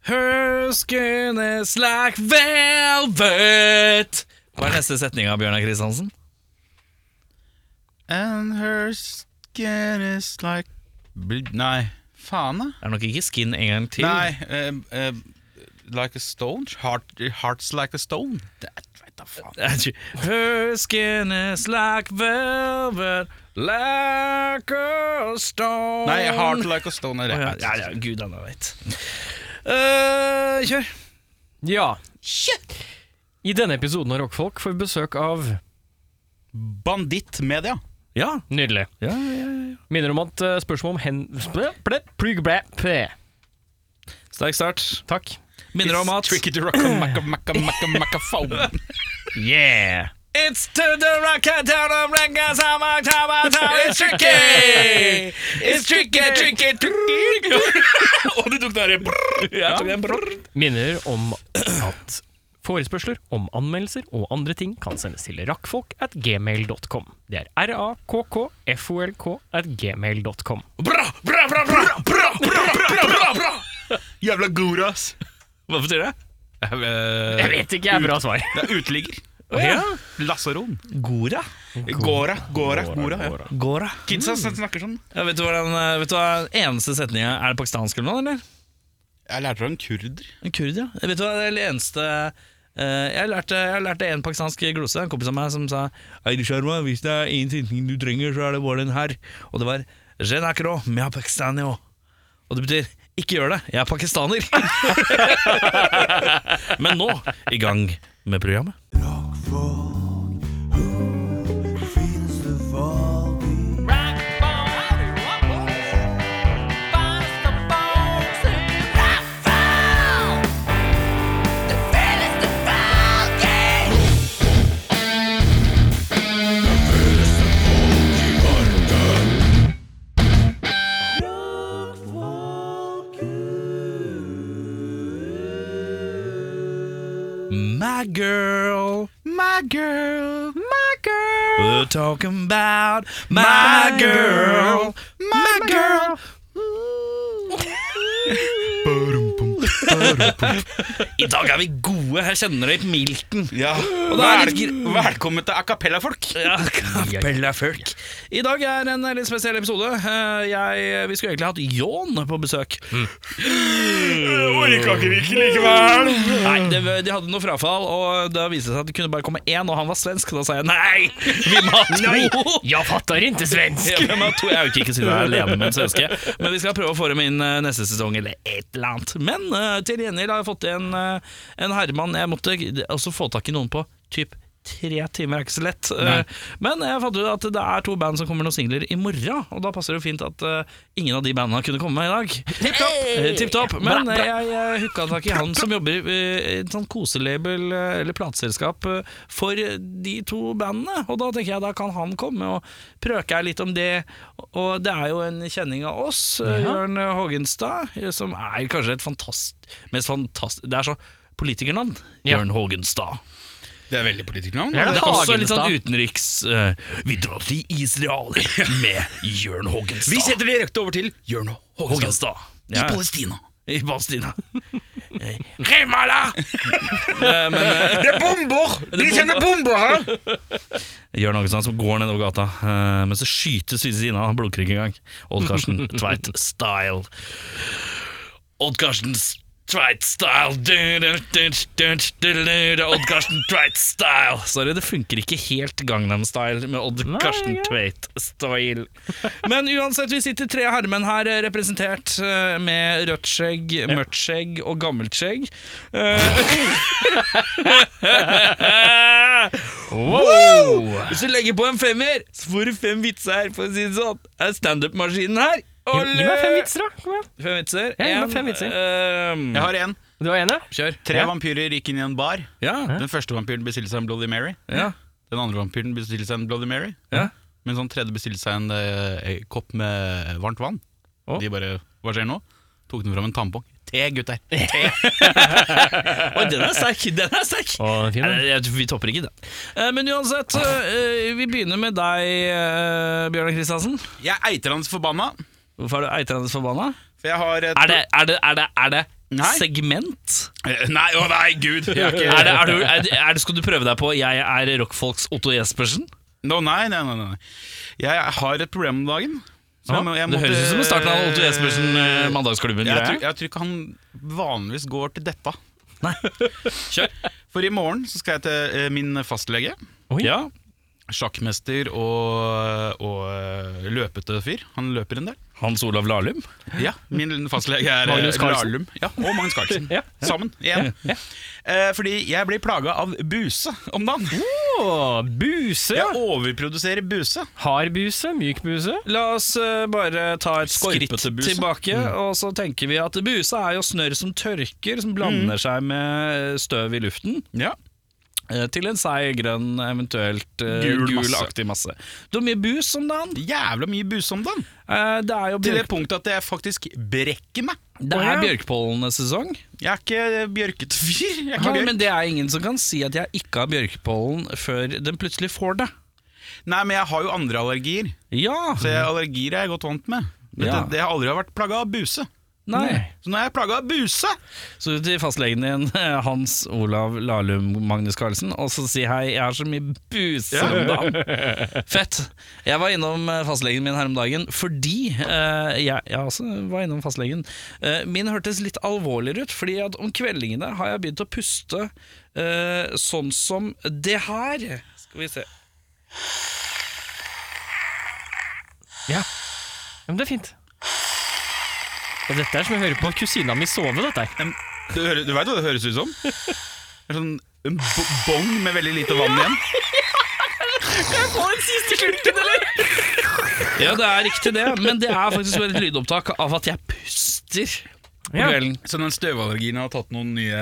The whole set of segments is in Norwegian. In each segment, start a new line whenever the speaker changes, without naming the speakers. Her skin is like velvet Hva er neste setning av Bjørnar Kristiansen?
And her skin is like bl- Nei, faen da
Det er nok ikke skin en gang til.
Nei, eh, eh, like a stone Heart, Hearts like a stone Det er- vet da faen
Det er ikke- Her skin is like velvet like a stone
Nei, heart like a stone er
Å, ja,
rett
ja, ja, gud han vet. Eh, kjør.
Ja. I denne episoden av Rockfolk får vi besøk av
Bandittmedia
Ja.
Nydelig.
Ja, ja, ja.
Minner om at eh, spørsmål om hen... Ble- ble- plug- ble- ble.
Sterk start.
Takk.
Minner om at
It's tricky to rock a macca macca macca macca phone
Yeah. It's to the rocket down of records, how much, how much, how it's tricky! It's tricky, tricky, tricky! Og du tok den der Jeg tok den brrr.
Minner om at forespørsler om anmeldelser og andre ting kan sendes til rakkfolk at gmail.com. Det er r-a-k-k-f-o-l-k at gmail.com.
Bra, bra, bra, bra, bra, bra, bra, bra, bra!
Jævla god, ass Eh,
Hva betyr det?
Jeg vet ikke, er bra svar.
Det er uteligger
ja.
Lassaron
Gora.
Gora, Gora, Gora, ja
Gora.
Kidsa
Mm.
snakker sånn
Ja, vet du hva den eh, vet du hva den eneste setningen er? Er det pakistansk eller noe, eller?
Jeg lærte av en kurder
En kurd, ja. Vet du hva det er det eneste eh, jeg lærte, jeg lærte en pakistansk glose, en kompis av meg, som sa Eide Sharma, hvis det er én ting du trenger, så er det bare den her. Og det var «Je nakro, mea pakistanio». Og det betyr ikke gjør det, jeg er pakistaner. Men nå i gang med programmet. My girl, my girl, my girl. We're talking about my, girl, my girl. I dag er vi gode, jeg kjenner det i milten.
Ja,
da er det
Vel-
gr-
velkommen til acapella-folk
Ja, Kapella folk. I dag er en litt spesiell episode. Eh, Jeg, vi skulle egentlig hatt Jon på besøk.
Orka ikke virkelig likevel
Nei, det, de hadde noe frafall, og da viste det seg at det kunne bare komme én, og han var svensk. Da sa jeg nei, vi må ha to!
Jeg fatter ikke svensk!
Ja, vi må ha to. Jeg er jo ikke, ikke siden jeg er alene med en svenske, men vi skal prøve å få dem inn eh, neste sesong eller et eller annet. Men eh, til gjengjeld har jeg fått en, eh, en herremann jeg måtte også få tak i noen på typ tre timer er ikke så lett. Eh, Men jeg fant ut at det er to band som kommer med noen singler i morgen, og da passer det jo fint at eh, ingen av de bandene kunne komme med i dag. Tipp topp! Tipp topp. Men eh, jeg eh, hooka tak i han som jobber i eh, et sånt koselabel eh, eller plateselskap eh, for eh, de to bandene, og da tenker jeg da kan han komme og prøke her litt om det. Og det er jo en kjenning av oss, eh, Jørn eh, Hågenstad, eh, som er kanskje et fantast... Mest fantast... Det er så politikernavn.
Ja.
Jørn Hågenstad.
Det er veldig politikernavn
Ja,
Det er også litt sånn
Hagenstad.
utenriks eh, Vi drar til Israel med Jørn Hågenstad.
Vi setter direkte over til Jørn Hågenstad
Hågenstad.
i
Ja.
Palestina.
I Palestina. Eh, Remala! Eh, Men eh,
Det er bomber! De sender bomber her!
Jørn Hågenstad som går nedover gata, eh, men så skytes Syse Sina. Han blodkrig en gang. Odd Karsten Tveit style. Odd Karsten s- Tveit style. Du, du, du, du, du, du, du, Odd Karsten Tveit style. Sorry, det funker ikke helt Gangnam Style med Odd Karsten
ja.
Tveit style. Men uansett, vi sitter tre herremenn her, eh, representert eh, med rødt skjegg, mørkt skjegg og gammelt skjegg. Eh, Wow! Hvis du legger på en femmer, så får du fem vitser her, for å si det sånn. Er standup-maskinen her?
Gi gi meg fem vitser, da. Kom igjen.
Fem vitser.
Ja, gi meg
En,
fem vitser.
ehm,
Jeg har en.
Du var enig?
Kjør.
Tre
Ja.
vampyrer gikk inn i en bar.
Ja,
Den første vampyren bestilte seg en Bloody Mary.
ja,
Den andre vampyren bestilte seg en Bloody Mary.
ja.
Mens han tredje bestilte seg en eh, kopp med varmt vann.
Å.
De bare Hva skjer nå? Tok den fram en tampong. Te, gutter.
Oi, den er sterk! Den er sterk!
Å, den er fin,
Nei,
den.
jeg tror vi topper ikke den. Eh, Men uansett, eh, vi begynner med deg, eh, Bjørnar Kristiansen.
Jeg er eitrende forbanna,
Hvorfor er du eitrende forbanna?
for jeg har et
Er det, er det, er det, er det
Nei.
segment?
Eh, Nei, å nei, gud! Jeg er ikke
Er det, er du, er, det- er det, skal du prøve deg på 'Jeg er rockfolks Otto Jespersen'?
no, nei, nei, nei, nei. Jeg har et problem om dagen. Så jeg må- jeg
det
måtte-
høres ut som en starten av Otto Jespersen, eh, Mandagsklubben.
Jeg,
greie.
tror- jeg tror ikke han vanligvis går til dette.
Nei. Kjør.
For i morgen så skal jeg til eh, min fastlege.
Oi.
Ja.
Sjakkmester og, og eh, løpete fyr. Han løper en del.
Hans Olav Lahlum.
Ja, min fastlege er eh,
Magnus Carlsen.
Lahlum. Ja, og Magnus Carlsen.
Ja.
Sammen, igjen. Eh, fordi jeg blir plaga av buse om dagen.
Å, buse!
Jeg overproduserer buse.
Hard buse, myk buse.
La oss eh, bare ta et skritt
Skorpete buse.
tilbake,
Mm.
og så tenker vi at busa er jo snørr som tørker, som
Mm.
blander seg med støv i luften.
Ja.
eh, Til en seig, grønn, eventuelt eh,
Gul masse.
gulaktig masse. Du har mye bus om dagen.
Jævla mye buse om dagen.
Eh, Det er jo
Til det
bjørk,
punktet at jeg faktisk brekker meg.
det
Å, ja.
er bjørkpollenesesong.
Jeg er ikke eh, bjørkete fyr. Jeg er ikke
Ja,
bjørk.
men det er ingen som kan si at jeg ikke har bjørkpollen før den plutselig får det.
Nei, men jeg har jo andre allergier,
Ja!
så jeg, allergier er jeg godt vant med.
Mhm.
Men
Ja.
det, det har aldri vært plaga av buse.
Nei.
Så nå er jeg plaga av buse!
Så til fastlegen din, Hans Olav Lahlum Magnus Carlsen, og så si hei, jeg har så mye buse om dagen. Fett. Jeg var innom eh, fastlegen min her om dagen fordi eh, jeg, jeg også var innom fastlegen. Eh, min hørtes litt alvorligere ut, fordi at om kveldingene har jeg begynt å puste eh, sånn som det her. Skal vi se.
Ja. ja, men det er fint. Og dette er som jeg hører på kusina mi sove, dette her.
En, du hører- du veit hva det høres ut som? En sånn en bo- bong med veldig lite vann igjen.
Ja, det er riktig det, men det er faktisk bare et lydopptak av at jeg puster på
Ja.
kvelden.
Så den støvallergien har tatt noen nye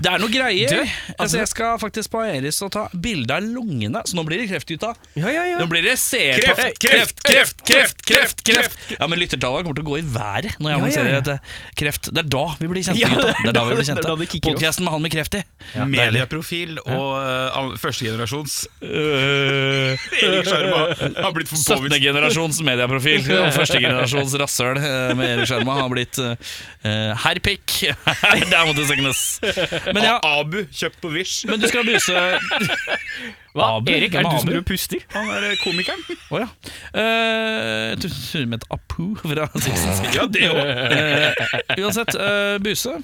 Det er noe greier.
Du,
altså, jeg skal faktisk på Aeris og ta bilde av lungene, så nå blir det kreftgutta.
Ja, ja,
Nå blir det seer...
Kreft, kreft, kreft, kreft, kreft, kreft.
Ja, men lyttertallene kommer til å gå i været når jeg
Ja, ja,
annonserer
ja.
at, eh, kreft. Det er da vi blir kjente,
Ja,
gutta. Det er da vi
det
blir
er da det
kjente.
kicker opp.
Podkasten med han med kreft i.
medieprofil og uh, førstegenerasjons Erik Sjarma har blitt
17.
for påvist.
generasjons medieprofil og første generasjons rasshøl eh, med Erik Skjerma har blitt uh, herrpikk. Der måtte det søknes. Men ja,
Abu, kjøpt på Wish.
men du skal buse
Hva?
Abu?
Erik,
Hvem er
er det du som
Abu?
driver og puster?
Han er eh, komikeren.
Å ja. Eh, jeg tror hun het Apu fra Simpsons.
Ja, det òg.
Eh, uansett, eh, Buse.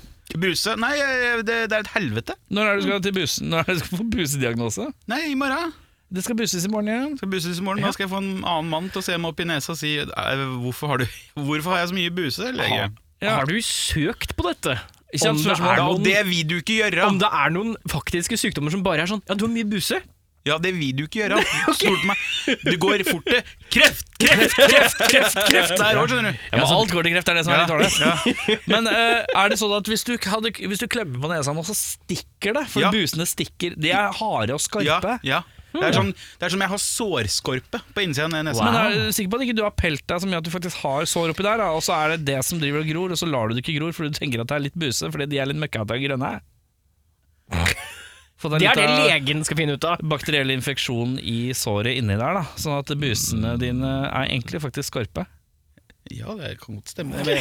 Buse. Nei, eh, det, det er et helvete.
Når er det du skal til buse? Når er det du skal få busediagnose?
Nei, i morgen.
Det skal buses i morgen igjen.
Skal buses i morgen. Da skal jeg få en annen mann til å se meg opp i nesa og si eh, hvorfor har, du, hvorfor har jeg så mye buse, lege?
Ja.
Har du søkt på dette?
Ikke
Om
sant,
det
spørsmål.
er
Ja, og
noen,
det vil du ikke gjøre.
om det er noen faktiske sykdommer som bare er sånn Ja, du har mye buse.
Ja, det vil du ikke gjøre. Stol på meg. Du går fort til kreft, kreft, kreft, kreft, kreft der òg, skjønner du.
Ja, men alt går til kreft, det er det som er litt dårlig.
Ja.
Men eh, er det sånn at hvis du, ikke hadde, hvis du klemmer på nesa nå, så stikker det? For
Ja.
busene stikker. De er harde og
Ja,
skarpe.
ja. Det, er sånn, det er som jeg har sårskorpe på innsiden av nesen.
Wow.
Men er du sikker på at ikke du har pelt deg som gjør at du faktisk har sår oppi der, da? og så er det det som driver og gror, og så lar du det ikke gror fordi du tenker at det er litt buse fordi de er litt møkkete og grønne? Få deg
Det er
litt
det
av-
legen skal finne ut av.
bakteriell infeksjon i såret inni der, da. Sånn at busene dine er egentlig faktisk skarpe.
Ja, det kan godt stemme. Men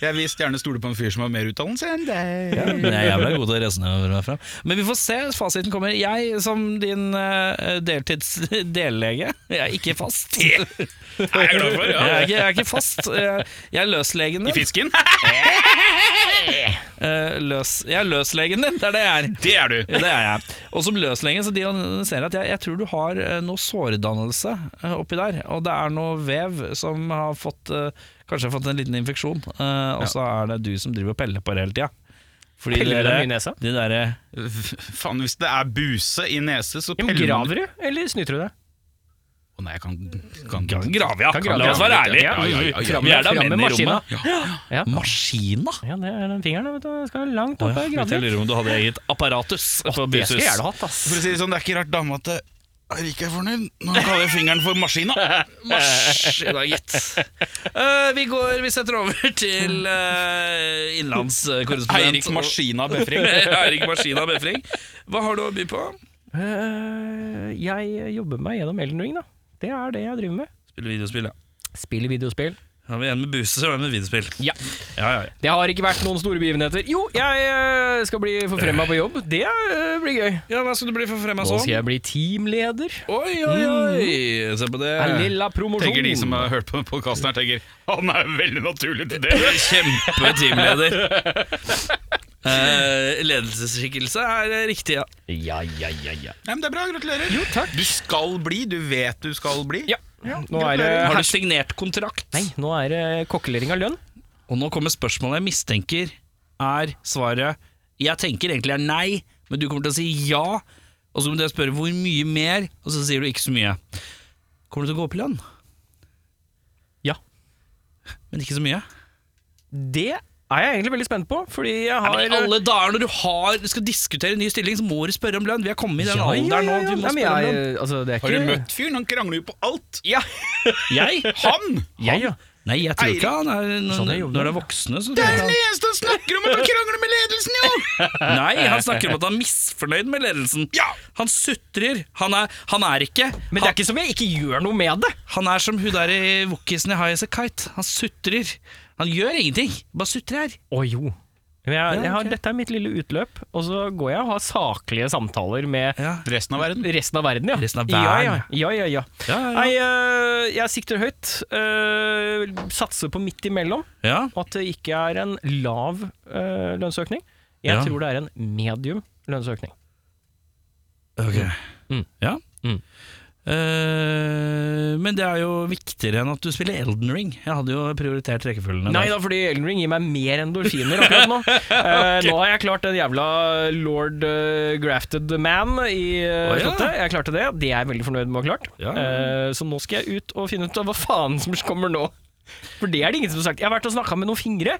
jeg vil gjerne stole på en fyr som har mer utdannelse enn deg.
Men jeg er jævla god til å resonnere meg fram. Men vi får se, fasiten kommer. Jeg som din eh, deltids dellege, jeg er ikke fast. Jeg
er jeg glad for, ja.
er ikke, jeg er ikke fast. Jeg jeg er løslegen
I
din.
fisken?
Eh, Løs, jeg er løslegen din, det er det jeg er.
Det er du.
Ja, det er jeg. Og som løslenge så diagnoserer jeg at jeg, jeg tror du har eh, noe såredannelse eh, oppi der. Og det er noe vev som har fått eh, Kanskje har fått en liten infeksjon, eh, og så er det du som driver og peller på det hele tida. Fordi
Peller
dere-
dem i nesa?
De eh, derre
Faen, hvis det er buse i nese, så
Ja, men
peller man-
Graver du, eller snyter du deg?
Å nei, jeg kan,
Kan
kan,
grave, ja.
Kan grave,
La oss være
ja.
ærlige.
ja,
Ja,
ja, ja.
Vi er da
Fram med
menn i
maskina.
rommet.
Ja.
Maskina?
Ja, det er den fingeren. Vet du. Den Skal langt
Å
opp
ja,
i
jeg
graver.
lurer om du hadde eget apparatus på
Det skulle jeg
Busus.
gjerne hatt, ass.
For å si det sånn, det er ikke rart dama til Eirik er fornøyd når han kaller fingeren for maskina.
Mars i dag, gitt. Eh, vi går Vi setter over til eh, innlandskorrespondent
Eirik Maskina Befring.
Eirik Maskina Befring. Hva har du å by på?
Eh, jeg jobber meg gjennom Elden Ring, da. Det er det jeg driver med.
Spille videospill, ja.
Spiller videospill.
Har vi en med buse, så har vi en med videospill.
Ja.
Ja, ja, ja.
Det har ikke vært noen store begivenheter. Jo, jeg eh, skal bli forfremma på jobb. Det eh, blir gøy.
ja hva skal du bli forfremma
Nå
som?
skal jeg bli teamleder.
sånn? Oi, oi, oi! Se på det.
En lilla
Tenker de som
promosjon.
har hørt på podkasten her, tenker han er veldig naturlig til det.
Kjempe teamleder. Eh, ledelsesskikkelse er eh, riktig, ja.
Ja, ja, ja, ja.
Nei, men det er bra, gratulerer. Jo, takk. Du skal bli, du vet du skal bli.
ja. Nå er eh, det
Har du signert kontrakt?
Nei, nå er det kokkelering av lønn.
Og nå kommer spørsmålet jeg mistenker er svaret Jeg tenker egentlig er nei, men du kommer til å si ja. Og så må jeg spørre hvor mye mer, og så sier du ikke så mye. Kommer du til å gå opp i lønn?
Ja.
Men ikke så mye?
Det er jeg egentlig veldig spent på, fordi jeg har eh,
Nei, men I alle dager når du har, du skal diskutere en ny stilling, så må du spørre om lønn. Vi er kommet i den
ja, ja,
alderen
ja,
nå.
ja.
at Vi må
Nei, men
spørre om
jeg,
lønn.
altså, det er ikke...
Har du møtt fyren? Han krangler jo på alt.
Ja,
Jeg?
Han!
jeg, ja.
Nei, jeg tror
Eirik.
ikke han er
Sånn
Når,
er jobben.
når det er voksne, så
Det
tror jeg
er
han
den eneste han snakker om! At han krangler med ledelsen, jo!
Nei, han snakker om at han er misfornøyd med ledelsen.
Ja!
Han sutrer. Han er, han er ikke
Men det er ikke som jeg ikke gjør noe med det.
Han er som hun der i Wookisen i High As A Kite. Han sutrer. Han gjør ingenting, bare sutrer.
Å jo. Men jeg, jeg har,
ok.
Dette er mitt lille utløp, og så går jeg og har saklige samtaler med
Ja.
Resten av verden.
resten av verden, ja.
Resten av
Ja,
verden.
ja, ja. ja, ja.
Ja, ja, ja.
Nei, øh, jeg sikter høyt. øh, satser på midt imellom,
Ja.
og at det ikke er en lav øh, lønnsøkning. Jeg
Ja.
tror det er en medium lønnsøkning.
Ok.
Mm.
Ja.
Mm.
Eh, men det er jo viktigere enn at du spiller Elden Ring. Jeg hadde jo prioritert rekkefølgene.
Nei
der.
da, fordi Elden Ring gir meg mer endorfiner akkurat nå. Eh, Nå har jeg klart den jævla lord eh, grafted man i eh,
Å, ja.
slottet. Jeg klarte det. Det er jeg veldig fornøyd med å ha klart.
Ja.
Eh, så nå skal jeg ut og finne ut av hva faen som kommer nå. For det er det ingen som har sagt. Jeg har vært og snakka med noen fingre.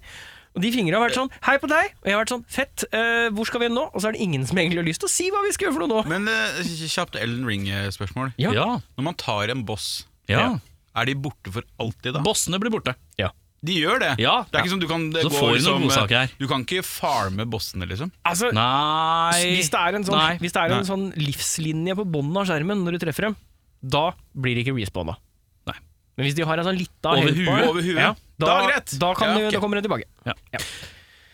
Og De fingrene har vært sånn 'hei på deg', og jeg har vært sånn 'fett, eh, hvor skal vi nå?' Og så er det ingen som egentlig har lyst til å si hva vi skal gjøre for noe nå.
Men eh, kjapt Ellen eh, Ring-spørsmål.
Ja.
Ja.
Når man tar en boss,
ja.
er de borte for alltid da?
Bossene blir borte.
De gjør det.
Ja.
Det er ikke som du kan det
Så
går
får du noen
liksom,
godsaker her.
Du kan ikke farme bossene, liksom.
Altså,
Nei
hvis det er en sånn,
Nei.
hvis det er
Nei.
en sånn livslinje på bånden av skjermen når du treffer dem, da blir det ikke respawna.
Nei.
Men hvis de har en sånn lita
Over
help bar,
huet.
Over huet.
Ja, da,
Da er greit.
Da, kan
Ja,
du-
ok.
da kommer den tilbake.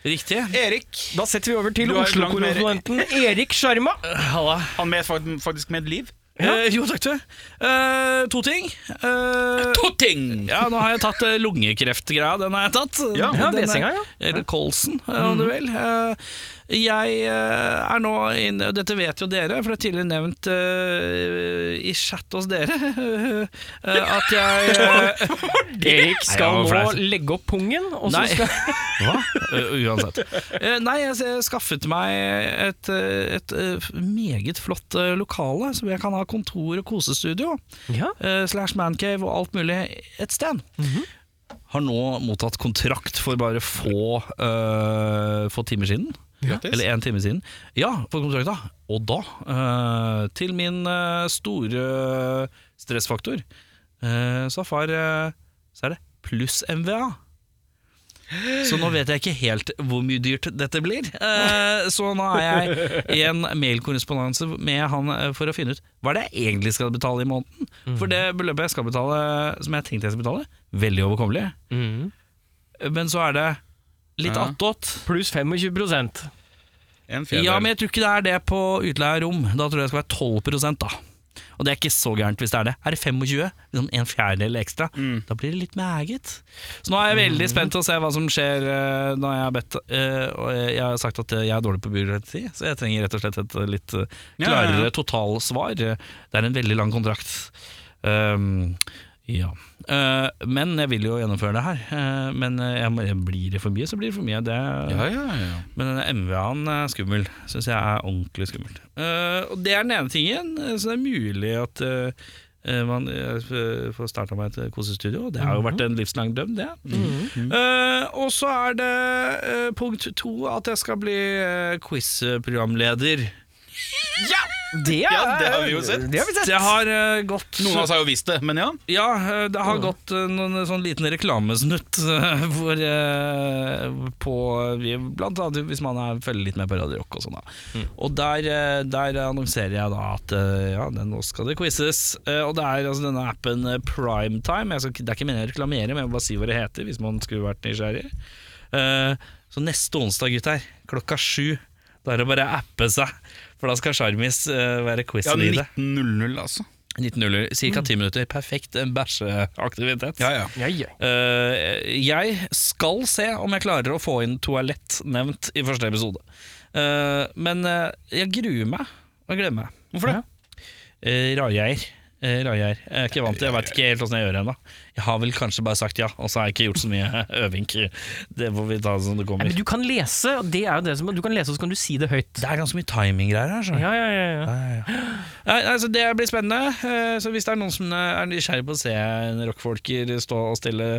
Riktig.
Erik,
Da setter vi over til
Du har jo langt mer-
Oslo-korrespondenten Erik Sjarma.
Eh, Halla.
han med fakt- faktisk med et liv.
Eh, jo, takk du. Eh, to ting. Eh,
To ting!
Ja, nå har jeg tatt eh, lungekreftgreia. Den har jeg tatt.
Ja,
Den
ja,
er-
Vesenga, ja.
Eller kolsen, eh, om du vil. Eh, Jeg eh, er nå inne og Dette vet jo dere, for det er tidligere nevnt eh, i chat hos dere eh, at jeg eh, Nei,
Erik
jeg
skal
var
nå
flau.
legge opp pungen, og så
Nei.
skal
Hva? Eh, Uansett. Eh, Nei, jeg s- skaffet meg et, eh, et eh, meget flott eh, lokale, som jeg kan ha kontor og kosestudio.
ja.
eh, slash mancave og alt mulig et sted. Har nå mottatt kontrakt for bare få, eh, få timer siden.
Grattis.
Eller én time siden. Ja, for kontrakta. Og da, eh, til min eh, store stressfaktor, eh, så, har far, eh, så er det pluss MVA. Så nå vet jeg ikke helt hvor mye dyrt dette blir. Eh, så nå er jeg i en mailkorrespondanse med han eh, for å finne ut hva er det jeg egentlig skal betale i måneden. For det beløpet jeg skal betale, som jeg tenkte jeg skulle betale, veldig overkommelig.
Mhm.
Men så er det litt
Ja.
attåt.
Pluss 25
En
Ja, men jeg tror ikke det er det på utleie av rom. Da tror jeg det skal være 12 da. Og det er ikke så gærent hvis det er det. Er det 25, liksom en fjerdedel ekstra,
Mm.
da blir det litt meget. Så nå er jeg veldig spent til å se hva som skjer eh, når jeg har bedt eh, Og jeg har sagt at eh, jeg er dårlig på byråkrati, så jeg trenger rett og slett et eh, litt eh,
Ja, ja, ja.
klarere totalsvar. Det er en veldig lang kontrakt. Um, ja. Eh, men jeg vil jo gjennomføre det her. Eh, men eh, jeg, må- blir det for mye, så blir det for mye. Det,
ja, ja, ja.
men denne MVA-en er skummel. Syns jeg er ordentlig skummelt. Eh, og det er den ene tingen, eh, så det er mulig at eh, eh, man eh, f- får starta meg et kosestudio. Det har jo
Mhm.
vært en livslang drøm, det. Eh, og så er det eh, punkt to at jeg skal bli eh, quiz-programleder.
ja!
Det, er,
Ja, det har vi jo sett.
Det har vi sett.
Det har eh, gått
Noen av oss har jo visst det, men ja.
Ja, eh, det har gått eh, noen sånn liten reklamesnutt eh, hvor eh, på vi- Blant annet hvis man er, følger litt med på Radio Rock og sånn, da. Og der, eh, der annonserer jeg da at eh, ja, det- nå skal det quizes. Eh, Og det er altså denne appen eh, Primetime. Jeg skal, ikke- det er ikke meningen å reklamere, men jeg vil bare si hva det heter, hvis man skulle vært nysgjerrig. Eh, Så neste onsdag, gutter, klokka sju, da er det bare å appe seg. For da skal Sjarmis eh, være
ja
quizen i det.
1900, altså.
19.00, ca. 10 minutter. Perfekt eh, bæsjeaktivitet.
ja.
Ja, ja.
Eh, jeg skal se om jeg klarer å få inn toalett nevnt i første episode. Eh, men eh, jeg gruer meg og gleder meg.
Hvorfor det?
Uh, Rajeir. Eh, Rajeir. Jeg er ikke vant til Jeg veit ikke helt åssen jeg gjør det ennå. Jeg har vel kanskje bare sagt ja, og så har jeg ikke gjort så mye øving. Det får vi ta som det
Nei,
kommer.
men du kan lese, og det er jo det som Du kan lese, og så kan du si det høyt.
Det er ganske mye timinggreier her. skjønner du.
Ja, ja, ja, ja.
Nei, altså Det blir spennende. Eh, Så Hvis det er noen som er nysgjerrig på å se en rockfolker stå og stille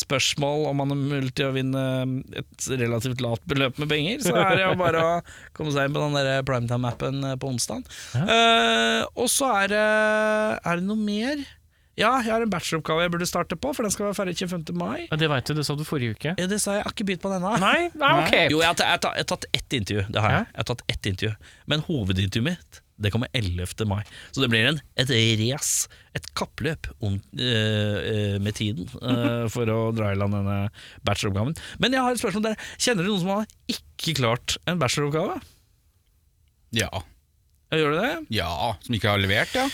spørsmål om han er mulig til å vinne um, et relativt lavt beløp med penger, så er det jo bare å komme seg inn på den der eh, primetime-appen på onsdag. og så er det Er det noe mer? Ja, jeg har en bacheloroppgave jeg burde starte på, for den skal være ferdig 25. mai.
ja det veit du, det sa du forrige uke.
Ja, det sa jeg, jeg har ikke begynt på den ennå.
Nei, nei ok.
Jo, jeg har, ta- jeg, har ta- jeg har tatt ett intervju, det har jeg. jeg har tatt ett intervju Men hovedintervjuet mitt det kommer 11. mai. Så det blir en, et race, et kappløp om, eh, eh, med tiden eh,
Mhm.
for å dra i land denne bacheloroppgaven. Men jeg har et spørsmål der. Kjenner du noen som har ikke klart en bacheloroppgave?
Ja.
Gjør du det?
ja. Som ikke har levert, ja.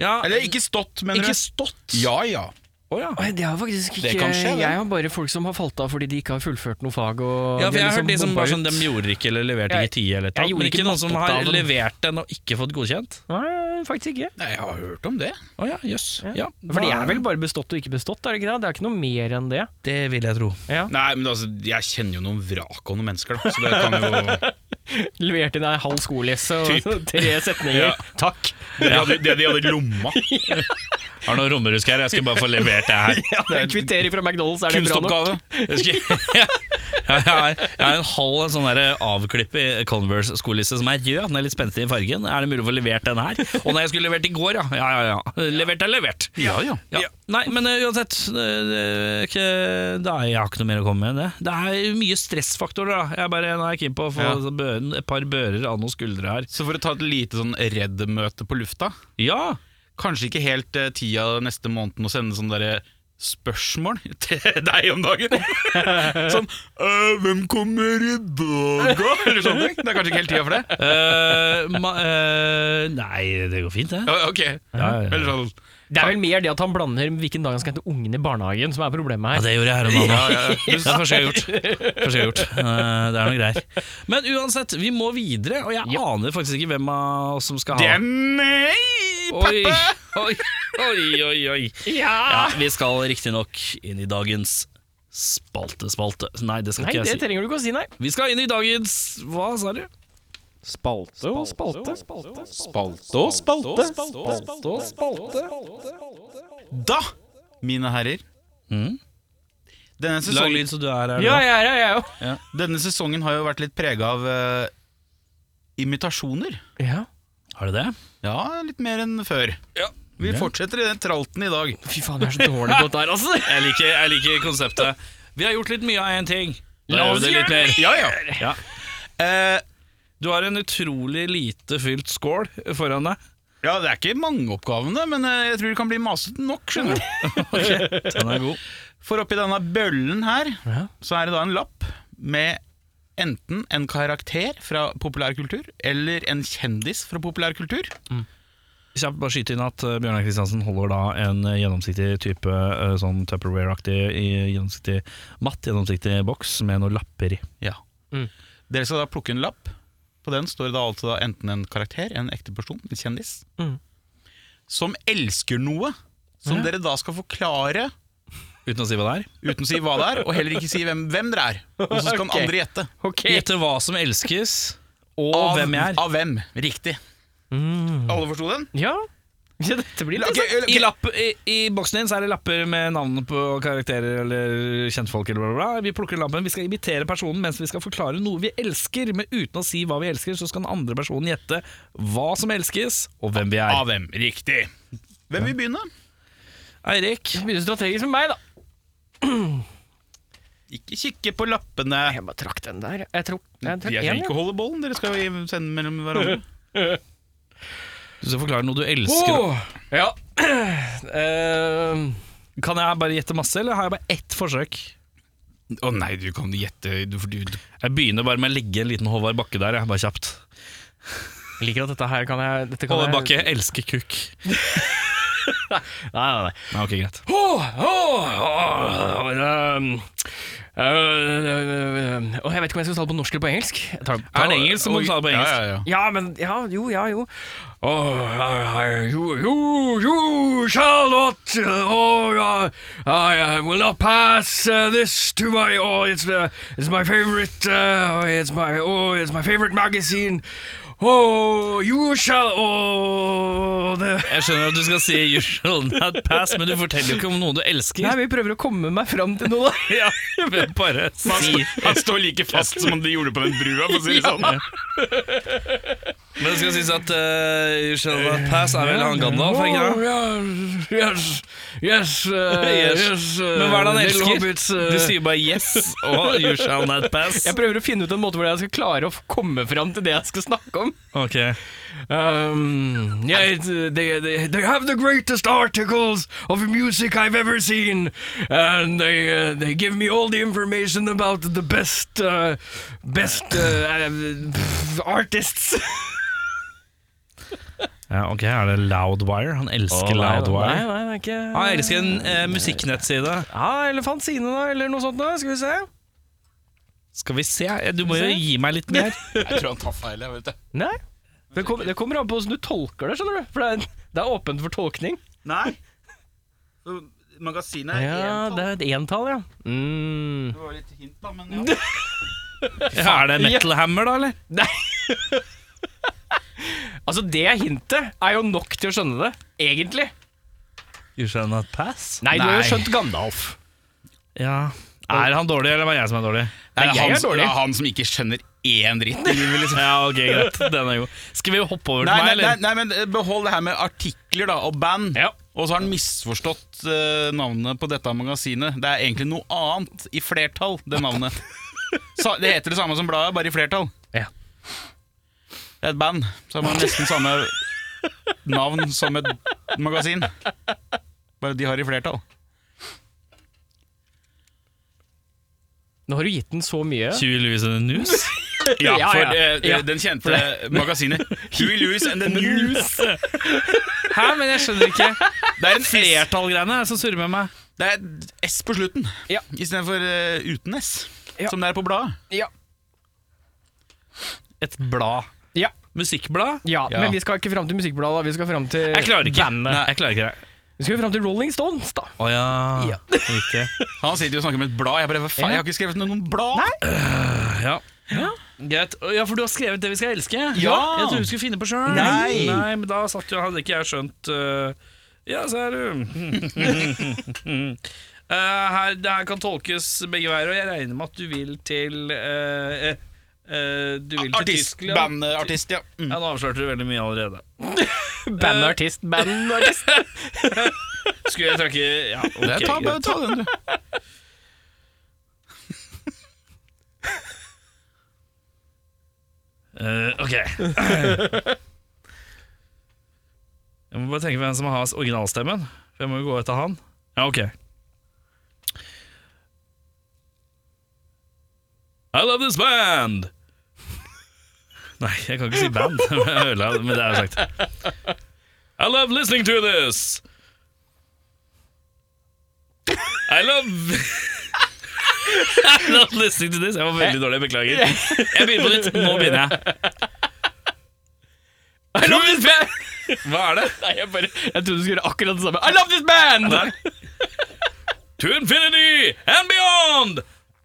Ja,
Eller ikke stått, mener
ikke
du?
stått?
Ja ja.
Å, ja.
Oi, det har faktisk ikke
Det kan skje, det.
Jeg har bare folk som har falt av fordi de ikke har fullført noe fag. Og
Ja, for
de
jeg
har
har hørt de som
bomba
bare sånn,
ut.
de gjorde ikke eller leverte
Jeg-
ikke ti eller et eller
jeg
annet.
gjorde
Men
ikke
ikke noen som har
matteoppgaven.
levert den og ikke fått godkjent?
Nei, faktisk ikke.
Nei, jeg har hørt om det.
Å ja, jøss. Ja.
For det er vel bare bestått og ikke bestått, er det ikke det? Det er ikke noe mer enn det.
Det vil jeg tro.
Ja.
Nei, men altså, jeg kjenner jo noen vrak og noen mennesker, da. Så det kan jo
Levert inn ei halv skolesse og tre
Ja.
setninger. Takk.
Det de hadde, det de hadde i lomma.
Har noen rommerusk her, jeg skal bare få levert det her.
Ja, Kvitterer fra McDonald's, er det bra nok?
Kunstoppgave.
Jeg skal- Ja, jeg har jeg har en halv en sånn der avklippet Converse-skolisse som er rød. Den er litt spenstig i fargen. Er det mulig å få levert den her? Og når jeg skulle levert i går, ja. Ja, ja, ja. Levert er levert.
Ja, ja.
Ja. Nei, men eh, uansett eh, det er ikke- da er Jeg har ikke noe mer å komme med enn det. Det er mye stressfaktorer. da Jeg er bare nå er jeg keen på å få
Ja.
så børen- et par bører av noen skuldre her.
Så for å ta et lite sånn redd-møte på lufta
Ja!
Kanskje ikke helt eh, tida neste måneden å sende sånne derre spørsmål til deg om dagen. sånn «Øh, 'Hvem kommer i dag, da?' eller sånne ting. Det er kanskje ikke helt tida for det.
Eh, ma, eh, nei, det går fint, det.
Ja, ok.
ja, ja.
Eller sånn
Det er vel mer det at han blander hvilken dag han skal hente ungen i barnehagen, som er
Ja,
problemet her.
det gjorde jeg her om dagen.
ja, ja.
Det er det første jeg har gjort. Første jeg har gjort. Eh, Det er noe greier. Men uansett, vi må videre, og jeg aner faktisk ikke hvem av oss som skal ha
Det er meg,
Oi,
pappa!
oi, oi, oi, oi. Ja, vi skal riktignok inn i dagens spaltespalte. Spalte. Nei, det skal
Nei,
ikke
det
jeg si.
trenger du ikke å si, nei.
Vi skal inn i dagens Hva sa du?
Spalte og spalte.
Spalte og spalte. Da, mine herrer Mm. denne,
Lag
sesongen,
lyd så du er her.
Ja,
nå.
jeg er her, jeg òg.
denne sesongen har jo vært litt prega av eh, imitasjoner.
Ja.
Har du det?
Ja, litt mer enn før. Vi fortsetter i den tralten i dag.
Fy faen, jeg er så dårlig på dette her, altså.
Jeg liker, jeg liker konseptet. Vi har gjort litt mye av én ting. Da
La
gjør
oss
vi det litt
gjøre
mer.
Ja, ja.
Ja.
Eh,
Du har en utrolig lite fylt skål foran deg.
ja, det er ikke mange oppgavene, men eh, jeg tror det kan bli masete nok, skjønner du.
Den er god.
For oppi denne bøllen her,
Ja.
så er det da en lapp med enten en karakter fra populærkultur, eller en kjendis fra populærkultur.
Kjapt bare skyte inn at eh, Bjørnar Kristiansen holder da en eh, gjennomsiktig type eh, sånn Tupperware-aktig i- gjennomsiktig matt, gjennomsiktig boks med noen lapper i.
Ja.
Mm.
Dere skal da plukke en lapp. På den står det da altså da enten en karakter, en ekte person, en kjendis,
Mm.
som elsker noe, som
Ja.
dere da skal forklare
Uten å si hva det er.
uten å si hva det er, og heller ikke si hvem, hvem dere er. Og så skal
Ok.
andre gjette.
Ok.
Gjette hva som elskes, og hvem jeg er. Mm.
Av hvem. Riktig. Alle forsto den?
Ja. Ja, dette blir
Ok,
litt
I, lapp, i, I boksen din så er det lapper med navn på karakterer eller kjentfolk. Eller bla, bla, bla. Vi plukker lappen, vi skal imitere personen mens vi skal forklare noe vi elsker. Men uten å si hva vi elsker, så skal den andre personen gjette hva som elskes, og hvem vi er.
Av hvem? Riktig. Hvem vil begynne?
Eirik,
sånn Begynner strategisk med meg, da.
Ikke kikke på lappene.
Jeg bare trakk den der. Jeg tror jeg trakk
Jeg
én,
trenger
ja.
ikke holde bollen, dere skal jo sende mellom hverandre.
Mm. du skal forklare noe du elsker.
ja. Ehm,
Kan jeg bare gjette masse, eller har jeg bare ett forsøk?
Å nei, du kan gjette du, for du, du.
Jeg begynner bare med å legge en liten Håvard Bakke der, jeg. bare kjapt.
jeg liker at dette her kan jeg dette kan
Håvard
jeg-
Bakke elsker kukk.
Nei, nei, nei.
Ja, ok, greit.
Åh, åh, åh, ehm, øh, øh, øh, åh, Jeg vet ikke om jeg skal ta det på norsk eller på engelsk. Jeg tar-
Er den engelsk, så må du ta det på engelsk.
Ja, ja, ja.
Ja, men Ja, jo, ja, jo. Oh, I, I, you, you, you shall not uh, or uh, I uh, will not pass uh, this to my oh it's uh, it's my favorite uh, oh, it's my oh it's my favorite magazine. Oh, you shall oh the
Jeg skjønner at du skal si 'you shall not pass', men du forteller jo ikke om noe du elsker.
Nei, vi prøver å komme meg fram til noe, da.
Ja, men bare si
Han står like fast som han gjorde på den brua, for å si det sånn.
Men det skal sies at eh, You Shall Not Pass er vel han Gandalf, er ikke det?
yes, yes, yes, uh,
Yes.
uh,
Men hva er Eh, det han
little
elsker?
hobbits, uh,
Du sier bare 'yes' og 'You Shall Not Pass'.
Jeg prøver å finne ut en måte hvor jeg skal klare å f- komme fram til det jeg skal snakke om.
Ok
Um, yeah, it's, uh, they, they, they have the greatest articles of music I've ever seen, and they uh, they give me all the information about the best uh, best uh, uh, pff, artists.
ja, Ok, er det Loudwire? Han elsker Loudwire.
nei, det er ikke
Ah, jeg elsker en eh, musikknettside.
Ja, Elefant Sine, da, eller noe sånt. da, Skal vi se.
Skal vi se, du må jo
Se.
gi meg litt mer.
Jeg tror han tar feil. Jeg vet det.
Nei. Det, kom, det kommer an på hvordan du tolker det, skjønner du. For det er, det er åpent for tolkning.
Nei. Så Magasinet er entall.
det er et entall, ja. Mm.
Det var litt hint, da, men ja.
Ja, er det Metal Hammer, da, eller?
Altså, det hintet er jo nok til å skjønne det, egentlig.
You Shall Not Pass?
Nei, du har jo
Nei.
skjønt Gandalf.
Ja Er han dårlig, eller var det jeg som er dårlig?
Det
Nei, jeg
han,
er
som-
dårlig.
det er han som ikke skjønner én dritt.
Ja, ok, greit. Den er god. Skal vi hoppe over til
Nei,
meg,
nei, nei,
eller?
nei, men eh, behold det her med artikler da, og band.
Ja.
Og så har han misforstått eh, navnet på dette magasinet. Det er egentlig noe annet i flertall, det navnet. Sa, det heter det samme som bladet, bare i flertall.
Ja.
Det er et band som har nesten samme navn som et magasin. Bare de har i flertall.
Nå har du gitt den så mye.
Huey Lewis and the News?
Ja,
Ja,
for
ja,
eh,
ja.
den kjente magasinet Huey Lewis and the News.
Hæ, men jeg skjønner ikke.
Det er en S,
Flertallgreiene er det som surrer med meg.
det er et S på slutten
Ja.
istedenfor uh, uten S,
Ja.
som det er på bladet.
Ja.
Et blad.
Ja.
Musikkblad?
ja,
Ja.
men vi skal ikke fram til musikkbladet, da. vi skal fram til
Jeg klarer ikke.
bandet.
Nei, jeg klarer ikke det.
Vi skal fram til Rolling Stones, da.
Å ja. Riktig.
Han sitter jo og snakker med et blad. Jeg bare, hva faen, jeg har ikke skrevet noen blad.
Ja. Greit. Ja, for du har skrevet det vi skal elske?
Ja.
Jeg trodde du skulle finne på sjøl.
Nei.
Nei, men da satt jo, hadde ikke jeg skjønt øh, Ja, så er du Eh, her, Det her kan tolkes begge veier, og jeg regner med at du vil til eh, eh, eh, Du vil til
Artist,
Tyskland.
bandartist, ja. Mm.
Ja, nå avslørte du veldig mye allerede.
Bandartist, Eh, bandartist.
Skulle jeg trekke Ja, ok.
Det- ta,
greit.
bare ta den, du.
Eh, ok. jeg må bare tenke på hvem som har originalstemmen. For jeg må jo gå etter han. Ja, ok. I love this band! Nei, jeg kan ikke si band. Jeg ødela det, Men det er jo sagt. I love listening to this! I love I love listening to this. Jeg var veldig dårlig, beklager. Jeg begynner på nytt. Nå begynner jeg.
I love this band!
Hva er det?
Nei, jeg bare Jeg trodde du skulle gjøre akkurat det samme. I love this band!
To infinity and beyond!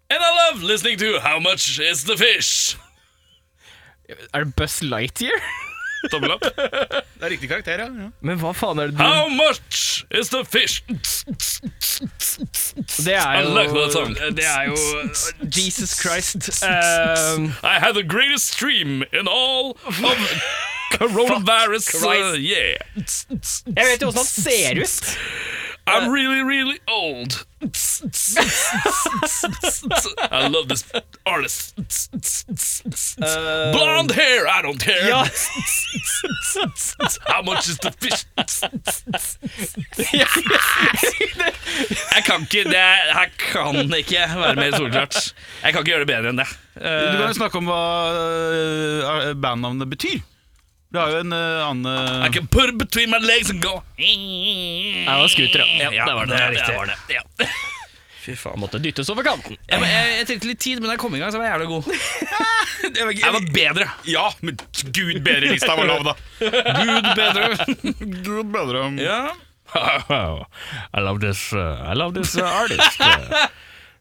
And I love listening to How much is the fish?
Er det Buzz Lightyear?
Tommel opp.
Det er riktig karakter, ja. ja.
Men hva faen er det du
How much is the fish?
Det er
I like that song.
jo, det er jo uh, Jesus Christ. Ehm,
I had the greatest stream in all of coronavirus. Uh,
Christ.
yeah.
jeg vet jo åssen han ser ut. Uh,
I'm really, really old. I love this artist.
Eh,
Blonde hair, I don't care.
Ja,
How much is the fish? jeg kan ikke det er- Jeg kan ikke være mer soleklart. Jeg kan ikke gjøre det bedre enn det.
Du kan
Eh,
jo snakke om hva eh, bandnavnet betyr. Det har jo en eh, annen
I can put it between my legs and go
det var scooter, ja.
Ja,
det var det.
det er
det,
riktig.
var det. Ja.
Fy faen.
Måtte dyttes over kanten.
Jeg, jeg, jeg trengte litt tid, men da jeg kom i gang, så var jeg jævlig god.
Jeg,
Jeg var bedre.
Ja, men gud bedre lista var lov, da.
Gud bedre.
Gud bedre om
Ja.
I love this. uh, I love this artist.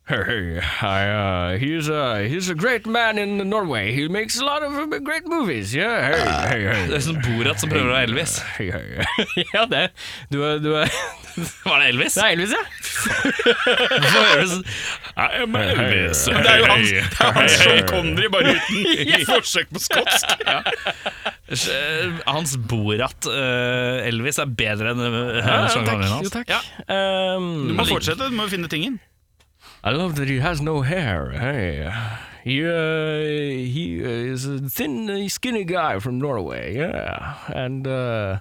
Hey, I, uh, he's a he's a great man in Norway. He makes a lot of uh, great movies. Yeah, hey, hey,
Det
hey,
er sånn Borat som prøver å være Elvis.
hey, hey. ja, det. Du er, du er
Var det Elvis?
Det er Elvis, ja.
Hvorfor høres
sånn,
I am Elvis.
Det er jo hans, det er hans Sean Connery, bare uten forsøk på skotsk.
Eh, Hans Borat eh, Elvis er bedre enn eh, Sean Connery hans.
Ja. Um,
Du må fortsette, du må finne tingen.
I love that he has no hair. Hey, he uh, he is a thin, skinny guy from Norway. Yeah, and uh,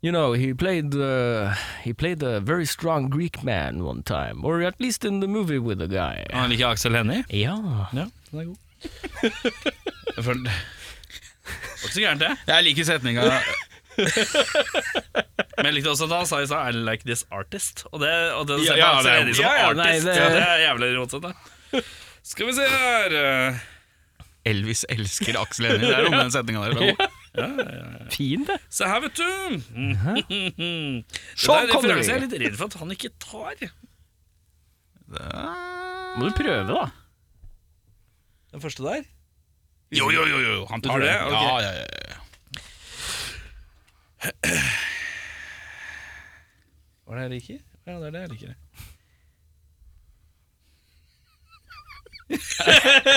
you know he played uh, he played a very strong Greek man one time, or at least in the movie with the guy.
Han liker Aksel Hennie.
Ja.
Ja, den er god. For, det var ikke så gærent, det.
Jeg liker setninga
Men jeg likte også at han sa i stad 'I like this artist'. Og det, og det,
Ja, ja,
Aksel
det er-
Hennie som
ja, ja, nei,
artist,
det-
ja, det er jævlig rått. sånn, da. Skal vi se her eh,
Elvis elsker Aksel Hennie. Det er noe med den setninga der.
Fin, det.
Se her, vet du. Mhm.
Sean
det er en
Connery.
referanse jeg er litt redd for at han ikke tar.
Må du prøve, da.
Den første der.
Jo, jo, jo, jo. Han
Har
tar
du
det.
det? Ok.
Ja, ja, ja.
Var det jeg liker? Ja, det er det jeg liker.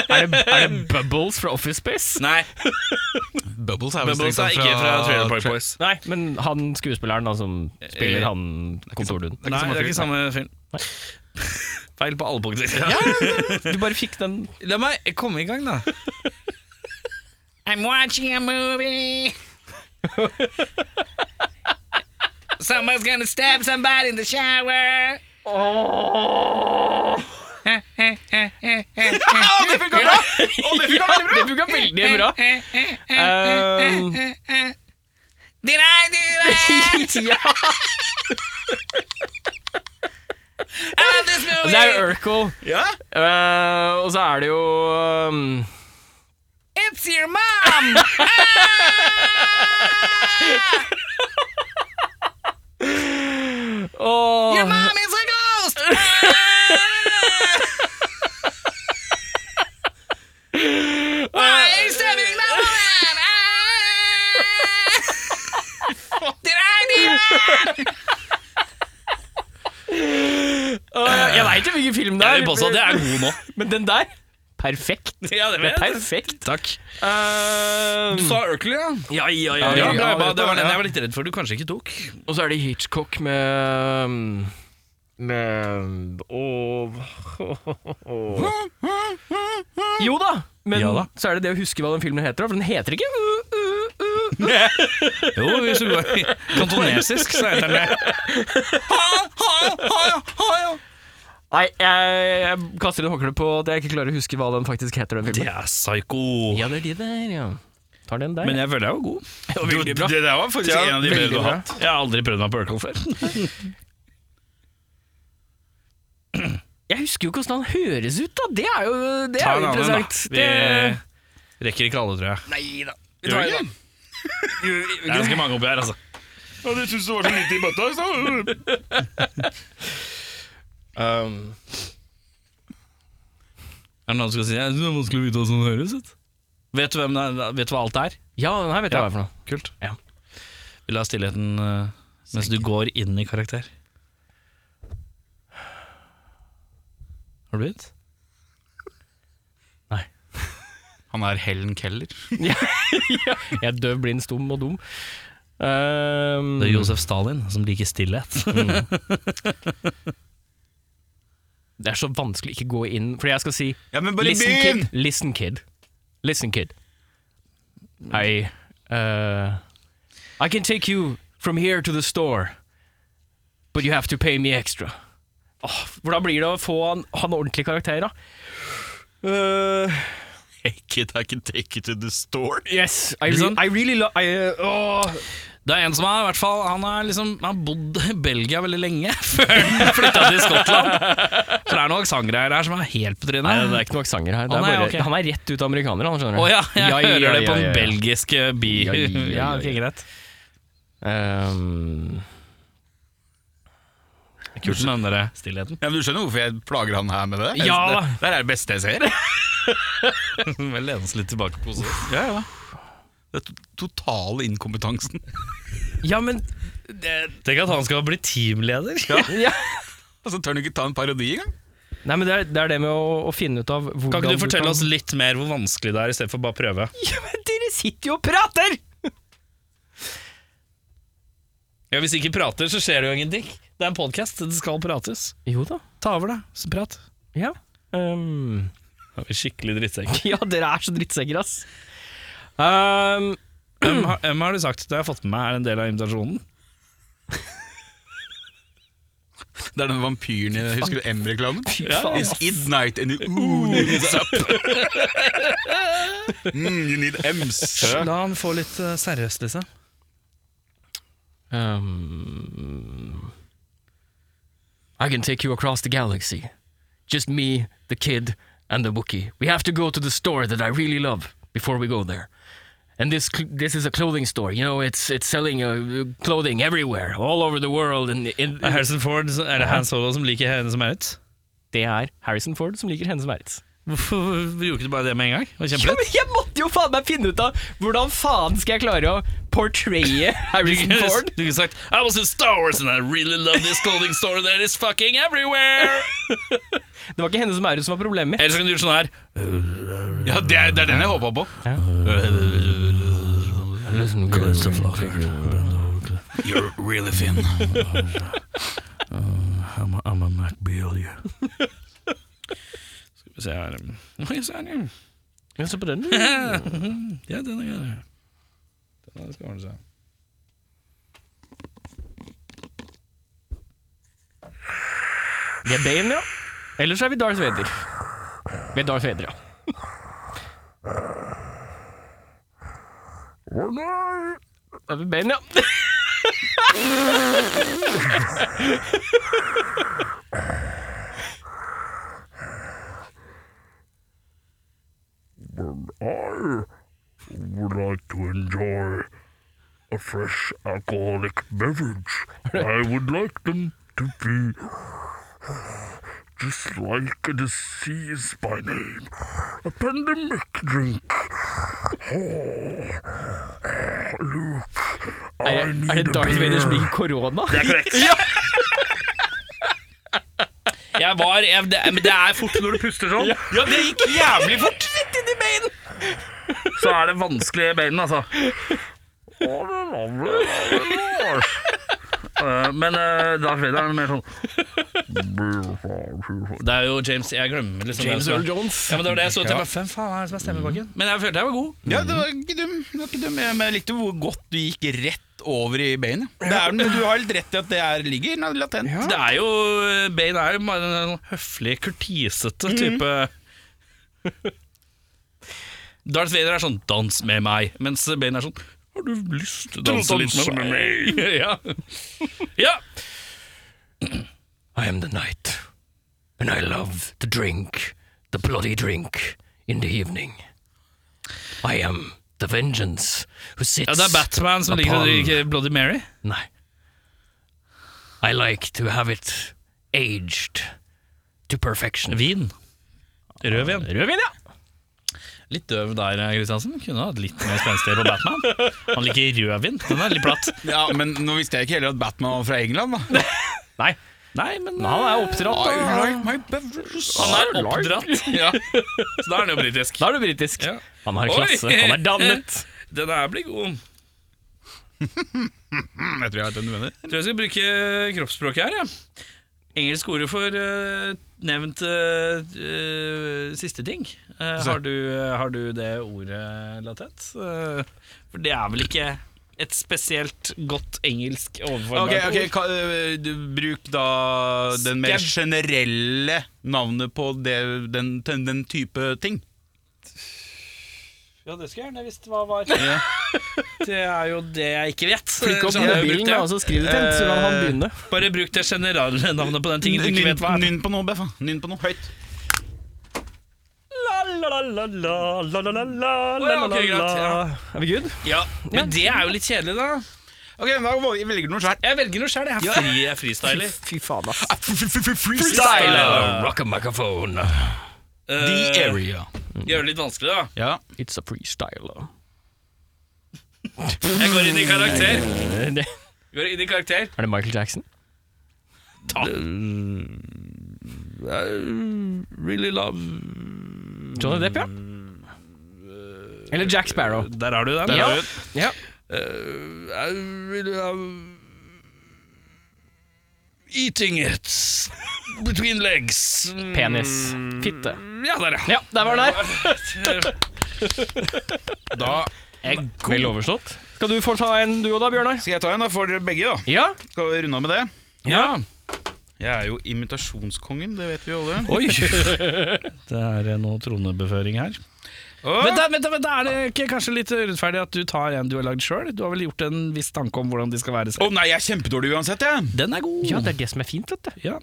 Er det, er det Bubbles fra Office Space?
Nei,
Bubbles er vel
Bubbles er
strengt
ikke fra Trailer Park Boys.
Nei, Eh, men han skuespilleren da som spiller han kontordunden.
Nei, det er ikke samme film. Feil på alle punkter.
Du bare fikk den
La meg komme i gang, da. I'm watching a movie. Someone's gonna stab somebody in the shower.
Ja, det funka veldig bra. Um,
Did I do that?
ja.
I love this
Og
movie.
Det er jo Urkel. Eh, og så er det jo um,
It's your mom.
åh,
Your mom is a ghost. Why are you stabbing my woman? Did I do that?
åh, Jeg veit jo hvilken film det er.
er god nå.
Men den der perfekt.
Ja, det
Det er
vet jeg.
perfekt.
Takk.
Um,
Du sa Urkel, ja?
ja, ja,
Ja,
ja,
bra,
ja,
bra. det var den
ja.
jeg var litt redd for du kanskje ikke tok.
Og så er det Hitchcock med um, Med åh, Jo da, men
Ja da.
så er det det å huske hva den filmen heter, da, for den heter ikke uh, uh, uh.
Jo, hvis du går i kantonesisk, så heter den det.
Nei, jeg, jeg kaster inn håndkleet på at jeg ikke klarer å huske hva den faktisk heter. den
Det
filmen
er psycho.
Ja, det er de der, ja. Tar den der.
Men jeg føler jeg var god.
Det det der var faktisk
Ja,
en av de bedre
veldig
du har
bra.
hatt.
Jeg har aldri prøvd meg på Urkel før.
jeg husker jo ikke åssen han høres ut, da! Det er jo, det
Ta en
er jo
annen,
interessant.
da. Vi rekker ikke alle, tror jeg.
Nei da. Vi
Gjør
tar en
ikke
annen.
det?
Det er ganske mange oppi her, altså.
Ja, du syns det var så lite i bøtta i stad?
Um, Er det noen som skal si det? Det er vanskelig å vite hvordan det høres ut. Vet du, hvem, det er- vet du hva alt er?
Ja, den her vet jeg hva er for noe.
Kult.
Ja.
Vil du ha stillheten eh, mens du går inn i karakter? Har du begynt?
Han er Helen Keller.
Jeg er døv, blind, stum og dum. Um, Ehm,
Det er Josef Stalin som liker stillhet.
det er så vanskelig å ikke gå inn, for jeg skal si
Ja, men
listen, kid. listen, kid. Listen, kid. I uh, I can take you from here to the store, but you have to pay me extra. Åh, hvordan blir det å få han, han ordentlig karakter, da? Eh,
Take it, I can take it to the store.
yes, I,
Ikke
re
sant?
I really lo... I, eh, åh.
Det er en som er, i hvert fall, han har liksom, han har bodd i Belgia veldig lenge før han flytta til Skottland. Så det er noen aksentgreier der som er helt på
Nei, det
trynet.
er ikke noe aksanger her. Det
Å,
er
nei,
bare,
ok.
Han er rett ut av amerikaner, han
Å
skjønner du.
ja, jeg
Ja, ja,
hører det
ja,
på
ja,
en
ja.
belgisk eh, by.
Ja, ja, ja,
Ja, ok,
ja.
greit.
Ehm,
Kult med den der stillheten.
Ja, men Du skjønner hvorfor jeg plager han her med det?
Ja da.
Det, det er det beste jeg ser.
Vel lene oss litt tilbake på oss.
Ja, ja. Det er to- totale inkompetansen.
ja, men
Tenk at han skal bli teamleder.
ja.
Altså, Tør han ikke ta en parodi engang?
Nei, men det er, det er det med å, å finne ut av hvordan
Kan ikke du fortelle
kan-
oss litt mer hvor vanskelig det er, i stedet for bare å prøve?
Ja, men dere sitter jo og prater!
Ja, Hvis ikke prater, så skjer det jo ingenting. Det er en podkast, det skal prates.
Jo da.
Ta over, da, så prat.
Ja. Ehm,
Da er vi Skikkelig drittsekk.
ja, dere er så drittsekker, ass. Ehm,
Hvem har, hvem har du sagt det jeg har fått med meg er en del av invitasjonen?
Det er den vampyren i Husker du M-reklamen?
fy faen.
It's id night and the ooh is up. Mm, you need M's.
La han få litt eh, seriøst, liksom.
Ehm, I can take you across the galaxy. Just me, the kid, and the bookie. We have to go to the store that I really love before we go there. And this cl- this is a clothing store. You know, it's it's selling uh, clothing everywhere, all over the world. And in,
Er Harrison Ford så- er det Han Solo som liker henne som er ut?
det er Harrison Ford som liker hennes merits.
Hvorfor gjorde ikke du bare det med en gang? Det var
Ja,
kjempelett.
men jeg måtte jo faen meg finne ut av hvordan faen skal jeg klare å portraye Harrison Ford?
Du kunne sagt I was in Star Wars and I really love this clothing store that is fucking everywhere.
Det var ikke henne som er det som var problemet.
Eller så kunne du gjort sånn her.
Ja, det er, det er den jeg håpa på.
Mm.
You're really thin.
I'm a, I'm a MacBeal, yeah. Skal vi se her um, Oi, se her, ja.
Ja, se på den.
Ja, den er grei. Den her skal ordne seg.
Det er Bane, ja. Ellers er vi Darth Vader. Vi er Darth Vader, ja. Da er vi Bane, ja.
Um, would like to enjoy a fresh alcoholic beverage, I would like them to be just like a disease by name, a pandemic drink. Oh, Luke, I
Er,
need
er det
a
Darth Vader som
beer.
liker korona?
Jeg var jeg, det, Men det er fort når du puster sånn. Ja, det gikk jævlig fort. Så er det vanskelig i beina, altså.
Oh, the lovely, lovely voice.
Eh, men uh, Darth Vader er mer sånn
Beautiful, beautiful.
Det er jo James Jeg glemmer liksom det
James
som-
Earl Jones.
Ja, men det var det jeg så til. Ja. Hvem faen er det som er stemmebakken? Men jeg følte jeg var god.
Ja, det var ikke dum. Det var ikke dum. Jeg- Men jeg likte hvor godt du gikk rett over i beinet. Det er, men du har helt rett i at det er, ligger latent.
Det er jo Bane er jo bare en sånn høflig, kurtisete type Darth Vader er sånn 'dans med meg', mens Bane er sånn 'har du lyst til å danse litt med meg'? ja. ja.
I am the knight, and I love the drink, the bloody drink, in the evening. I am the vengeance who sits.
ja, det er Batman som liker å
Upon-
drikke Bloody Mary.
No. I like to have it aged to perfection.
Vin. Rødvin.
Rødvin, ja!
Litt døv der, Kristiansen. Kunne hatt litt mer spenstighet på Batman. Han liker rødvin. Den er litt platt.
Ja, Men nå visste jeg ikke heller at Batman var fra England, da.
Nei,
Nei, men
men han er oppdratt,
I
da.
like my beverages.
Han er oppdratt,
Ja.
så da er han jo britisk.
Da er du britisk.
Ja.
Han har
Oi!
klasse, han er dannet.
Den her blir god.
Mm, Jeg tror jeg vet hvem du mener.
Jeg tror jeg skal bruke eh, kroppsspråket her, ja. Engelsk ord for eh, nevnt eh, eh, siste ting. Eh, har, du, har du det ordet latent? Eh, for det er vel ikke et spesielt godt engelsk overfor
Ok, ok, ka, øh, du, Bruk da den mer generelle navnet på det, den, den, den type ting.
Ja, det skulle jeg gjerne visst hva var. Det er jo det jeg ikke vet.
Klikk opp
Så jeg har brukt
mobilen
det.
da, og så skriv det til ham, så kan han begynne.
Bare bruk det generelle navnet på den tingen du ikke vet hva er.
Nynn på noe, Beffa. Nynn på noe høyt.
Å ja, ok, greit, ja.
Er vi good?
Ja, Men det er jo litt kjedelig, da.
Ok, men Da valg- velger du noe svært.
Jeg velger noe sjøl. Jeg er fri, jeg er freestyler.
Fy faen, ass.
Freestyle!
Rock a microphone.
Eh,
The area.
Gjør det litt vanskelig, da.
Ja.
It's a freestyler.
Jeg går inn i karakter.
Er det
Går inn i karakter.
Michael Jackson?
Really love Mm,
Johnny Depp, ja. Eller Jack Sparrow.
Der har du den.
Ja.
har du den.
Ja.
I really love Eating it between legs.
Penis.
Mm.
Fitte.
Ja, der, ja.
Ja, der var den der.
Da
Vel overstått. Skal du få ta en duo da, Bjørnar?
skal jeg ta en da, for dere begge. da
Ja.
Skal vi runde av med det?
ja.
Jeg er jo imitasjonskongen, det vet vi jo alle.
Oi! Det er eh, noe tronebeføring her.
Og,
Vent, da, vent, da, vent, da, er det ikke kanskje litt urettferdig at du tar en du har lagd sjøl? Du har vel gjort en viss tanke om hvordan de skal være?
Å nei, jeg er kjempedårlig uansett, jeg.
Den er god!
Ja, det er det som er fint, vet du.
Ja.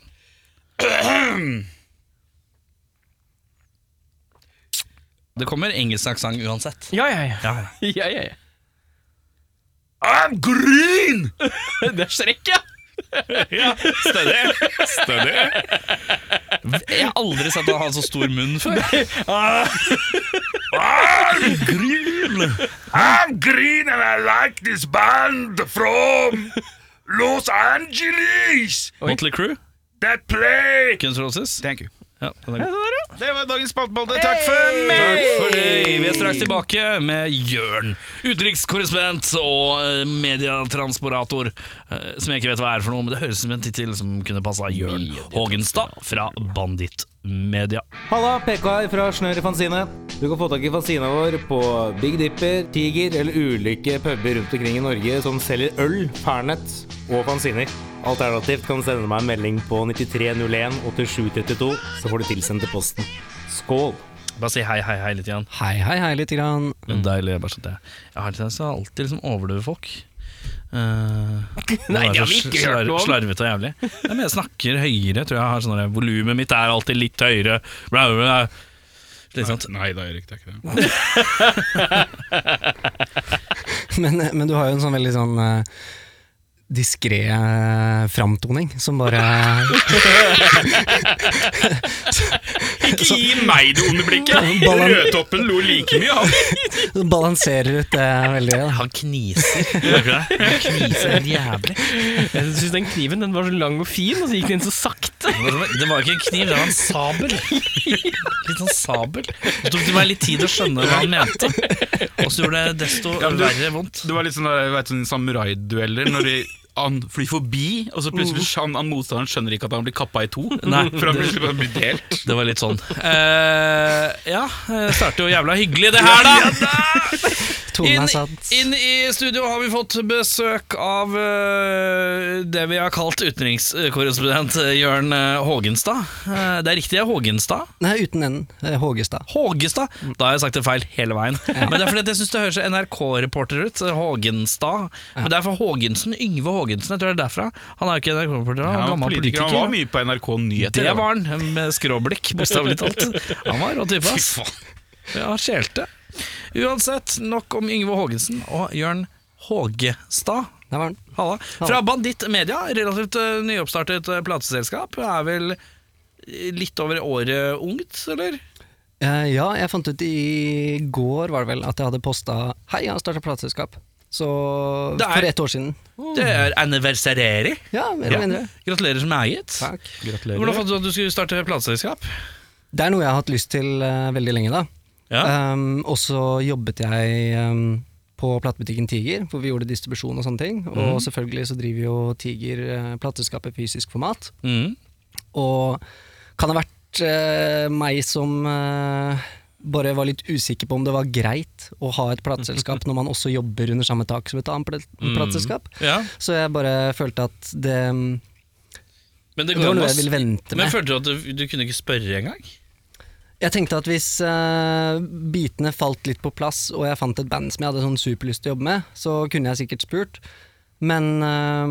Det kommer engelsk aksent uansett.
Ja, ja, ja. ja, ja, ja.
I'm green!
Det er strekk, ja.
Jeg har aldri sett han ha så stor munn før.
I'm green and I like this band from Los Angeles
Motley Crew,
that play.
Guns N' Roses.
Thank you.
Ja, den er god.
Det var dagens spaltbolde. Takk for
Takk
meg!
for det. Vi er straks tilbake med Jørn, utenrikskorrespondent og eh, medietransporator, eh, som jeg ikke vet hva er for noe, men det høres ut som en tittel som kunne passa Jørn Hågenstad fra Bandit Media.
Halla, PK her fra Snør i Fanzine. Du kan få tak i fanzina vår på Big Dipper, Tiger eller ulike puber rundt omkring i Norge som selger øl, Fernet og fanziner. Alternativt kan du sende meg en melding på 9301 8732, så får du tilsendt til posten. Skål!
Bare si hei, hei, hei litt igjen.
Hei, hei, hei, lite grann.
Men deilig, bare sånn at jeg, jeg har en tendens til å alltid liksom overdøve folk. Eh, Nei,
det har vi ikke hørt noe om.
Slarvete og jævlig. Nei, men jeg snakker høyere. Tror jeg har sånn der, Volumet mitt er alltid litt høyere. Bla, bla, bla. Litt sånn sånt.
Nei da, Erik, det er ikke det.
Men, men du har jo en sånn veldig sånn uh, diskré eh, framtoning som bare
Ikke gi meg det onde blikket!
Ballan-
Rødtoppen lo like mye, han.
balanserer ut det veldig. Da.
Han kniser. Gjør ikke det? Han kniser helt jævlig.
Jeg syns den kniven den var så lang og fin, og så gikk den så sakte.
Det var- Det var ikke en kniv, det var en sabel. Litt sånn sabel. Det tok det meg litt tid å skjønne hva han mente. Og så gjorde det desto
Ja, men du-
verre vondt.
Det var litt sånn, der, jeg vet, sånn samurai-dueller Når de, han flyr forbi Og så plutselig han, han motstanderen skjønner ikke at han blir kappa i to
Nei,
For han
det-
plutselig bare blir delt
Det var litt sånn. Eh, ja, det starter jo jævla hyggelig, det her, da!
Tonen
Inn,
er satt.
inn i studio har vi fått besøk av eh, det vi har kalt utenrikskorrespondent Jørn eh, Hågenstad. Eh, det er riktig, det er Hågenstad.
Nei, uten enden. Eh, Hågestad.
Hågestad! Da har jeg sagt det feil hele veien. Men det er fordi at jeg syns det høres NRK-reporter ut. Hågenstad. Men det er for Hågensen. Yngve Hågensen, jeg tror det er derfra. Han er jo ikke NRK-reporter, han
Han
er
var
gammel
politiker, han
politiker.
var mye på NRK Nyheter
Det var han, med skråblikk, bokstavelig talt. Han var rå type, ass. Ja, han skjelte. Uansett, nok om Yngve Hågensen og Jørn Hågestad.
Der var den.
Halla. Fra Banditt Media, relativt eh, nyoppstartet eh, plateselskap. Er vel eh, litt over året ungt, eller?
Eh, ja, jeg fant ut i går var det vel at jeg hadde posta 'Hei, jeg har starta plateselskap'. Så
Det er-
for ett år siden.
Det er anniversary.
Ja, mer eller mindre.
Gratulerer som eget.
Takk.
Hvordan fant du ut at du skulle starte plateselskap?
Det er noe jeg har hatt lyst til eh, veldig lenge, da.
Ja.
Um, og så jobbet jeg um, på platebutikken Tiger, hvor vi gjorde distribusjon og sånne ting. Og selvfølgelig så driver jo Tiger uh, plateskapet fysisk format.
Mm.
Og kan ha vært eh, meg som eh, bare var litt usikker på om det var greit å ha et plateselskap når man også jobber under samme tak som et annet
Mm.
plat- plateselskap.
ja.
Så jeg bare følte at det,
Men det
det
går
var
an
noe
å
jeg ville vente
Men
med.
følte du at du, du kunne ikke spørre engang?
Jeg tenkte at hvis eh, bitene falt litt på plass, og jeg fant et band som jeg hadde sånn superlyst til å jobbe med, så kunne jeg sikkert spurt. Men uh,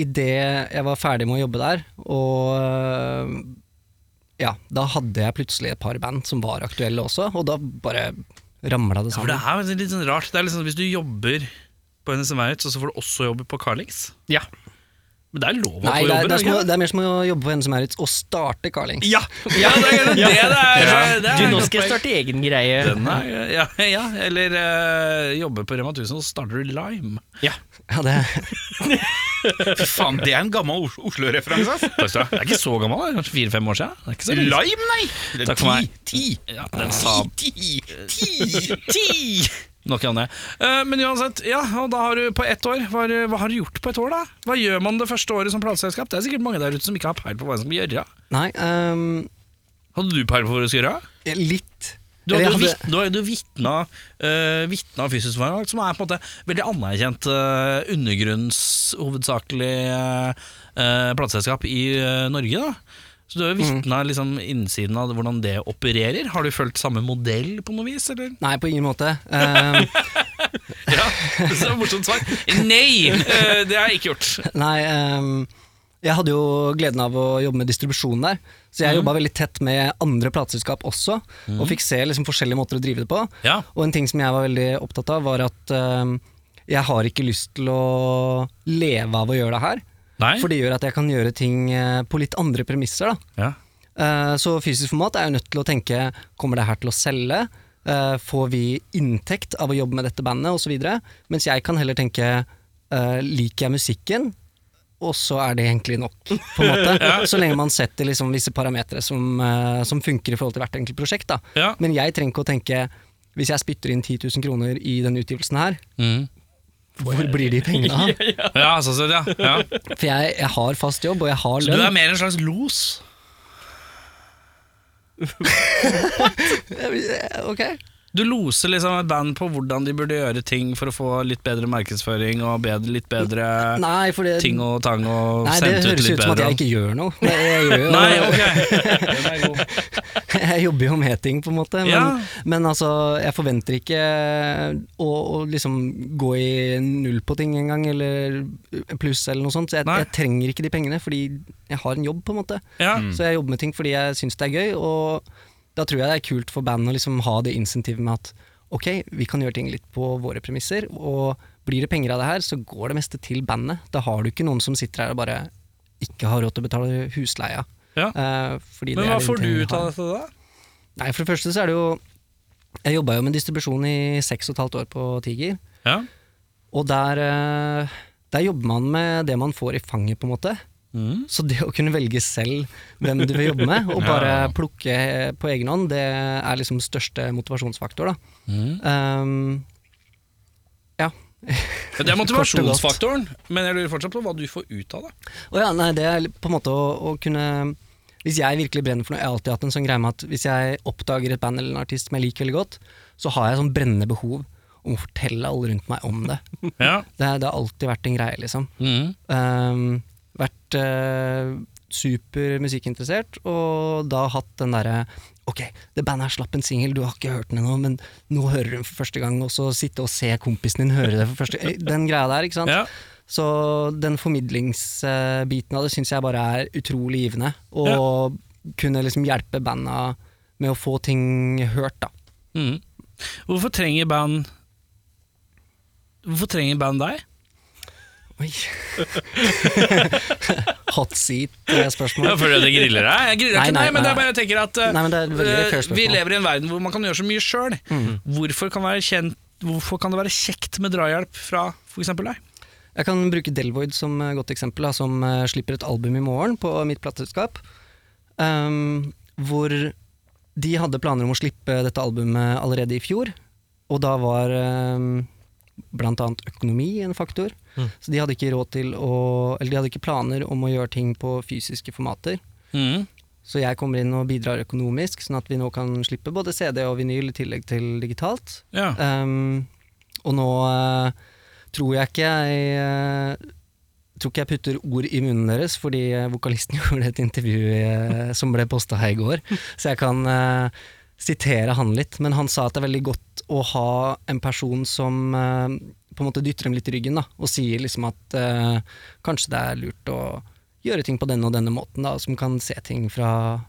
idet jeg var ferdig med å jobbe der, og eh, ja, da hadde jeg plutselig et par band som var aktuelle også, og da bare ramla det
Ja, for det
sammen.
er jo litt sånn rart. Det er litt sånn Hvis du jobber på Hennes Maurits, og så får du også jobbe på Carlings
Ja.
Men det er lov å
Nei,
få
det er,
jobbe.
det, er som, å-
ikke?
det er mer som å jobbe på Hennes Maurits og starte Carlings.
ja, ja, det er det det er. Det er
Du, nå skal jeg starte egen greie.
Den er, ja, ja, eller eh, jobbe på Rema 1000, og så starter du Lime.
Ja, det,
Fy faen, det er en gammel Os- Oslo-referanse, ass.
Takk skal du ha. Det er ikke så gammel, det er kanskje fire-fem år siden. Det er ikke så lenge siden.
Lime, nei! Eller
Takk for
ti,
meg.
Ti.
Ja, den sa
Ti, ti, ti.
ti! Nok om det. Eh, men uansett, ja, og da har du på ett år hva, har du- hva har du gjort på ett år, da? Hva gjør man det første året som plateselskap? Det er sikkert mange der ute som ikke har peil på hva som skal gjøre.
nei, ehm,
Hadde du peil på hva du skulle gjøre?
litt.
Du hadde
Eller jeg
jo
hadde-
vit- du har jo vitna, uh, vitna fysisk forlag, som er på en måte veldig anerkjent uh, undergrunnshovedsakelig uh, plateselskap i eh, Norge. da så du har jo vitna liksom, innsiden av hvordan det opererer. Har du fulgt samme modell på noe vis, eller?
Nei, på ingen måte. Ehm,
Ja, så morsomt svar. Nei, eh, det har jeg ikke gjort.
Nei, ehm, jeg hadde jo gleden av å jobbe med distribusjon der.
Mhm.
Så jeg jobba veldig tett med andre plateselskap også, og fikk se liksom forskjellige måter å drive det på.
Ja.
Og en ting som jeg var veldig opptatt av, var at ehm, jeg har ikke lyst til å leve av å gjøre det her.
Nei.
For det gjør at jeg kan gjøre ting eh, på litt andre premisser, da.
Ja.
Eh, Så fysisk format er jo nødt til å tenke Kommer det her til å selge? Eh, Får vi inntekt av å jobbe med dette bandet? Og så videre Mens jeg kan heller tenke eh, Liker jeg musikken? Og så er det egentlig nok på en måte. Så lenge man setter liksom visse parametere som, eh, som funker i forhold til hvert enkelt prosjekt. Da.
Ja.
Men jeg trenger ikke å tenke Hvis jeg spytter inn 10 000 kroner i denne utgivelsen her Hvor blir de pengene av?
Mm. Ja, sånn sett, ja. ja.
For jeg, jeg har fast jobb, og jeg har
Så
lønn.
du er mer en slags los?
Eh, Ok.
Du loser liksom et band på hvordan de burde gjøre ting for å få litt bedre markedsføring og bedre, litt bedre
Nei, for det,
ting og tang og
Nei, det
sendt ut
høres
litt
ut som at
bedre.
jeg ikke gjør noe. Nei, Jeg, gjør jo,
Nei, ok.
jeg jobber jo med ting, på en måte. Men,
Ja.
men altså, jeg forventer ikke å, å liksom gå i null på ting engang, eller pluss eller noe sånt. Så jeg,
Nei.
jeg trenger ikke de pengene, fordi jeg har en jobb, på en måte.
Ja.
Så jeg jobber med ting fordi jeg syns det er gøy, og da tror jeg det er kult for bandet å liksom ha det insentivet med at ok, vi kan gjøre ting litt på våre premisser, og blir det penger av det her, så går det meste til bandet. Da har du ikke noen som sitter her og bare ikke har råd til å betale husleia.
Ja.
Eh, fordi det
Men
er
hva
en
får du
ting jeg
ut av
har.
dette da?
Nei, For det første så er det jo Jeg jobba jo med distribusjon i seks og et halvt år på Tiger.
Ja.
Og der, eh, der jobber man med det man får i fanget, på en måte.
Mm.
Så det å kunne velge selv hvem du vil jobbe med, og bare plukke på egen hånd, det er liksom største motivasjonsfaktor, da.
Mm.
Um, ja.
Det er
Kort og godt.
motivasjonsfaktoren, men jeg lurer fortsatt på hva du får ut av det.
Og ja, nei, det er på en måte å, å kunne Hvis jeg virkelig brenner for noe, jeg har alltid hatt en sånn greie med at hvis jeg oppdager et band eller en artist som jeg liker veldig godt, så har jeg sånn brennende behov om å fortelle alle rundt meg om det.
Ja.
Det, det har alltid vært en greie, liksom.
Mm.
Ehm, vært eh, super musikkinteressert, og da hatt den derre Ok, det bandet her slapp en singel, du har ikke hørt den ennå, men nå hører du den for første gang, og så sitte og se kompisen din høre det for første gang. Den greia der, ikke sant.
Ja.
Så den formidlingsbiten av det syns jeg bare er utrolig givende. Og kunne liksom hjelpe banda med å få ting hørt, da.
Mm. Hvorfor trenger band Hvorfor trenger band deg?
Oi. Hot eh, seat-spørsmål.
Jeg føler at jeg griller deg. Jeg griller
Nei,
ikke
nei,
deg, men det er
nei.
bare jeg tenker at eh,
Nei, men det er et veldig
eh,
fair spørsmål. Mm.
vi lever i en verden hvor man kan gjøre så mye sjøl. Hvorfor, kan være kjent- hvorfor kan det være kjekt med drahjelp fra f.eks. deg?
Jeg kan bruke Delvoid som eh, godt eksempel, da, som eh, slipper et album i morgen på mitt plateselskap. ehm, hvor de hadde planer om å slippe dette albumet allerede i fjor, og da var um, blant annet økonomi en faktor. Så de hadde ikke råd til å Eller de hadde ikke planer om å gjøre ting på fysiske formater. Så jeg kommer inn og bidrar økonomisk, sånn at vi nå kan slippe både CD og vinyl i tillegg til digitalt.
Ja.
Ehm, og nå eh, tror jeg ikke jeg eh, Tror ikke jeg putter ord i munnen deres, fordi eh, vokalisten gjorde et intervju eh, som ble posta her i går, så jeg kan eh, sitere han litt. Men han sa at det er veldig godt å ha en person som eh, på en måte dytter dem litt i ryggen, da, og sier liksom at eh, kanskje det er lurt å gjøre ting på denne og denne måten, da, som kan se ting fra,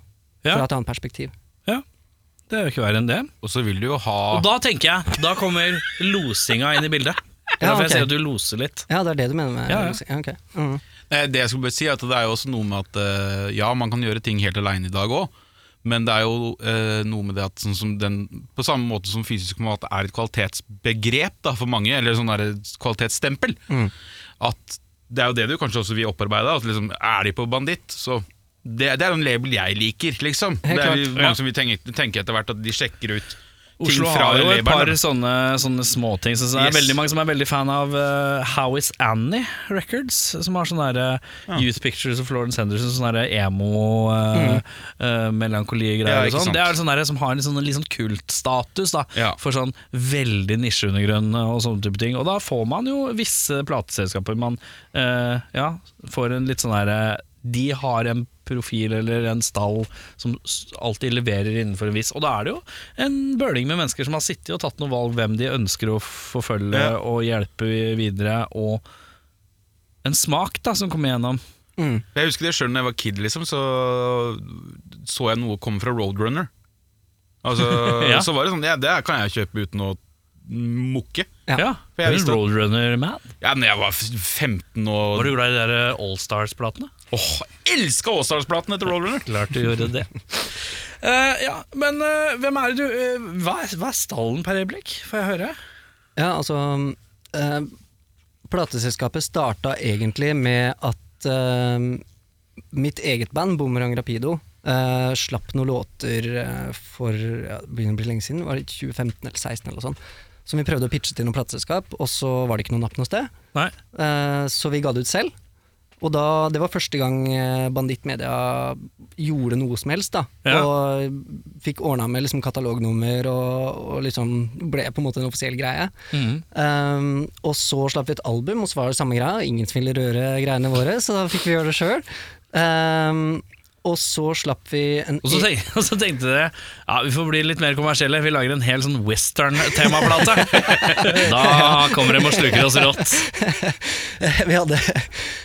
Ja.
fra et annet perspektiv.
Det er jo ikke verre enn det.
Og så vil du jo ha
Og da tenker jeg, da kommer losinga inn i bildet. Det er
Ja,
Derfor
ok.
jeg sier at du loser litt.
Ja, det er det du mener med
Ja, ja.
ja, ok. Mm.
Nei, Eh, Det jeg skulle bare si er at det er jo også noe med at eh, Ja, man kan gjøre ting helt alene i dag òg, men det er jo eh, noe med det at sånn som den, på samme måte som fysisk mat er et kvalitetsbegrep da, for mange, eller sånn der kvalitetsstempel,
Mm.
at det er jo det du kanskje også vil opparbeide. At liksom, er de på Banditt, så det, det er jo en label jeg liker, liksom. Det er jo
klart.
mange som vil tenke, tenke etter hvert at de sjekker ut ting
Oslo
fra
har jo et par
labelen. da.
sånne, sånne småting. Så det er
Yes.
veldig mange som er veldig fan av eh, How Is Annie Records, som har sånne der, eh, Youth Pictures of Florence Henderson, sånne der emo eh, eh,
Mm. Ja,
melankoli-greier og
ikke
sånn.
sant.
Det er sånne der, som har en litt sånn, litt sånn kultstatus da,
Ja.
for sånn veldig nisjeundergrunn og sånne type ting. Og da får man jo visse plateselskaper man eh, ja, får en litt sånn derre de har en profil eller en stall som s- alltid leverer innenfor en viss Og da er det jo en bøling med mennesker som har sittet og tatt noen valg hvem de ønsker å forfølge
Ja.
og hjelpe videre, og en smak da som kommer gjennom.
Jeg husker det selv når jeg var kid, liksom, så så jeg noe komme fra Roadrunner. Altså,
Ja.
Så var det sånn Ja, det kan jeg kjøpe uten å mukke.
Ja.
Ja, du
For jeg
er en
visste at-
Roadrunner-man.
Ja, når jeg var f- 15 og
Var du glad i de der eh, Allstars-platene?
Åh, elska Åsdalsplatene til Roadrunner!
Klart du gjorde det. Eh, ja, men eh, hvem er det du eh, hva, er, hva er stallen per øyeblikk, får jeg høre?
Ja, altså eh, Plateselskapet starta egentlig med at eh, mitt eget band, Boomerang Rapido, eh, slapp noen låter eh, for ja, det begynner å bli lenge siden, var det 2015 eller 2016 eller noe sånt, som vi prøvde å pitche til noe plateselskap, og så var det ikke noe napp noe sted.
Nei.
Eh, så vi ga det ut selv. Og da, det var første gang eh, Banditt Media gjorde noe som helst. da
Ja.
Og fikk ordna med liksom katalognummer og, og liksom ble på en måte en offisiell greie.
Mhm.
Um, og så slapp vi et album, og så var det samme greia. Ingen som ville røre greiene våre, så da fikk vi gjøre det sjøl. Um, og så slapp vi en
Og så, tenk, og så tenkte dere ja, vi får bli litt mer kommersielle. Vi lager en hel sånn western-temaplate. da kommer de og sluker oss rått.
vi, hadde,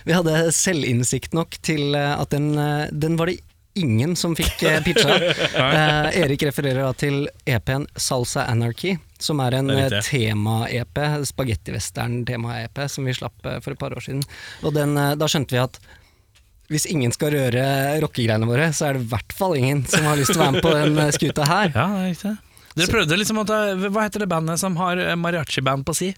vi hadde selvinnsikt nok til eh, at den, eh, den var det ingen som fikk eh, pitcha. Eh, Erik refererer da til EP-en Salsa Anarchy, som er en
Det er
eh,
riktig.
tema-EP, spagettivestern-tema-EP, som vi slapp eh, for et par år siden. Og den, eh, da skjønte vi at hvis ingen skal røre rockegreiene våre, så er det i hvert fall ingen som har lyst til å være med på den eh, skuta her.
Ja, det er riktig. Dere prøvde liksom at, Hva heter det bandet som har eh, mariachi-band på si?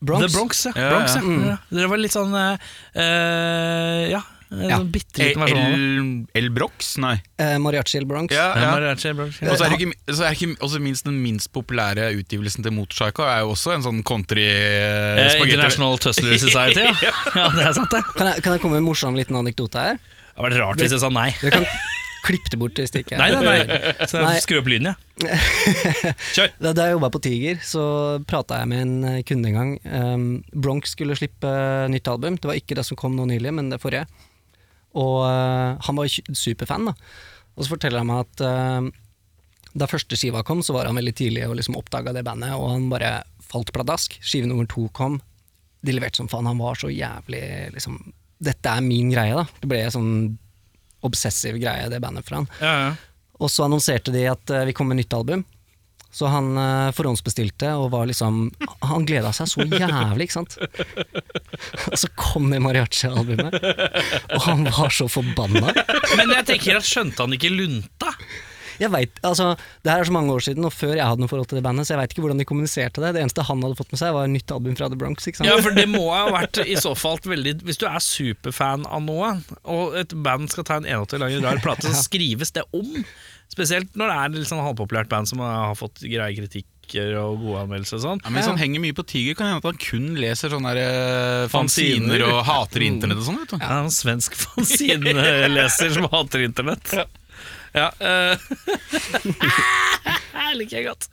Bronx.
The Bronx, ja.
Ja, Mm.
Bronx,
ja.
ja. ja. Dere var litt sånn eh, eh, Ja, en
Ja.
sånn bitte liten versjon av det.
El, El Brox? Nei.
Eh, Mariachi El Bronx.
Ja,
Ja,
ja.
mariachi, Bronx, ja.
Og så er det ikke, så er det ikke også minst den minst populære utgivelsen til Motorsjaka, er jo også en sånn country eh,
Eh,
spagetti-
International Tussler Society, ja. ja. Det er sant, det.
Kan, jeg, kan jeg komme med en morsom liten anekdote her?
Det hadde vært rart hvis jeg sa nei.
Dere kan klippe det bort hvis det ikke er
Nei, nei, nei. Så
Nei.
jeg skru opp lyden, jeg.
Da, da jeg jobba på Tiger, så prata jeg med en eh, kunde en gang. Ehm, Bronx skulle slippe eh, nytt album. Det var ikke det som kom nå nylig, men det forrige. Og eh, han var kj- superfan, da. Og så forteller han meg at eh, da første skiva kom, så var han veldig tidlig og liksom oppdaga det bandet, og han bare falt pladask. Skive nummer to kom. De leverte som faen. Han var så jævlig liksom Dette er min greie, da. Det ble sånn obsessiv greie, det bandet for han.
Ja, ja.
Og så annonserte de at eh, vi kom med nytt album. Så han eh, forhåndsbestilte og var liksom Han gleda seg så jævlig, ikke sant? Og så kom det mariachi-albumet, og han var så forbanna.
Men jeg tenker at skjønte han ikke lunta?
Jeg vet, altså, Det her er så mange år siden, og før jeg hadde noe forhold til det bandet, så jeg veit ikke hvordan de kommuniserte det. Det eneste han hadde fått med seg, var et nytt album fra The Bronx. ikke sant?
Ja, for det må ha vært i så fall et veldig Hvis du er superfan av noe, og et band skal ta en 81 lang rar plate, så skrives det om. Spesielt når det er litt sånn halvpopulært band som har fått greie kritikker og gode anmeldelser og sånn.
Ja, men Hvis han henger mye på Tiger, kan det hende at han kun leser sånne der, eh, fanziner og hater internett og sånn. vet du
Ja, en svensk fanzineleser som hater internett. Ja. eh, jeg liker jeg godt.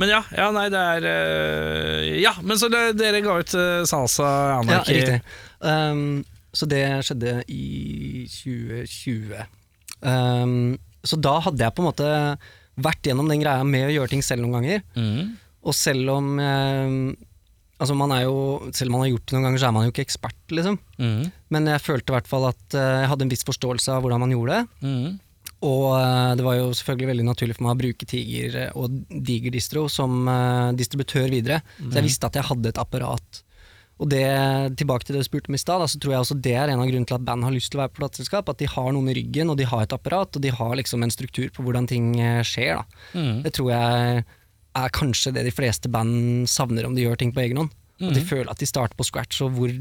Men ja, ja, nei, det er eh, Ja, men så det, dere ga ut eh, Salsa
Ja,
Anarchy.
riktig. Ehm, så det skjedde i 2020. Ehm, så da hadde jeg på en måte vært gjennom den greia med å gjøre ting selv noen ganger.
Mhm.
Og selv om ehm, Altså man er jo, Selv om man har gjort det noen ganger, så er man jo ikke ekspert, liksom.
Mhm.
Men jeg følte i hvert fall at eh, jeg hadde en viss forståelse av hvordan man gjorde det.
Mhm.
Og eh, det var jo selvfølgelig veldig naturlig for meg å bruke Tiger eh, og Diger Distro som eh, distributør videre. Så jeg visste at jeg hadde et apparat. Og det, tilbake til det du spurte om i stad, da, så tror jeg også det er en av grunnene til at band har lyst til å være på plateselskap. At de har noen i ryggen, og de har et apparat, og de har liksom en struktur på hvordan ting eh, skjer. Da.
Mhm.
Det tror jeg er kanskje det de fleste band savner om de gjør ting på egen hånd. At de føler at de starter på scratch, og hvor,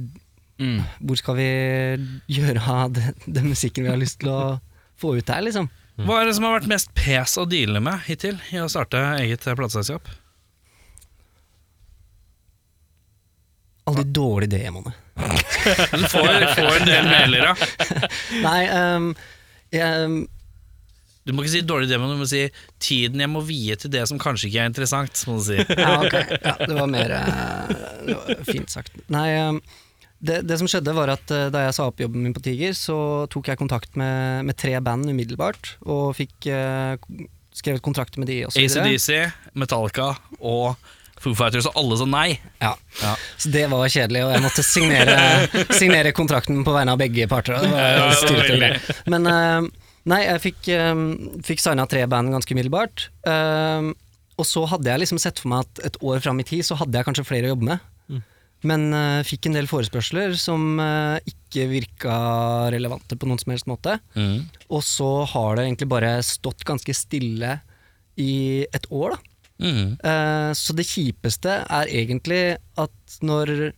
hvor skal vi gjøre av den, den musikken vi har lyst til å få ut der, liksom.
Hva er det som har vært mest pes å deale med hittil i å starte eget eh, plateselskap?
Alle de dårlige demoene.
Du får, får en del mailer, ja.
Nei, ehm, jeg,
Du må ikke si dårlig demo, du må si 'tiden jeg må vie til det som kanskje ikke er interessant'. Må du si.
ja, ok. Ja, det var mer eh, det var fint sagt. Nei, ehm, det, det som skjedde var at eh, da jeg sa opp jobben min på Tiger, så tok jeg kontakt med, med tre band umiddelbart, og fikk eh, k- skrevet kontrakt med de og så videre.
ACDC, Metallica og Foo Fighters, og alle sa nei.
Ja. Så det var kjedelig, og jeg måtte signere, signere kontrakten på vegne av begge parter. og Det var styrt og greit. Men eh, nei, jeg fikk, eh, fikk signa tre band ganske umiddelbart. eh, og så hadde jeg liksom sett for meg at et år fram i tid så hadde jeg kanskje flere å jobbe med. Men eh, fikk en del forespørsler som eh, ikke virka relevante på noen som helst måte. Og så har det egentlig bare stått ganske stille i et år, da.
Mm.
Eh, så det kjipeste er egentlig at når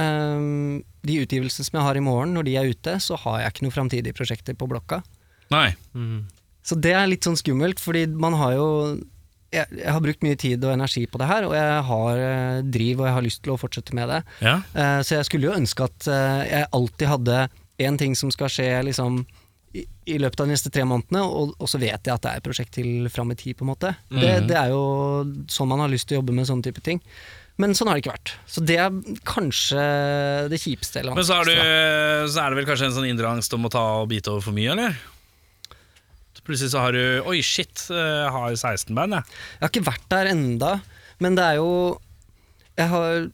eh, de utgivelsene som jeg har i morgen, når de er ute, så har jeg ikke noen framtidige prosjekter på blokka.
Nei.
Så det er litt sånn skummelt, fordi man har jo jeg, jeg har brukt mye tid og energi på det her, og jeg har eh, driv og jeg har lyst til å fortsette med det.
Ja.
Eh, så jeg skulle jo ønske at eh, jeg alltid hadde én ting som skal skje liksom, i, i løpet av de neste tre månedene, og, og så vet jeg at det er et prosjekt til fram i tid, på en måte. Det,
Mhm.
det er jo sånn man har lyst til å jobbe med sånne type ting. Men sånn har det ikke vært. Så det er kanskje det kjipeste. Eller
Men så, har du,
vanskeligste, da.
så er det vel kanskje en sånn indre angst om å ta og bite over for mye, eller? Så Plutselig så har du Oi, shit, jeg har 16 band, jeg.
Jeg har ikke vært der enda, men det er jo Jeg har,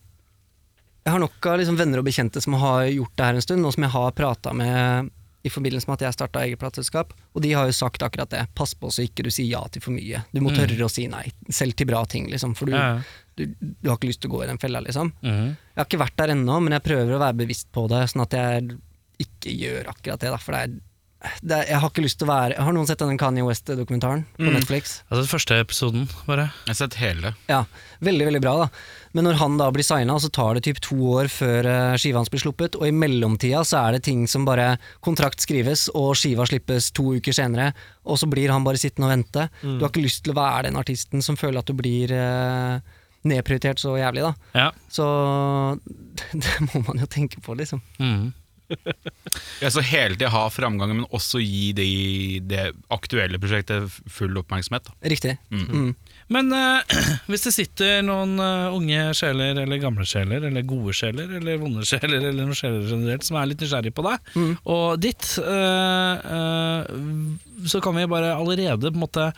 jeg har nok av liksom venner og bekjente som har gjort det her en stund, og som jeg har prata med i forbindelse med at jeg starta eget plateselskap, og de har jo sagt akkurat det. Pass på så ikke du sier ja til for mye. Du må tørre å si nei, selv til bra ting, liksom, for du,
Ja, ja.
du, du har ikke lyst til å gå i den fella, liksom. Jeg har ikke vært der ennå, men jeg prøver å være bevisst på det, sånn at jeg ikke gjør akkurat det, da, for det er det er, jeg har ikke lyst til å være Har noen sett denne Kanye West-dokumentaren på Netflix?
Altså den første episoden, bare.
Jeg har sett hele.
Ja, veldig, veldig bra da. Men når han da blir signa, så tar det typ to år før eh, skiva hans blir sluppet, og i mellomtida så er det ting som bare Kontrakt skrives, og skiva slippes to uker senere, og så blir han bare sittende og vente. Du har ikke lyst til å være den artisten som føler at du blir eh, nedprioritert så jævlig, da.
Ja.
Så det må man jo tenke på, liksom.
Mhm.
Jeg så hele tiden ha framgangen, men også gi det, det aktuelle prosjektet full oppmerksomhet. Da.
Riktig. Mm.
Men eh, hvis det sitter noen eh, unge sjeler, eller gamle sjeler, eller gode sjeler, eller vonde sjeler, eller noen sjeler generelt, som er litt nysgjerrig på deg,
Mm.
og ditt, eh, eh, så kan vi bare allerede på en måte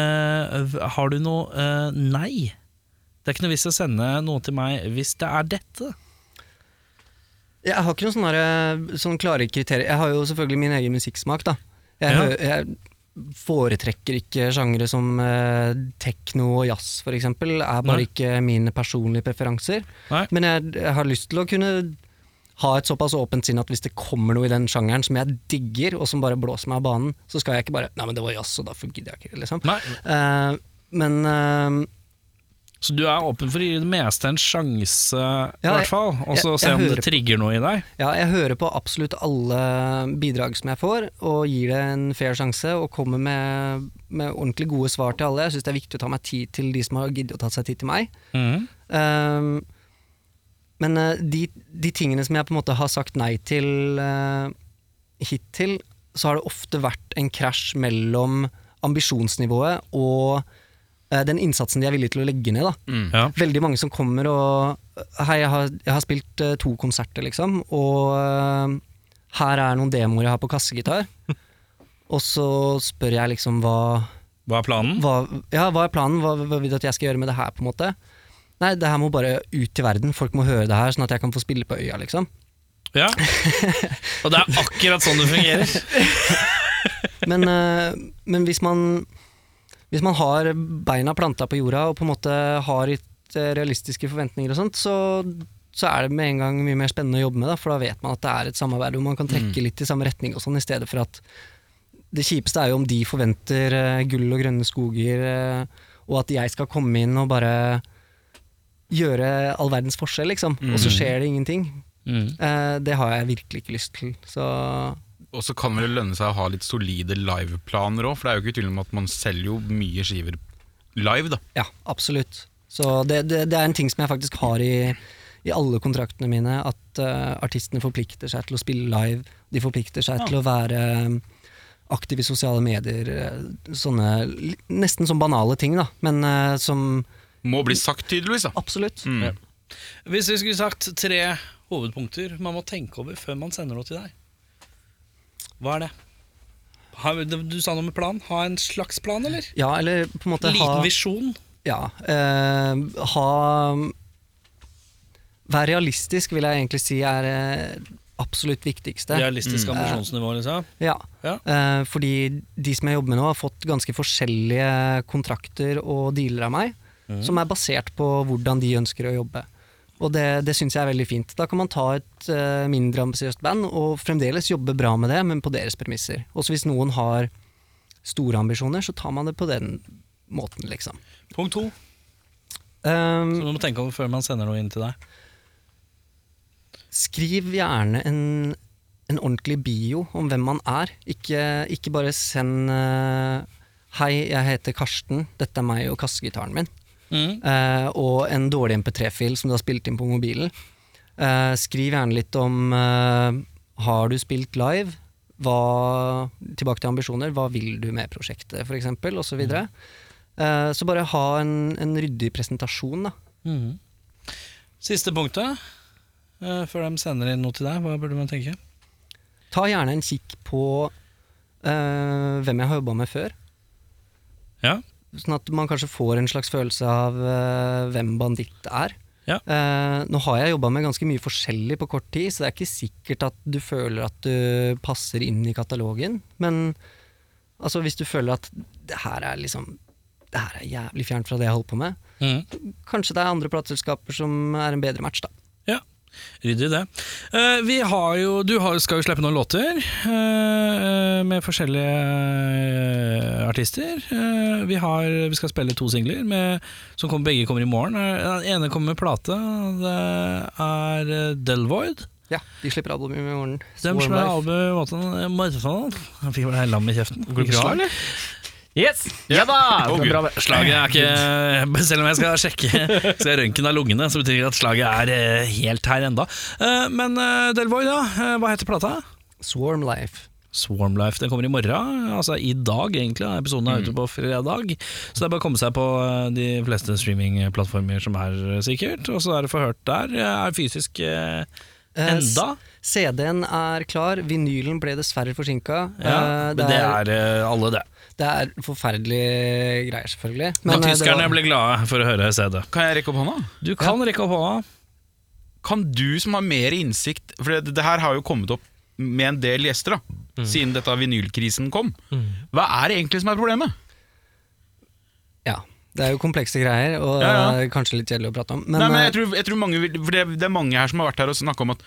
eh, Har du noe eh, nei? Det er ikke noe vits å sende noe til meg hvis det er dette.
Jeg har ikke noen sånne, der, eh, sånne klare kriterier. Jeg har jo selvfølgelig min egen musikksmak, da. Jeg,
Ja.
hø- jeg foretrekker ikke sjangere som eh, tekno og jazz, for eksempel. Er bare
Nei.
ikke mine personlige preferanser.
Nei.
Men jeg, jeg har lyst til å kunne ha et såpass åpent sinn at hvis det kommer noe i den sjangeren som jeg digger, og som bare blåser meg av banen, så skal jeg ikke bare Nei, men det var jazz, og derfor gidder jeg ikke, liksom.
Nei.
Eh, men eh,
Så du er åpen for å gi det meste en sjanse, i
Ja,
hvert fall. Og så
jeg-
se
jeg
om det
hører på-
trigger noe i deg.
Ja, jeg hører på absolutt alle bidrag som jeg får, og gir det en fair sjanse, og kommer med, med ordentlig gode svar til alle. Jeg syns det er viktig å ta meg tid til de som har giddet å ta seg tid til meg.
Mhm.
Ehm, men eh, de, de tingene som jeg på en måte har sagt nei til eh, hittil, så har det ofte vært en krasj mellom ambisjonsnivået og eh, den innsatsen de er villige til å legge ned. da
Ja.
veldig mange som kommer og eh, Hei, jeg har, jeg har spilt eh, to konserter, liksom, og eh, her er noen demoer jeg har på kassegitar. Og så spør jeg liksom hva,
Hva er planen?
hva Ja, hva er planen? Hva, hva vil du at jeg skal gjøre med det her, på en måte? Nei, det her må bare ut til verden. Folk må høre det her, sånn at jeg kan få spille på øya, liksom.
Ja. Og det er akkurat sånn det fungerer.
Men, eh, men hvis man Hvis man har beina planta på jorda og på en måte har litt eh, realistiske forventninger og sånt, så, så er det med en gang mye mer spennende å jobbe med, da, for da vet man at det er et samarbeid hvor man kan trekke litt i samme retning og sånn, i stedet for at det kjipeste er jo om de forventer eh, gull og grønne skoger, eh, og at jeg skal komme inn og bare gjøre all verdens forskjell, liksom, og så skjer det ingenting.
Mm.
Eh, det har jeg virkelig ikke lyst til, så
Og så kan det vel lønne seg å ha litt solide liveplaner òg, for det er jo ikke tvil om at man selger jo mye skiver live, da.
Ja, absolutt. Så det, det, det er en ting som jeg faktisk har i, i alle kontraktene mine, at eh, artistene forplikter seg til å spille live, de forplikter seg til å være eh, aktive i sosiale medier, eh, sånne li- nesten som banale ting, da, men eh, som
Må bli sagt, tydeligvis. da
Absolutt.
Hvis vi skulle sagt tre hovedpunkter man må tenke over før man sender noe til deg, hva er det? Ha, du sa noe med plan. Ha en slags plan, eller?
Ja, eller på en måte
Liten
ha
visjon.
Ja. eh, ha Vær realistisk, vil jeg egentlig si er eh, absolutt viktigste.
Realistisk ambisjonsnivå, liksom.
Ja.
Ja.
Eh, fordi de som jeg jobber med nå, har fått ganske forskjellige kontrakter og dealer av meg, som er basert på hvordan de ønsker å jobbe. Og det, det syns jeg er veldig fint. Da kan man ta et eh, mindre ambisiøst band og fremdeles jobbe bra med det, men på deres premisser. Også hvis noen har store ambisjoner, så tar man det på den måten, liksom.
Punkt to,
Eh,
som du må tenke over før man sender noe inn til deg.
Skriv gjerne en, en ordentlig bio om hvem man er. Ikke, ikke bare send eh, 'Hei, jeg heter Karsten. Dette er meg og kassegitaren min'.
Mm.
Eh, og en dårlig MP3-fil som du har spilt inn på mobilen. Eh, skriv gjerne litt om eh, 'Har du spilt live?' Hva, tilbake til ambisjoner. Hva vil du med prosjektet, f.eks.? osv. Så, videre. eh, så bare ha en, en ryddig presentasjon, da.
Mm. Siste punktet, eh, før de sender inn noe til deg, hva burde man tenke?
Ta gjerne en kikk på eh, hvem jeg har jobba med før.
Ja.
Sånn at man kanskje får en slags følelse av eh, hvem Banditt er.
Ja.
Eh, nå har jeg jobba med ganske mye forskjellig på kort tid, så det er ikke sikkert at du føler at du passer inn i katalogen. Men altså, hvis du føler at det her er liksom Det her er jævlig fjernt fra det jeg holder på med, kanskje det er andre plateselskaper som er en bedre match, da.
Ja, ryddig det. Eh, vi har jo, du har, skal jo slippe noen låter eh, med forskjellige eh, artister. Eh, vi, har, vi skal spille to singler, med, som kommer, begge kommer i morgen. Eh, Den ene kommer med plate, det er eh, Delvoid.
Ja, De slipper albumet i morgen.
Dem som er
Swarmlife.
albu i måten eh, Marfaen. Han fikk vel det lam i kjeften. Går det bra, eller?
Yes! Ja da!
Å,
Det er
Gud.
bra, det.
Slaget er ikke Selv om jeg skal sjekke Skal jeg røntgen av lungene, så betyr det at slaget er eh, helt her enda. Eh, Men eh, Delvoid, ja. eh, Hva heter plata?
Swarm Life.
Swarmlife. Den kommer i morgen, altså i dag egentlig. da. Episoden er ute på fredag. Så det er bare å komme seg på eh, de fleste streamingplattformer som er eh, sikkert. Og så er det forhørt der. Eh, Er fysisk eh,
Eh,
enda.
CD-en er klar, vinylen ble dessverre forsinka.
Ja,
Eh,
men det er eh, alle, det.
det er forferdelige greier, selvfølgelig.
Men
eh, det
tyskerne
var-
ble glade for å høre CD.
Kan jeg rekke opp hånda?
Du kan rekke opp hånda.
Kan du som har mer innsikt For det, det her har jo kommet opp med en del gjester, da, siden dette vinylkrisen kom. Hva er det egentlig som er problemet?
Ja. Det er jo komplekse greier, og
Ja, ja.
eh, kanskje litt kjedelig å prate om. Men,
Nei, men
eh,
jeg tror, jeg tror mange vil, for det, det er mange her som har vært her og snakka om at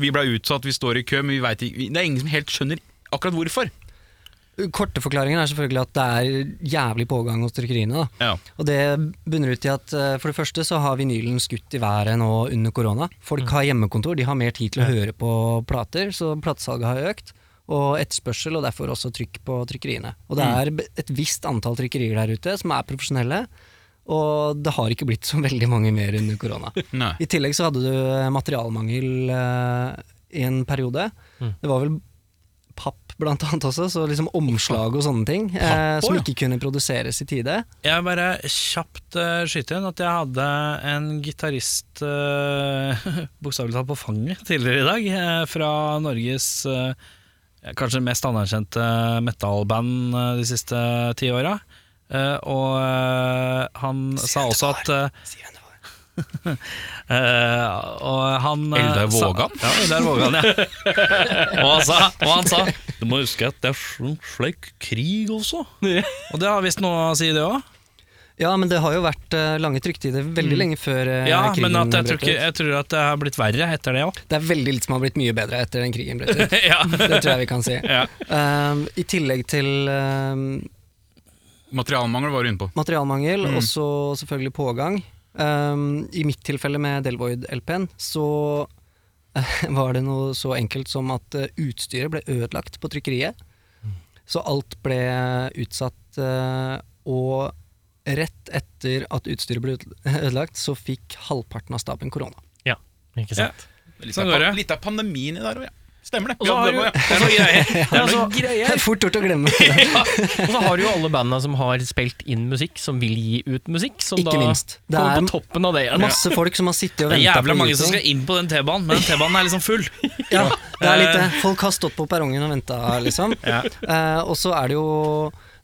vi ble utsatt, vi står i kø, men vi vet ikke, det er ingen som helt skjønner akkurat hvorfor.
eh, Korte forklaringen er selvfølgelig at det er jævlig pågang hos trykkeriene. Da.
Ja.
Og det bunner ut i at eh, for det første så har vinylen skutt i været nå under korona. Folk
Mm.
har hjemmekontor, de har mer tid til å høre på plater, så platesalget har økt. Og etterspørsel, og derfor også trykk på trykkeriene. Og
Mm.
det er be- et visst antall trykkerier der ute som er profesjonelle, og det har ikke blitt så veldig mange mer under korona.
Nei.
I tillegg så hadde du eh, materialmangel eh, i en periode.
Mm.
Det var vel papp blant annet også, så liksom omslag og sånne ting eh,
Papp også,
som
ja.
ikke kunne produseres i tide.
Jeg bare kjapt uh, skyter inn at jeg hadde en gitarist uh, bokstavelig talt på fanget tidligere i dag, eh, fra Norges eh, kanskje mest anerkjente metalband eh, de siste ti åra. Eh, og eh, han sa også at eh, Eh, og han eh,
Eldar
sa-
Vågan?
Ja, Eldar Vågan, ja. og, han sa, og han sa Du må huske at det er sånn slekk krig også. Og det har visst noe å si, det òg.
Ja, men det har jo vært eh, lange trykktider veldig lenge før eh,
Mm. Ja,
krigen
men at jeg, tror
brøt
ikke,
ut.
jeg tror at det har blitt verre etter det òg.
Det er veldig litt som har blitt mye bedre etter den krigen brøt ut.
ja.
Det tror jeg vi kan si.
Ja.
Um, I tillegg til um,
Materialmangel var du inne på.
materialmangel,
Mm.
og så selvfølgelig pågang. Um, I mitt tilfelle med Delvoid-LP-en, så eh, var det noe så enkelt som at eh, utstyret ble ødelagt på trykkeriet. Så alt ble utsatt, eh, og rett etter at utstyret ble ut- ødelagt, så fikk halvparten av staben korona.
Ja, ikke sant.
Litt,
Sånn
av,
går det.
pa- litt av pandemien i der òg, ja. Stemmer det.
Og så har
det
du-
var- ja.
Ja, altså,
Det er fort gjort å glemme. det.
og så har du jo alle bandene som har spilt inn musikk, som vil gi ut musikk. Som
Ikke
da
minst. Det
kommer
er
på toppen av det igjen.
Masse folk som har sittet og
Det er
venta på
jævla mange som
utgang.
skal inn på den T-banen, men den T-banen er liksom full.
Ja, det er litt det. Eh, Folk har stått på perrongen og venta, liksom. Eh, og så er det jo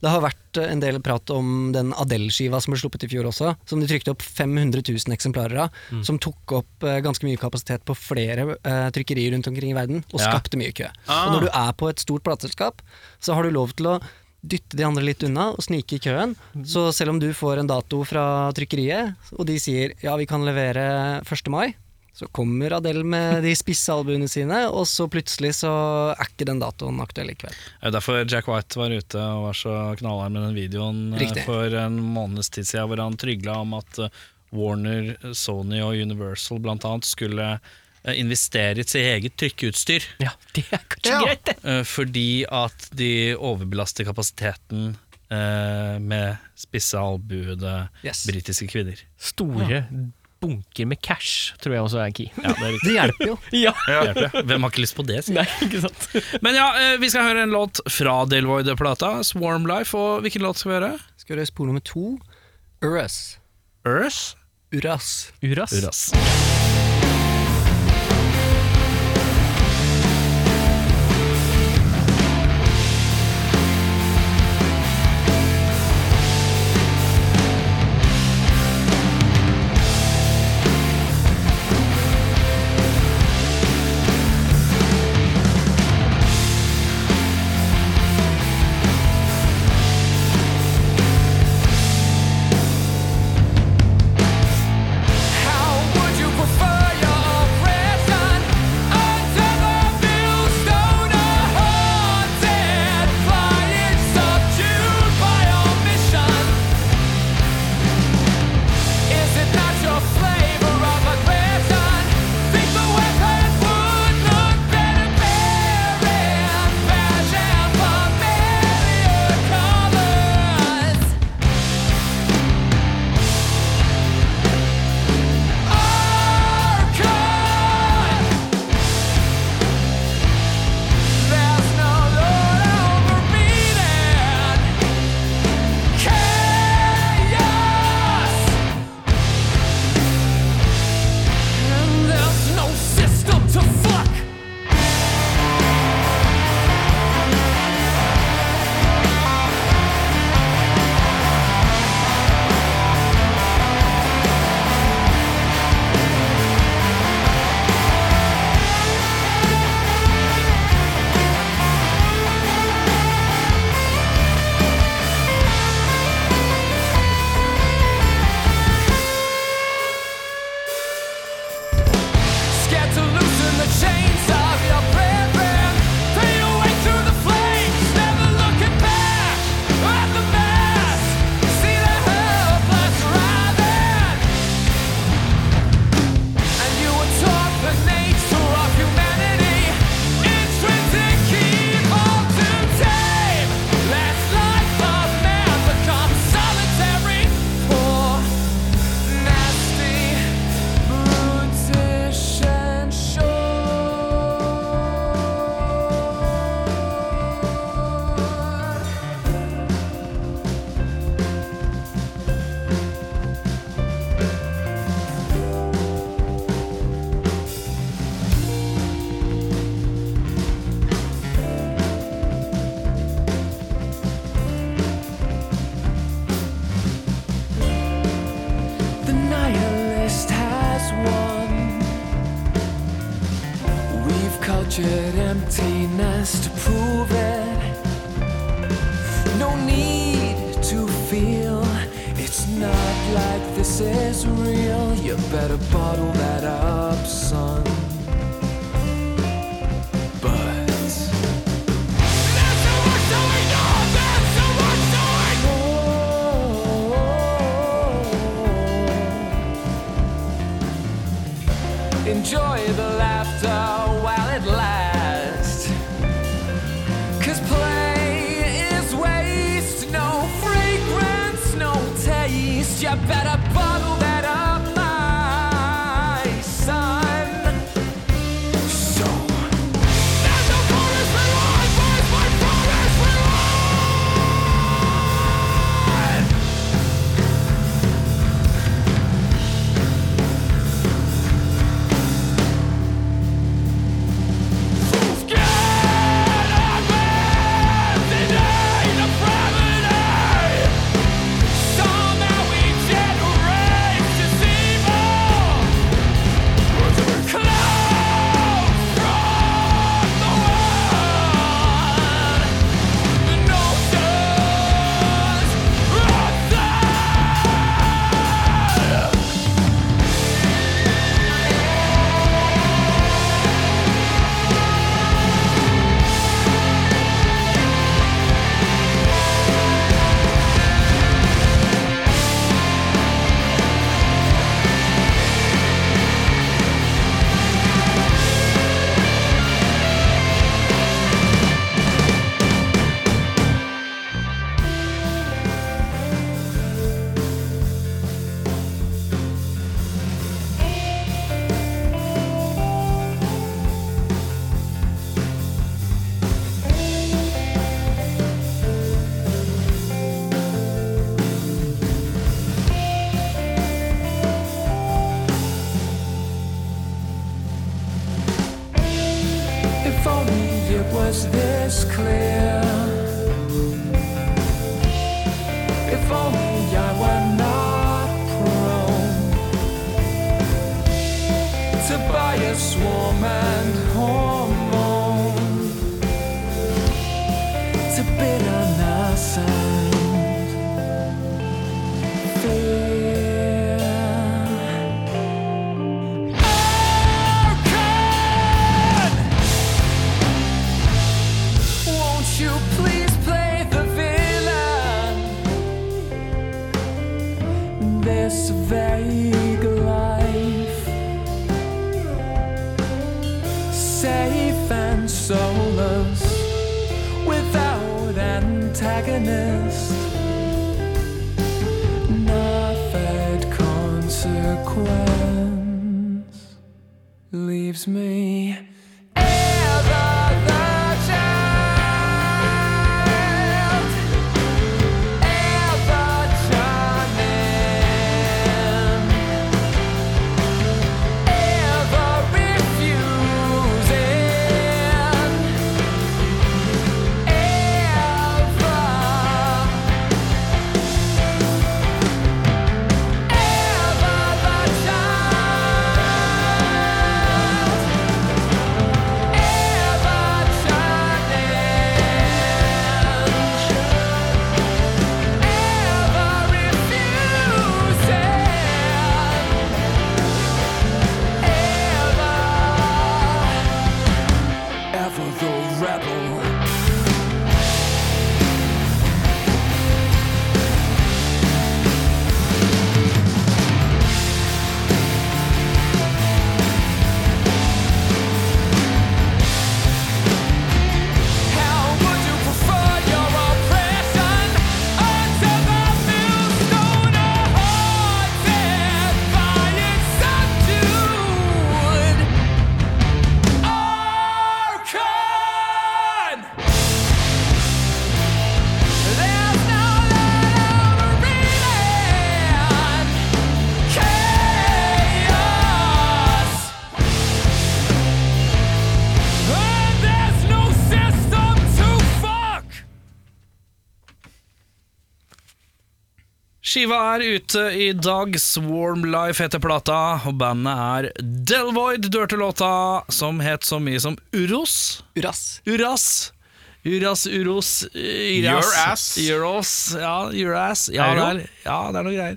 Det har vært en del prat om den Adele-skiva som ble sluppet i fjor også, som de trykte opp 500 000 eksemplarer av. Som tok opp eh, ganske mye kapasitet på flere eh, trykkerier rundt omkring i verden, og
Ja.
skapte mye kø.
Ah.
Og når du er på et stort plateselskap, så har du lov til å dytte de andre litt unna og snike i køen. Så selv om du får en dato fra trykkeriet, og de sier ja, vi kan levere 1. mai, så kommer Adele med de spisse albuene sine, og så plutselig så er ikke den datoen aktuell likevel.
Det er derfor Jack White var ute og var så knallhard med den videoen eh,
Riktig.
for en måneds tid siden, hvor han trygla om at eh, Warner, Sony og Universal blant annet skulle eh, investere i sitt eget trykkeutstyr.
Ja, det er kanskje greit, det.
Eh, fordi at de overbelaster kapasiteten eh, med spisse albuede
Yes.
britiske kvinner.
Store bunker med cash tror jeg også er key.
Ja, det er riktig.
Det hjelper jo.
Ja,
Det hjelper, ja. Hvem har ikke lyst på det? sier jeg.
Nei, ikke sant.
Men ja, eh, vi skal høre en låt fra Delvoid-plata, 'Swarm Life'. Og hvilken låt skal vi høre?
Skal vi gjøre spor nummer to? Uras.
Earth?
Uras.
Uras.
Uras.
How would you the chains of your brethren. Fade away through the flames, never looking back at the mass. See the helpless writhing. And you were taught the nature of humanity. Intrinsic evil to tame. Last life of man becomes solitary for nasty brutish sure. The nihilist has won. We've cultured emptiness to prove it. No need to feel it's not like this is real. You better bottle that up, son. But that's the worst that we know. That's the worst that we Enjoy the laughter while it lasts. Cause play is waste, no fragrance, no taste. You better bottle that up, my son. So, there's no forest for life, where's my forest for life? If only it was this clear. If only I were not prone to bias, swarm, and hormone to bitterness and fear. Arcane! Won't you please play the villain? This vague life, safe and soulless, without antagonist, nothing consequence leaves me. Ever the child, ever charming, ever refusing, ever, ever the child.
Skiva er ute i dag. Swarm Life heter plata, og bandet er Delvoid. Dørte låta som het så mye som Uros.
Uras.
Uras. Uras, Uros, eh, Uras.
Your ass.
Euros. Ja, your ass. Ja, det
Euro?
er, ja, det er noe greier.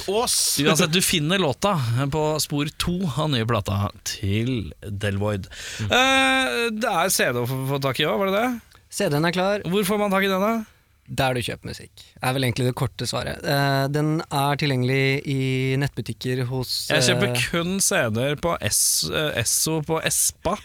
Urås!
Uansett, du finner låta på spor to av nye plata til Delvoid. Eh, det er CD å få få tak i òg, var det det?
CD-en er klar.
Hvor får man tak i denne?
Der du kjøper musikk. er vel egentlig det korte svaret. Eh, den er tilgjengelig i nettbutikker hos
Jeg kjøper
eh,
kun CD-er på S, eh, Esso på Espa.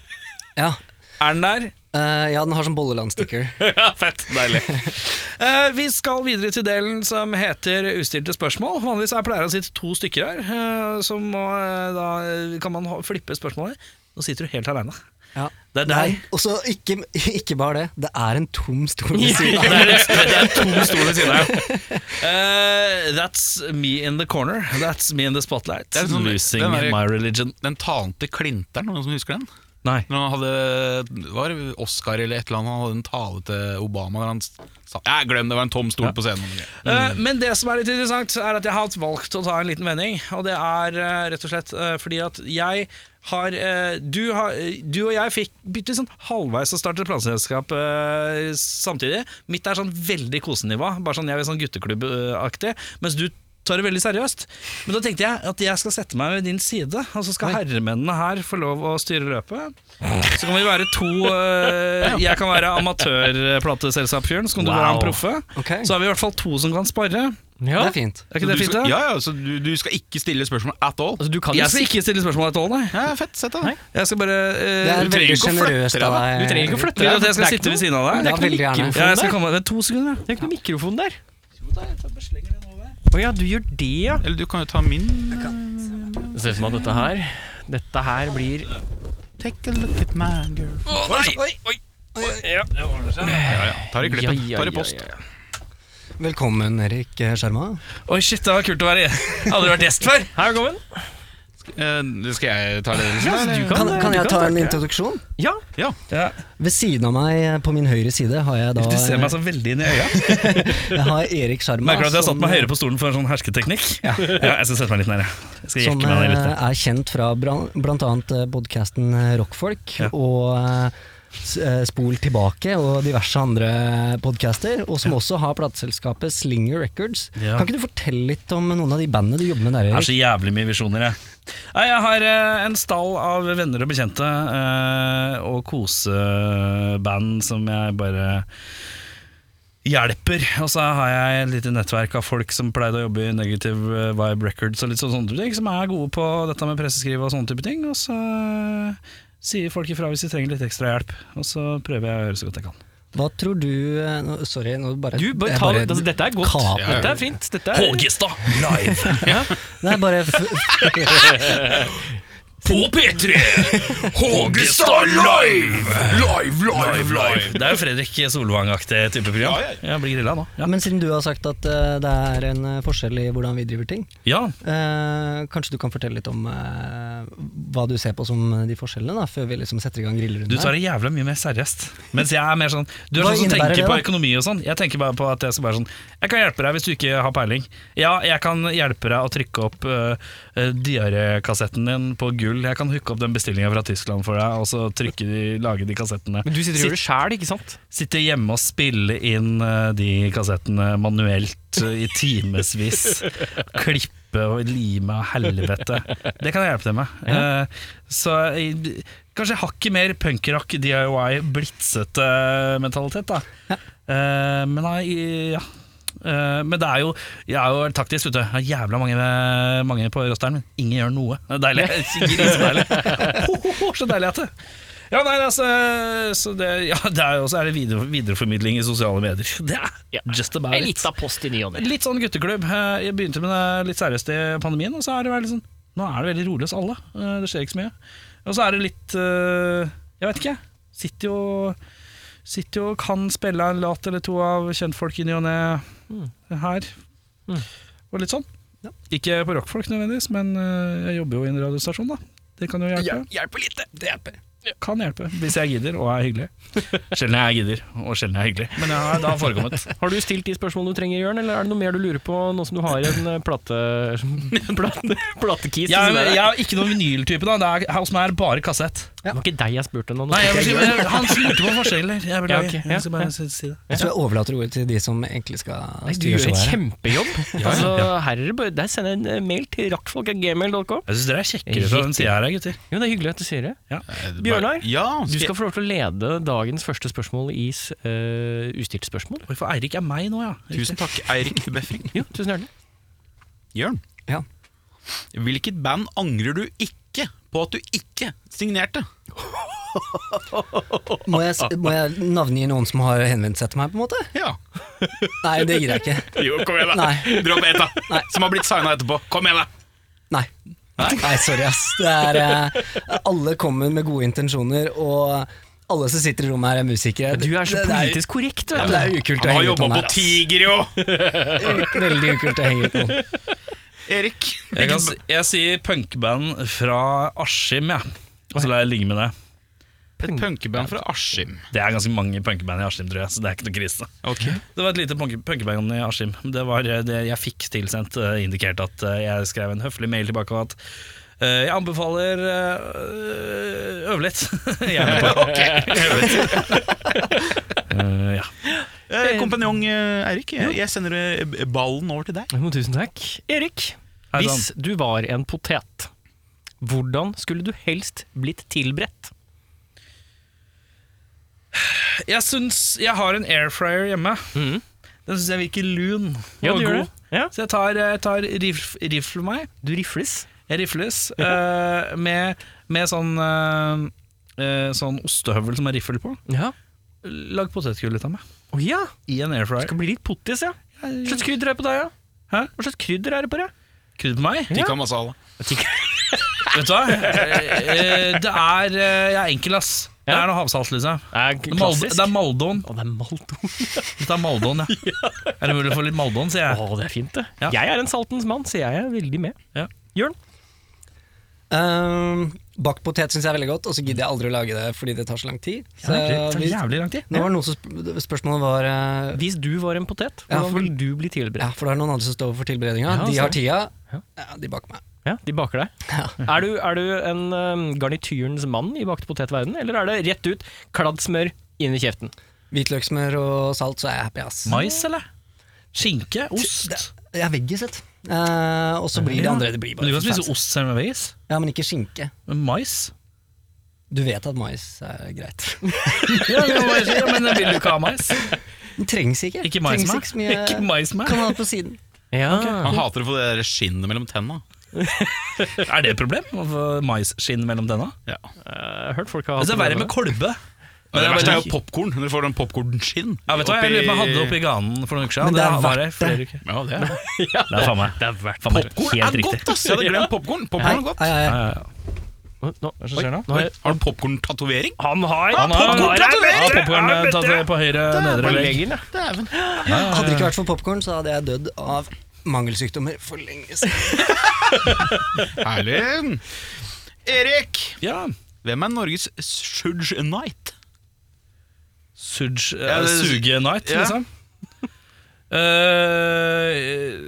ja.
Er den der?
Eh, ja, den har sånn bolleland-sticker.
Ja, fett. Deilig. Eh, vi skal videre til delen som heter ustilte spørsmål. Vanligvis er pleier det å sitte to stykker her, eh, så må, eh, da eh, kan man ha- flippe spørsmålet. Nå sitter du helt aleine.
Ja.
Det er
Nei,
deg.
Og så ikke, ikke bare det, det er en tom stol ved siden av.
Det er, det er to stoler ved siden av. Eh, that's me in the corner. That's me in the spotlight.
er sånn-
Losing
den er-
my religion.
Den talente klinteren, noen som husker den?
Nei.
Når han hadde det var Oscar eller et eller annet, han hadde en tale til Obama der han sa «Nei, glem det, det var en tom stol på scenen.
Eh, Men det som er litt interessant, er at jeg har valgt å ta en liten vending. Og det er eh, rett og slett eh, fordi at jeg har, eh, du, har eh, du og jeg fikk bytte sånn halvveis og startet plateselskap eh, samtidig. Mitt er sånn veldig kosenivå, bare sånn jeg er sånn gutteklubbaktig. Mens du tar det veldig seriøst. Men da tenkte jeg at jeg skal sette meg ved din side, og så skal herremennene her få lov å styre løpet. Så kan vi være to eh, Jeg kan være amatørplateselskapfyren, så kan du være han
Wow.
proffe.
Ok.
Så har vi i hvert fall to som kan spare.
Det er fint.
Er ikke det
du
fint,
skal,
da?
ja, ja, så du, du skal ikke stille spørsmål at all?
Altså, du kan jo
Jeg skal
si-
ikke stille spørsmål etter all, nei.
Ja, fett, sett da.
Jeg skal bare eh,
Det er
trenger
veldig
ikke å flytte
sjenerøst
deg,
av
da.
deg.
Du trenger ikke å flytte
Vil du at jeg skal
Det er
sitte
ikke
ved siden av
noe-
deg?
Ja, veldig gjerne.
Det
Ja,
er
jeg skal
ikke noe mikrofon
komme
der.
Det er to sekunder,
Det er ikke noe mikrofon der. Å ja, du gjør det, ja.
Eller du kan jo ta min
Det ser ut som at dette her Dette her blir
Take a look at my girl Ja, ja, tar i
Ja,
klippet,
ja,
tar i
ja,
post
ja, ja.
Velkommen, Erik eh, Sjarma.
Oi, shit, det var kult å være Jeg Hadde vært gjest før.
Hei, velkommen.
Eh, Skal jeg ta det?
Ja,
Liksom,
du
eller?
Kan,
du
kan jeg ta en
starte.
introduksjon?
Ja.
Ved siden av meg, eh, på min høyre side, har jeg da eh,
Du ser meg så veldig inn i øya.
jeg har Erik Sjarma.
Merker du at jeg har satt
som-
meg høyere på stolen for en sånn hersketeknikk? Ja, jeg skal sette meg litt nær, jeg. jeg. Skal
Som
jekke meg ned
eh,
litt.
er kjent fra bra- blant annet eh, podcasten eh, Rockfolk
Ja.
og eh, s- eh, Spol tilbake og diverse andre podcaster, og som også har plateselskapet Slinger Records.
Ja.
Kan ikke du fortelle litt om noen av de bandene du jobber med der,
Jeg har
Altså,
Erik?
så jævlig mye visjoner, jeg. Nei, jeg har eh, en stall av venner og bekjente eh, og koseband som jeg bare hjelper. Og så har jeg et lite nettverk av folk som pleide å jobbe i Negative eh, Vibe Records og litt sånn- sånne ting, som er gode på dette med presseskriv og sånne type ting. Og så eh, sier folk ifra hvis de trenger litt ekstra hjelp, og så prøver jeg å gjøre så godt jeg kan.
Hva tror du eh, nå, Sorry, nå bare
Du, bare
jeg
ta altså, Dette er godt.
Kaper.
Dette er fint. Dette er
Hågestad live
Det er bare f
på P3! Hågestad live!
Live, live, live
Det er jo Fredrik Solvang-aktig type program. Jeg blir grilla nå.
ja, Men siden du har sagt at eh, det er en eh, forskjell i hvordan vi driver ting,
Ja,
eh, kanskje du kan fortelle litt om eh, hva du ser på som de forskjellene, da, før vi liksom setter i gang grillrunden?
Du
her?
tar det jævla mye mer seriøst. Mens jeg er mer sånn Du er
Hva
sånn som
innebærer
tenker
det,
på
da?
økonomi og sånn. Jeg tenker bare på at jeg skal være sånn Jeg kan hjelpe deg hvis du ikke har peiling. Ja, jeg kan hjelpe deg å trykke opp øh, øh, diarekassetten din på gull. Jeg kan hooke opp den bestillinga fra Tyskland for deg, og så trykke de, lage de kassettene.
Men du sitter og gjør det sjæl, ikke sant?
Sitte hjemme og spille inn eh, de kassettene manuelt eh, i timevis. Klippe og lime og helvete. Det kan jeg hjelpe deg med. Eh, Så jeg- kanskje hakket mer punkrock, DIY, blitsete mentalitet, da. Eh, Men nei, ja. Eh, Men det er jo jeg er jo taktisk, vet du. Jeg har jævla mange, mange på rosteren, men ingen gjør noe. Det er deilig. Grisedeilig. Ho, ho, ho, Så deilig at det ja, nei, altså, så det, ja, det er jo også er det videre, videreformidling i sosiale medier. Det er just about it.
post i ny og ne.
Litt sånn gutteklubb. Eh, Jeg begynte med det litt seriøst i pandemien, og så er det veldig sånn Nå er det veldig rolig hos alle. Eh, Det skjer ikke så mye. Og så er det litt eh, Jeg vet ikke, jeg. Sitter jo Sitter jo og kan spille en låt eller to av kjentfolk i ny og ne her. Mm. Og litt sånn. Ikke på rockfolk nødvendigvis, men eh, jeg jobber jo i en radiostasjon, da. Det kan jo hjelpe.
Hjelper lite. Det hjelper.
Kan hjelpe, hvis jeg gidder og er hyggelig. Sjelden jeg gidder, og sjelden jeg er hyggelig. Men det har, det har forekommet.
Har du stilt de spørsmålene du trenger, Jørn, eller er det noe mer du lurer på nå som du har en eh, plate, plate, platekis?
Jeg,
som det
er-
der?
jeg er ikke noen vinyltype, da. Det er, her hos meg er det bare kassett.
Det var ikke deg jeg spurte nå. nå
Nei, jeg,
spurte jeg Jørn.
jeg, han lurte på forskjeller. Jeg
Ja,
beklager.
ok, ja.
Jeg skal bare si si det.
Jeg tror jeg overlater ordet til de som egentlig skal
Du
styre
gjør en
showet. her.
kjempejobb. altså, her er det bare, der sender jeg en eh, mail til rakkfolk.gmail.com.
Jeg syns dere er kjekkere fra den sida her, gutter.
Jo, det er hyggelig at du sier det. Bjørnar?
Bjørnar? Ja,
Du skal få lov til å lede dagens første spørsmål i s- eh, ustilt spørsmål.
Oi, for Eirik er meg nå, ja.
Tusen takk, Eirik Befring.
Jo, tusen hjertelig.
Jørn,
Ja.
hvilket band angrer du ikke på at du ikke signerte?
Må jeg,
Ah,
s- må jeg navngi noen som har henvendt seg til meg, på en måte?
Ja.
Nei, det gidder jeg ikke.
Jo, kom igjen, da.
Nei.
Dropp ett, da. Som har blitt signa etterpå. Kom igjen, da.
Nei. Nei, sorry, ass. Det er, eh, alle kommer med gode intensjoner, og alle som sitter i rommet her, er musikere.
Du er så
Det- det jo-
politisk korrekt,
Ja,
vet
men
du.
det er ukult å
Han har
henge ut
jobba
noen her.
på Tiger, jo!
ass. Veldig ukult å henge ut noen.
Erik.
Jeg, kan, si- jeg sier punkband fra Askim, jeg. Og så lar jeg ligge med det.
Et punkeband fra Askim.
Det er ganske mange punkeband i Askim, tror jeg, så det er ikke noe krise. Det var et lite punk- punkeband i Askim. Det var eh, det jeg fikk tilsendt, eh, indikert at eh, jeg skrev en høflig mail tilbake og at eh, jeg anbefaler eh, øve litt. Jeg er med på. Eh, ja.
Eh, Kompanjong eh, Eirik, jeg jeg sender eh, ballen over til deg.
Jo, tusen takk. Erik,
Hei sann.
hvis du var en potet, hvordan skulle du helst blitt tilberedt?
Jeg syns Jeg har en airfryer hjemme.
Mhm.
Den syns jeg virker lun
Ja,
og
du gjør
god.
det. Ja.
Så jeg tar, eh, jeg tar rif, rifler meg.
Du rifles.
Jeg rifles eh, med, med sånn eh, eh, Sånn ostehøvel som er riffel på.
Ja.
Lag potetgull litt av meg.
Å ja,
I en
det
airfryer.
skal bli litt pottis, ja. Hva slags krydder er det på deg, ja?
Hæ?
Hva slags krydder er det på deg?
Krydder på meg?
Tikka masala.
Vet du hva? Eh, det er eh, Jeg er enkel, ass. Det
Ja.
er noe havsalt, liksom.
Det er
Maldo, det er Maldon.
Å, det er Maldo.
Litt av Maldon, ja. Er det mulig å få litt Maldon, sier jeg.
Å, det er fint, det.
Ja.
Jeg er en saltens mann, så jeg er veldig med.
Ja.
Jørn?
Um, Bakt potet syns jeg er veldig godt, og så gidder jeg aldri å lage det fordi det tar så lang tid. Så
Eh, det tar
hvis-
jævlig lang tid.
nå var det noe som sp spørsmålet var eh,
Hvis du var en potet,
Ja,
hvordan
for-
ville du bli tilberedt?
Ja, for det er noen andre som står for tilberedninga.
Ja,
de har
så-
tida,
Ja.
ja, de bak meg.
Ja, de baker deg. Er, du, er du en øhm, garnityrens mann i bakt potetverden, eller er det rett ut, kladd smør, inn i kjeften?
Hvitløksmør og salt, så er jeg happy, ass.
Mais, eller? Skinke?
Det,
Ost?
jeg er veggis, vet du. Eh, og så blir det
Ja.
andre det blir
Men du
bare
kan
for
spise
fancy.
ost selv med veggis.
Ja, men ikke skinke.
Men mais?
Du vet at mais er greit.
Ja, det må jeg si, ja, men vil du ikke ha mais?
Den trengs ikke.
Ikke mais
trengs
meg.
ikke så mye.
Ikke mais meg.
Kan ha det på siden.
Ja,
Han hater å få det der skinnet mellom tenna.
Er det et problem? Å få maisskinn mellom tenna?
Ja.
øh, hørt folk har
Det er Altså, verre
problemer
med kolbe.
Men det
jeg
verste
bare-
er jo popkorn. Når du får den popkornskinn.
Ja, vet du hva, Jeg lurer på om jeg hadde det oppi ganen for noen uker siden.
Men
Det
det er
var det
verdt
flere uker.
Ja, det er
Det er faen meg.
Det er verdt
Faen meg
Popkorn er godt, ass! Jeg hadde glemt popkorn. Popcorn er godt.
Ai, ai, ai.
Nå, nå, hva skjer nå?
Oi, Har du popkorntatovering?
Han har
Han har
popcorn-tatovering!
popkorn eh, på høyre nedre legg.
Legger den, ja.
Ah.
Hadde det ikke vært for popkorn, så hadde jeg dødd av mangelsykdommer for lenge siden.
Herlig. Erik,
Ja.
hvem er Norges Surge Night?
Suge,
Ja, det-
eh, suge night,
Ja.
liksom. Eh,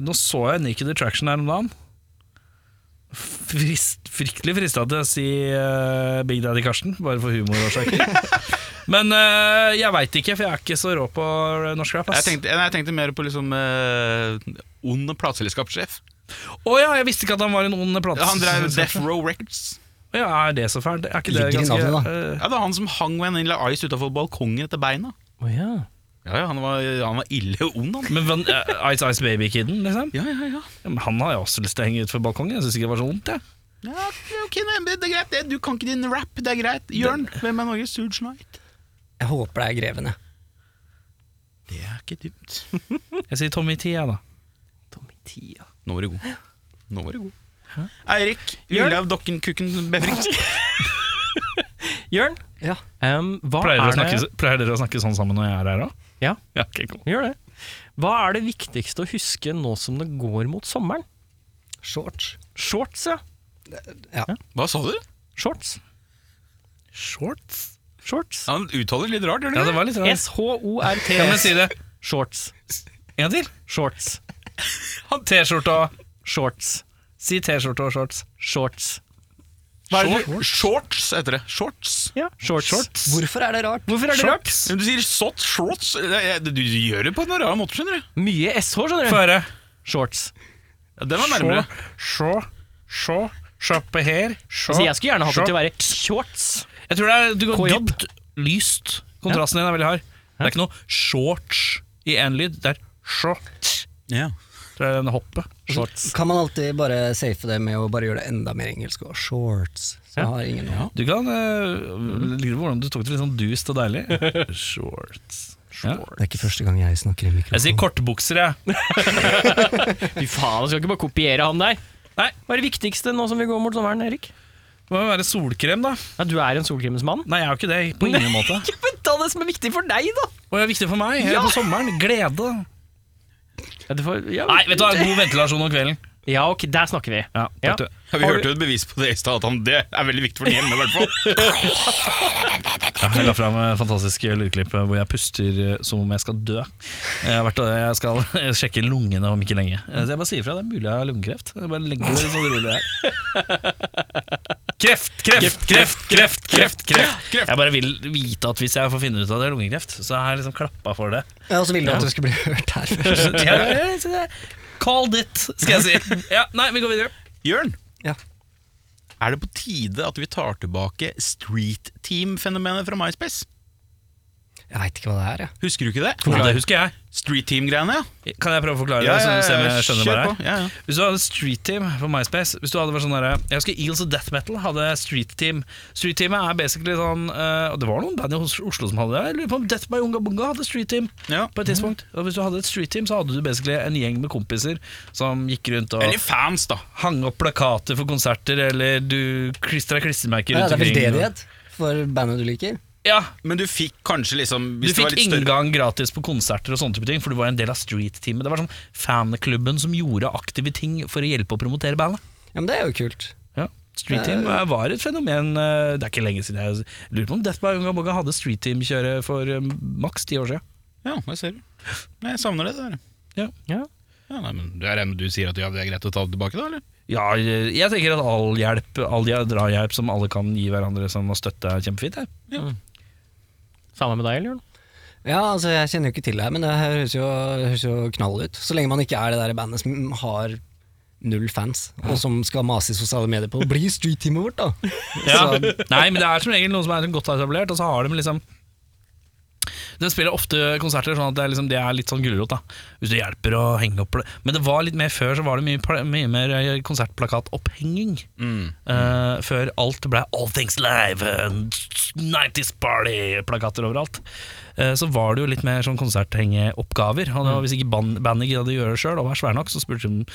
nå så jeg Naked Attraction her om dagen. Frist, fryktelig frista til å si eh, Big Daddy Karsten, bare for humorårsaker. Men eh, jeg veit ikke, for jeg er ikke så rå på norsk rap.
Jeg
ass.
tenkte, nei, jeg tenkte mer på liksom eh, ond plateselskapssjef.
Å ja, jeg visste ikke at han var en ond plate.
Han drev Death Row Records.
Ja, er det så fælt? Er ikke det
Ligger i
ganske
navnet,
eh,
Ja, det var han som hang Vanilla Ice utafor balkongen etter beina.
Å, ja.
Ja, ja, han var, han var ille ond, han.
Men Van, eh, Ice Ice Baby-kiden, liksom?
Ja, ja, ja.
Ja, men Han har jeg også lyst til å henge ut for balkongen. Jeg syns ikke det var så vondt, jeg.
ja ok, nei, men det er greit. det. Du kan ikke din rap, det er greit. Jørn, hvem er Norges Surge Night?
Jeg håper det er grevene.
Det er ikke dumt.
Jeg sier Tommy T, jeg, da.
Tommy Tia.
Nå var du god. Nå var du god. Eirik, Jørn. Dokken Kukken Befring.
Jørn,
Ja.
øhm, hva
Pleier, dere å
er det
snakke, pleier dere å snakke sånn sammen når jeg er her òg?
Ja.
ja ok, cool.
Gjør det. Hva er det viktigste å huske nå som det går mot sommeren?
Shorts.
Shorts, ja.
Hva sa du?
Shorts.
Shorts?
Shorts.
Han uttaler litt rart, gjør
Ja,
han
det
ikke?
var litt rart. Kan du
S-H-O-R-T-S.
si det
Shorts.
en gang til?
Shorts.
Han T-skjorte og
Shorts.
Si T-skjorte og shorts.
Shorts.
Shorts. Shorts heter det. Shorts.
Ja, shorts. shorts.
Hvorfor er det rart?
Hvorfor er det rart?
Men du sier sot, shorts. Det er- Du du gjør det på en rar måte, skjønner du.
Mye SH, skjønner du.
Få høre.
Shorts.
Ja, den var nærmere.
Sjå, sjå, shoppe her, sjå
Altså, jeg skulle gjerne hatt det
short.
til å være shorts.
Jeg tror det er, du går
KJ.
dypt lyst. Kontrasten din er veldig hard. Det er ikke noe shorts i én lyd. Det er short.
Ja.
Det er den hoppet. Shorts.
Kan man alltid bare safe det med å bare gjøre det enda mer engelsk og shorts? Så har ingen noe.
Du kan uh, Liker hvordan du tok det litt sånn dust og deilig. Shorts. Ja.
Det er ikke første gang jeg snakker i
Jeg sier
mikrofon.
kortbukser, jeg.
Fy faen, jeg skal ikke bare kopiere han der.
Nei.
Hva er det viktigste nå som vi går mot sommeren, Erik?
Det må jo være solkrem, da.
Ja, du er en solkrimens mann.
Nei, jeg er jo ikke det. På ingen måte.
Ja, men ta det som er viktig for deg, da!
Og det er viktig for meg. Her
Ja.
på sommeren. Glede.
Ja, du får, ja,
Nei, vet du hva. God ventilasjon om kvelden.
ja, ok, der snakker vi.
Ja,
Ja.
takk du.
Ja, vi hørte jo et bevis på det i stad, at han, det er veldig viktig for den hjemme, i hvert fall.
Ja, Jeg la fram eh, fantastisk lydklipp eh, hvor jeg puster eh, som om jeg skal dø. Jeg, har vært, eh, jeg skal sjekke lungene om ikke lenge. Eh, Så jeg bare sier fra, det er mulig jeg har lungekreft. Jeg bare legger det sånn rolig her. Kreft, kreft, kreft, kreft, kreft, kreft. Jeg bare vil vite at hvis jeg får finne ut at det er lungekreft, så har jeg liksom klappa for det.
Ja, og så ville du at du skulle bli hørt her først.
Så jeg- så jeg- Called it, skal jeg si. Ja, nei, vi går videre.
Jørn,
Ja.
er det på tide at vi tar tilbake street team-fenomenet fra MySpace?
Jeg veit ikke hva det er, jeg.
Husker du ikke det?
Ja, det husker jeg.
Street team-greiene, ja.
Kan jeg prøve å forklare det? så se om jeg skjønner hva det er?
på. Ja, ja.
Hvis du hadde street team på MySpace Hvis du hadde vært sånn der, Jeg husker Eels og Death Metal hadde street team Street teamet er basically sånn eh, og Det var noen band i Os- Oslo som hadde det Jeg lurer på om Death by Unga Bunga hadde street team
Ja.
På et tidspunkt Og hvis du hadde et street team Så hadde du basically en gjeng med kompiser Som gikk rundt og
Eller fans, da.
hang opp plakater for konserter Eller du klistret klistermerker
Ja,
rundt
det er
omkring
veldedighet for bandet du liker.
Ja,
Men du fikk kanskje liksom
du
Hvis det var
fikk
litt større
inngang gratis på konserter og sånne type ting For du var en del av street teamet Det var sånn fanklubben som gjorde aktive ting For å hjelpe å promotere bandet
Ja, men det er jo kult.
Ja. Street Team eh, var et fenomen eh, Det er ikke lenge siden jeg lurer på om Death by Unga Boga hadde Street Team-kjøre for eh, maks ti år siden.
Ja, jeg ser det. Men Jeg savner det. der.
Ja.
Ja.
Ja, nei, men du, er, enig- du sier at ja, det er greit å ta det tilbake, da? eller?
Ja, eh, jeg tenker at all hjelp, all ja- drahjelp som alle kan gi hverandre som å støtte, er kjempefint. jeg.
Samme med deg, Jørn.
Ja, altså Jeg kjenner jo ikke til det her, men det her høres jo, høres jo knall ut. Så lenge man ikke er det der bandet som har null fans, og som skal mase i sosiale medier på Bli street-teamet vårt, da! Så,
Nei, men det er som regel noen som er godt etablert, og så har de liksom de spiller ofte konserter sånn at det er, liksom, det er litt sånn gulrot. da. Hvis det hjelper å henge opp pla- Men det var litt mer før, så var det mye, pla- mye mer eh, konsertplakatopphenging.
Mm.
Eh, før alt ble All Things Live, eh, 90s Party-plakater overalt. Eh, så var det jo litt mer sånn konserthengeoppgaver. Og det var hvis ikke ban- bandet gidda å gjøre det sjøl, og var svære nok, så spurte de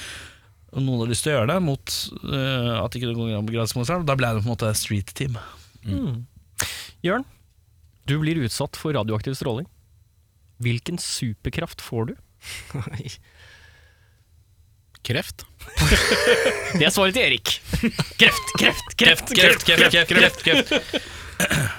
om noen hadde lyst til å gjøre det, mot eh, at ikke det går an på gratiskonsert. Da ble det på en måte street team.
Mm. Jørn, du blir utsatt for radioaktiv stråling. Hvilken superkraft får du?
Kreft.
Det er svaret til Erik. Kreft, kreft, kreft, kreft.
kreft, kreft, kreft, kreft.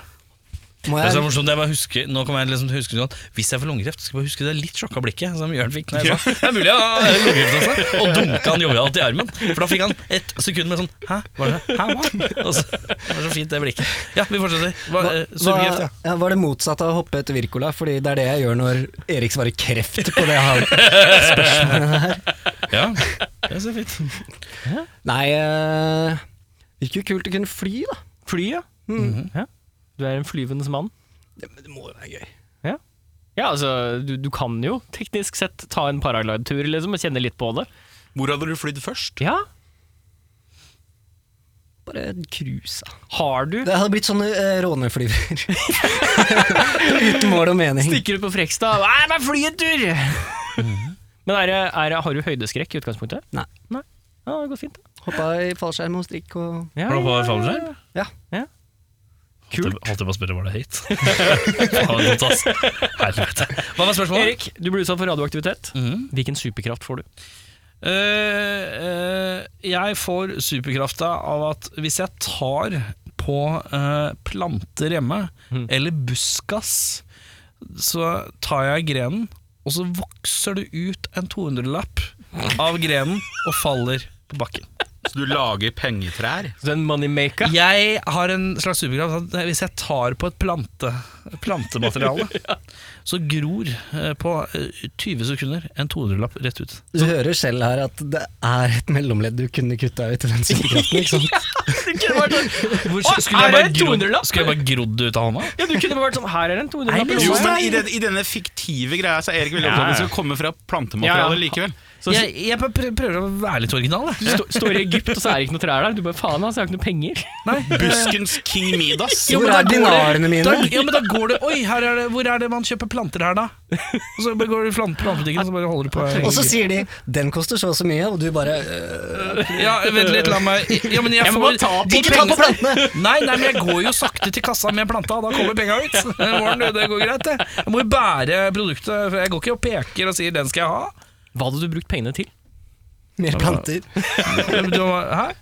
må
Det er så
jeg,
morsomt, jeg bare husker, nå kommer jeg liksom til å huske sånn at Hvis jeg får lungekreft, skal jeg bare huske det litt sjokka blikket som Jørn fikk. Når jeg sa, det er mulig jeg har lungekreft også. Og dunka han jovialt i armen. For da fikk han et sekund med sånn Hæ, var det Hæ, hva? Og så, det var så fint, det blikket. Ja, vi fortsetter. Hva,
hva,
eh, Surrekreft,
hva,
ja.
ja, var det motsatt av å hoppe etter Wirkola? Fordi det er det jeg gjør når Erik svarer kreft på det jeg har.
ja. Det er så fint.
Nei, eh, virker jo kult å kunne fly, da.
Flyet. Mm-hmm. ja. Du er en flyvendes mann.
Det, men det må jo være gøy.
Ja, altså, du, du kan jo teknisk sett ta en paraglidetur liksom, og kjenne litt på det.
Hvor hadde du flydd først?
Ja,
Bare cruise, da.
Har du
Det hadde blitt sånn eh, råneflyver. Uten mål og mening.
Stikker ut på Frekstad Nei, men fly en tur! Men er det, er det, har du høydeskrekk i utgangspunktet?
Nei.
Nei. Ja, det går fint. da.
Hoppa i fallskjerm og strikk og
Ja,
Har du
ja,
på
ja.
fallskjerm?
Ja.
Kult.
Holdt jeg på å spørre var det høyt. Faen, godt, ass. Helvete. Hva var spørsmålet?
Erik, du ble utsatt for radioaktivitet.
Mhm.
Hvilken superkraft får du?
Eh, eh, jeg får superkrafta av at hvis jeg tar på på eh, planter hjemme, eller buskas, så tar jeg grenen, og så vokser det ut en 200-lapp av grenen og faller på bakken.
Så du lager pengetrær?
Så en moneymaker.
Jeg har en slags superkraft at hvis jeg tar på et plante, plantemateriale, så gror eh, på eh, 20 sekunder en 200-lapp rett ut.
Du hører selv her at det er et mellomledd du kunne kutta ut i den superkraften. ikke sant?
Det kunne vært sånn,
Hvor,
Å,
skulle,
er
jeg bare
det en
grodd,
200-lapp?
skulle jeg bare grodd det ut av hånda?
ja, du kunne bare vært sånn Her er en 200-lapp.
Nei, men
i
Jo,
lomma.
men i, den, i denne fiktive greia så er Erik veldig opptatt av at det skal komme fra
Ja, ja.
plantematerialet likevel.
Så
jeg, jeg bare prø- prøver å være litt original. Jeg.
Stå- Står i Egypt, og så er det ikke noe trær der. Du bare faen, altså, jeg har ikke noe penger.
Buskens King Midas.
Jo,
Hvor
men da
er
går det-
dinarene mine?
Da, ja, men da går det Oi, her er det, hvor er det man kjøper planter her, da? Og så bare går du i plant- plantebutikken og så bare holder du på.
Og så sier de 'den koster så og så mye', og du bare øh,
Ja, vent litt, la meg ja, men jeg,
Jeg må
får-
bare ta på
Ikke ta på plantene!
Nei, nei, men jeg går jo sakte til kassa med planta, da kommer penga ut. Warren, du, det går greit, det. Jeg må jo bære produktet. for Jeg går ikke og peker og sier 'den skal jeg ha'.
Hva hadde du brukt pengene til?
Mer planter.
Du, hæ?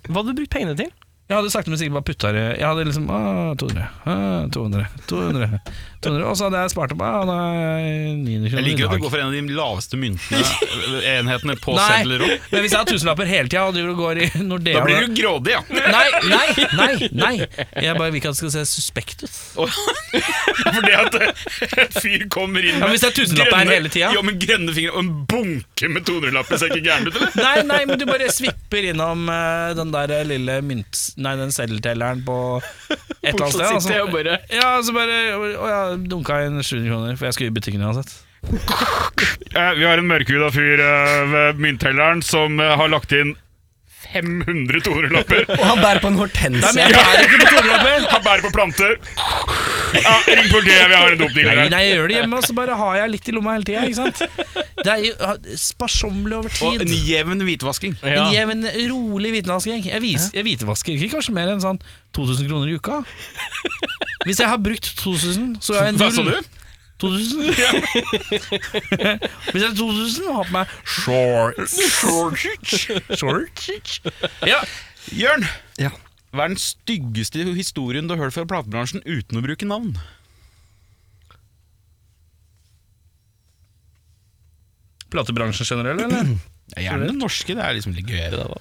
Hva hadde du brukt pengene til?
Jeg hadde sakte, men sikkert bare putta det Jeg hadde liksom ah, 200, ah, 200, 200, 200 Og så hadde jeg spart opp ah, da er jeg 900
Jeg
kroner
liker
i
at du
dag.
går for en av de laveste myntene Enhetene på
Nei,
sedler òg.
men hvis jeg har tusenlapper hele tida og du går i Nordea
Da blir du grådig, ja.
Nei, nei, nei! nei Jeg bare vil ikke at det skal se suspekt ut.
Fordi at eh, en fyr kommer inn
Ja, men hvis det er tusenlapper her
grønne-
hele tida.
Ja, men grønne fingre og en bunke med 200-lapper ser ikke gæren ut, eller?
Nei, nei, men du bare svipper innom eh, den der lille mynt... Nei, den seddeltelleren på et eller annet sted.
Fortsatt
altså.
sitter jeg og bare
Ja, så bare Og jeg dunka inn 700 kroner, for jeg skulle i butikken uansett.
Vi har en mørkhuda fyr ved mynttelleren som eh, har lagt inn 500 200-lapper.
Og han bærer på en
Nei, men
hortense.
jeg er ikke på tusenlapper!
Han bærer på planter. Ja, ring politiet, vi har en dopdealer
Nei, nei, jeg gjør det hjemme, og så bare har jeg litt i lomma hele tida. Ikke sant? Det er jo ah, sparsommelig over
Og en
tid.
jevn hvitvasking.
En jevn, rolig hvitvasking. Jeg, vis, jeg hvitvasker ikke kanskje mer enn sånn 2000 kroner i uka. Hvis jeg har brukt 2000, så er jeg
Hva sa
null.
du?
2000? Hvis jeg har 2000 og har på meg shorts Shorts Ja,
Jørn,
Ja.
hva er den styggeste historien du har hørt fra platebransjen uten å bruke navn?
Platebransjen generell, eller?
Ja, gjerne den norske, det er liksom litt gøyere. da, da.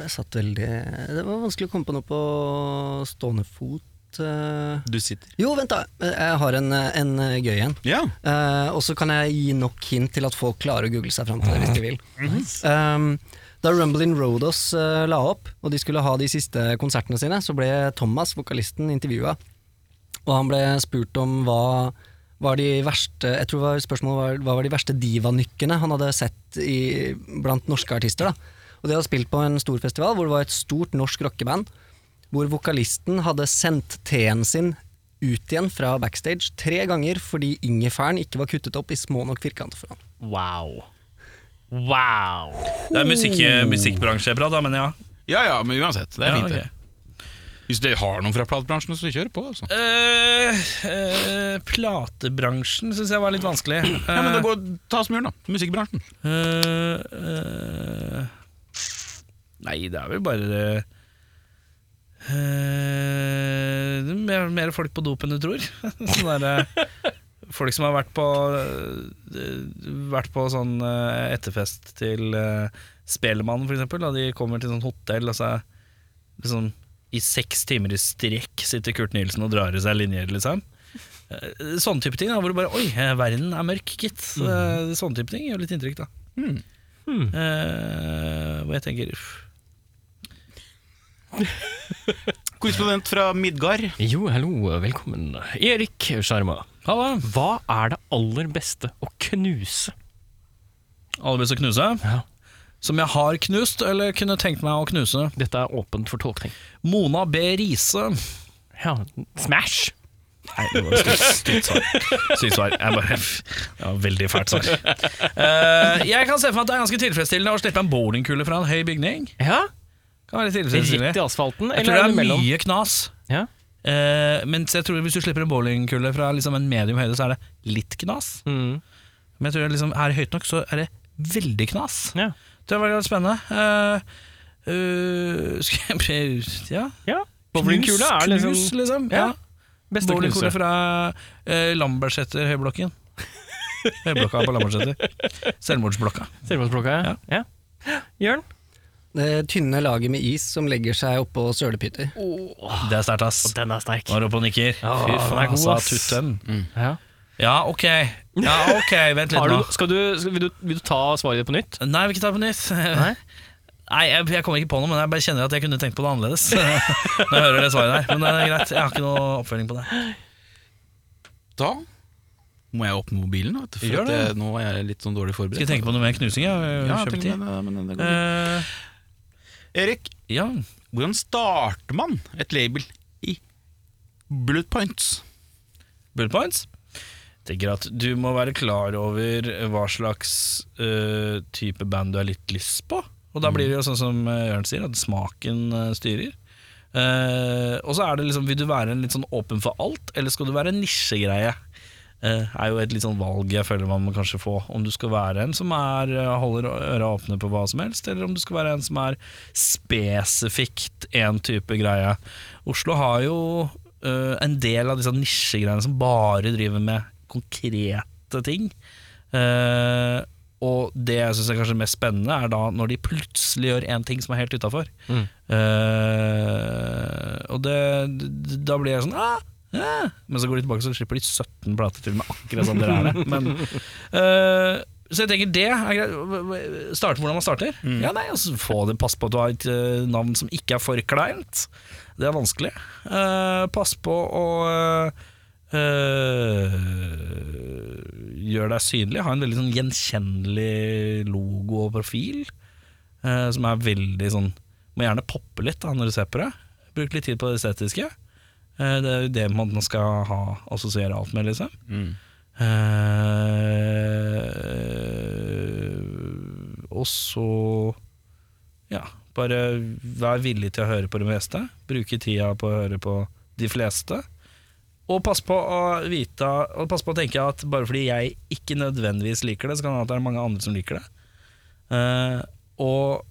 Jeg satt veldig Det var vanskelig å komme på noe på stående fot. eh.
Du sitter.
Jo, vent, da. Jeg har en, eh, en gøy en.
Ja,
Eh, og så kan jeg gi nok hint til at folk klarer å google seg fram til det hvis de vil. Um, da Rumble in Rodos eh, la opp, og de skulle ha de siste konsertene sine, så ble Thomas, vokalisten, intervjua. Og han ble spurt om hva var de verste Jeg tror det var spørsmålet var hva var de verste divanykkene han hadde sett i, blant norske artister. da Og de hadde spilt på en stor festival hvor det var et stort norsk rockeband hvor vokalisten hadde sendt teen sin ut igjen fra backstage tre ganger fordi ingefæren ikke var kuttet opp i små nok firkanter for han.
Wow. Wow.
Det er musikk,
eh,
musikkbransje jeg prater, men ja.
ja, ja men uansett. Det er
Ja,
fint,
ok.
det. Hvis dere har noen fra platebransjen, så kjør på. Altså.
Eh, eh, platebransjen syns jeg var litt vanskelig.
Ja, men da går, Ta smuren, da. Musikkbransjen.
Eh, eh, nei, det er vel bare det eh, det er mer, mer folk på dop enn du tror. Sånn der, eh, folk som har vært på eh, Vært på sånn eh, etterfest til eh, Spelemannen, for eksempel. Da de kommer til sånn hotell, og så er liksom I seks timer i strekk sitter Kurt Nilsen og drar i seg linjer, liksom. Eh, Sånne type ting. da, Hvor du bare Oi, eh, verden er mørk, gitt. Eh, Sånne type ting gjør litt inntrykk, da. Eh, hvor jeg tenker uff.
Korrespondent fra Midgard.
Jo, hallo, velkommen. Erik Sjarma.
Halla.
Hva er det aller beste å knuse?
Aller best å knuse.
Ja.
Som jeg har knust, eller kunne tenkt meg å knuse.
Dette er åpent for tolkning.
Mona B. Riise.
Ja, Smash!
Nei, det var et stygt svar. Sykt svar. Jeg bare, det var et veldig fælt svar. Eh, jeg kan se for meg at det er ganske tilfredsstillende å slippe en bowlingkule fra en høy bygning.
Ja,
Kan være
Rett i
tilfredsstillende.
asfalten,
Jeg
eller
tror det
er det
altså. er
mellom?
mye knas.
Ja.
Eh, mens jeg tror hvis du slipper en bowlingkule fra liksom en medium høyde, så er det litt knas.
Mm.
Men jeg tror det liksom, er det høyt nok, så er det veldig knas.
Ja.
Det var veldig spennende. Eh, eh, skal jeg Ja.
Ja. Bowlingkule er liksom
Knus, liksom.
Ja.
Ja.
beste
Bowlingkule
knuse.
fra eh, Lambertseter høyblokken. Høyblokka på Lambertseter. Selvmordsblokka.
Selvmordsblokka, ja. ja. Jørn?
Det tynne laget med is som legger seg oppå sølepyter.
Det er sterkt, ass.
Den er sterk.
Nå er du oppe og nikker.
Ja,
Fy faen,
den er god,
sa
ass.
tutten.
Ja.
Ja, ok. Ja, ok, Vent litt
Har
nå.
du, skal du, skal, vil, du, vil du ta svaret ditt på nytt?
Nei, vi kan ta det på nytt.
Nei?
Nei, jeg, jeg kommer ikke på noe, men jeg bare kjenner at jeg kunne tenkt på det annerledes. Når jeg hører det svaret der Men det er greit, jeg har ikke noe oppfølging på det.
Da må jeg åpne mobilen, vet du, for
Gjør
at
det.
jeg, nå er jeg litt sånn dårlig forberedt.
Skal jeg tenke på noe mer knusing? Ja,
ja,
ja,
jeg tenker
tid.
på det, men det går fint.
Eh,
Erik,
ja.
hvordan starter man et label i bullet points?
Bullet points. Tenker at du må være klar over hva slags eh, type band du har litt lyst på. Og da blir det jo sånn som eh, Jørn sier, at smaken eh, styrer. Eh, og så er det liksom, vil du være en litt sånn åpen for alt, eller skal du være en nisjegreie? Eh, er jo et litt sånn valg jeg føler man må kanskje få. Om du skal være en som er, eh, holder øra åpne på hva som helst, eller om du skal være en som er spesifikt én type greie. Oslo har jo eh, en del av disse nisjegreiene som bare driver med konkrete ting. Eh, og det jeg syns er kanskje mest spennende, er da når de plutselig gjør én ting som er helt utafor.
Mm.
og det, d- da blir jeg sånn ah, ah. Men så går de tilbake så slipper de 17 plater til med akkurat sånn dere er det. Men, eh, så jeg tenker det er greit. Hva- hva- Starte hvordan man starter. Ja, nei, altså, få det, Pass på at du har et eh, navn som ikke er for kleint. Det er vanskelig. Eh, pass på å eh, eh, gjør deg synlig. Ha en veldig sånn gjenkjennelig logo og profil, eh, som er veldig sånn Må gjerne poppe litt da når du ser på det. Bruk litt tid på det estetiske. Eh, det er jo det man skal ha assosiere alt med, liksom. Eh, og så ja, bare vær villig til å høre på det meste. Bruke tida på å høre på de fleste. Og pass på å vite Og pass på å tenke at bare fordi jeg ikke nødvendigvis liker det, så kan det hende at det er mange andre som liker det. Eh, og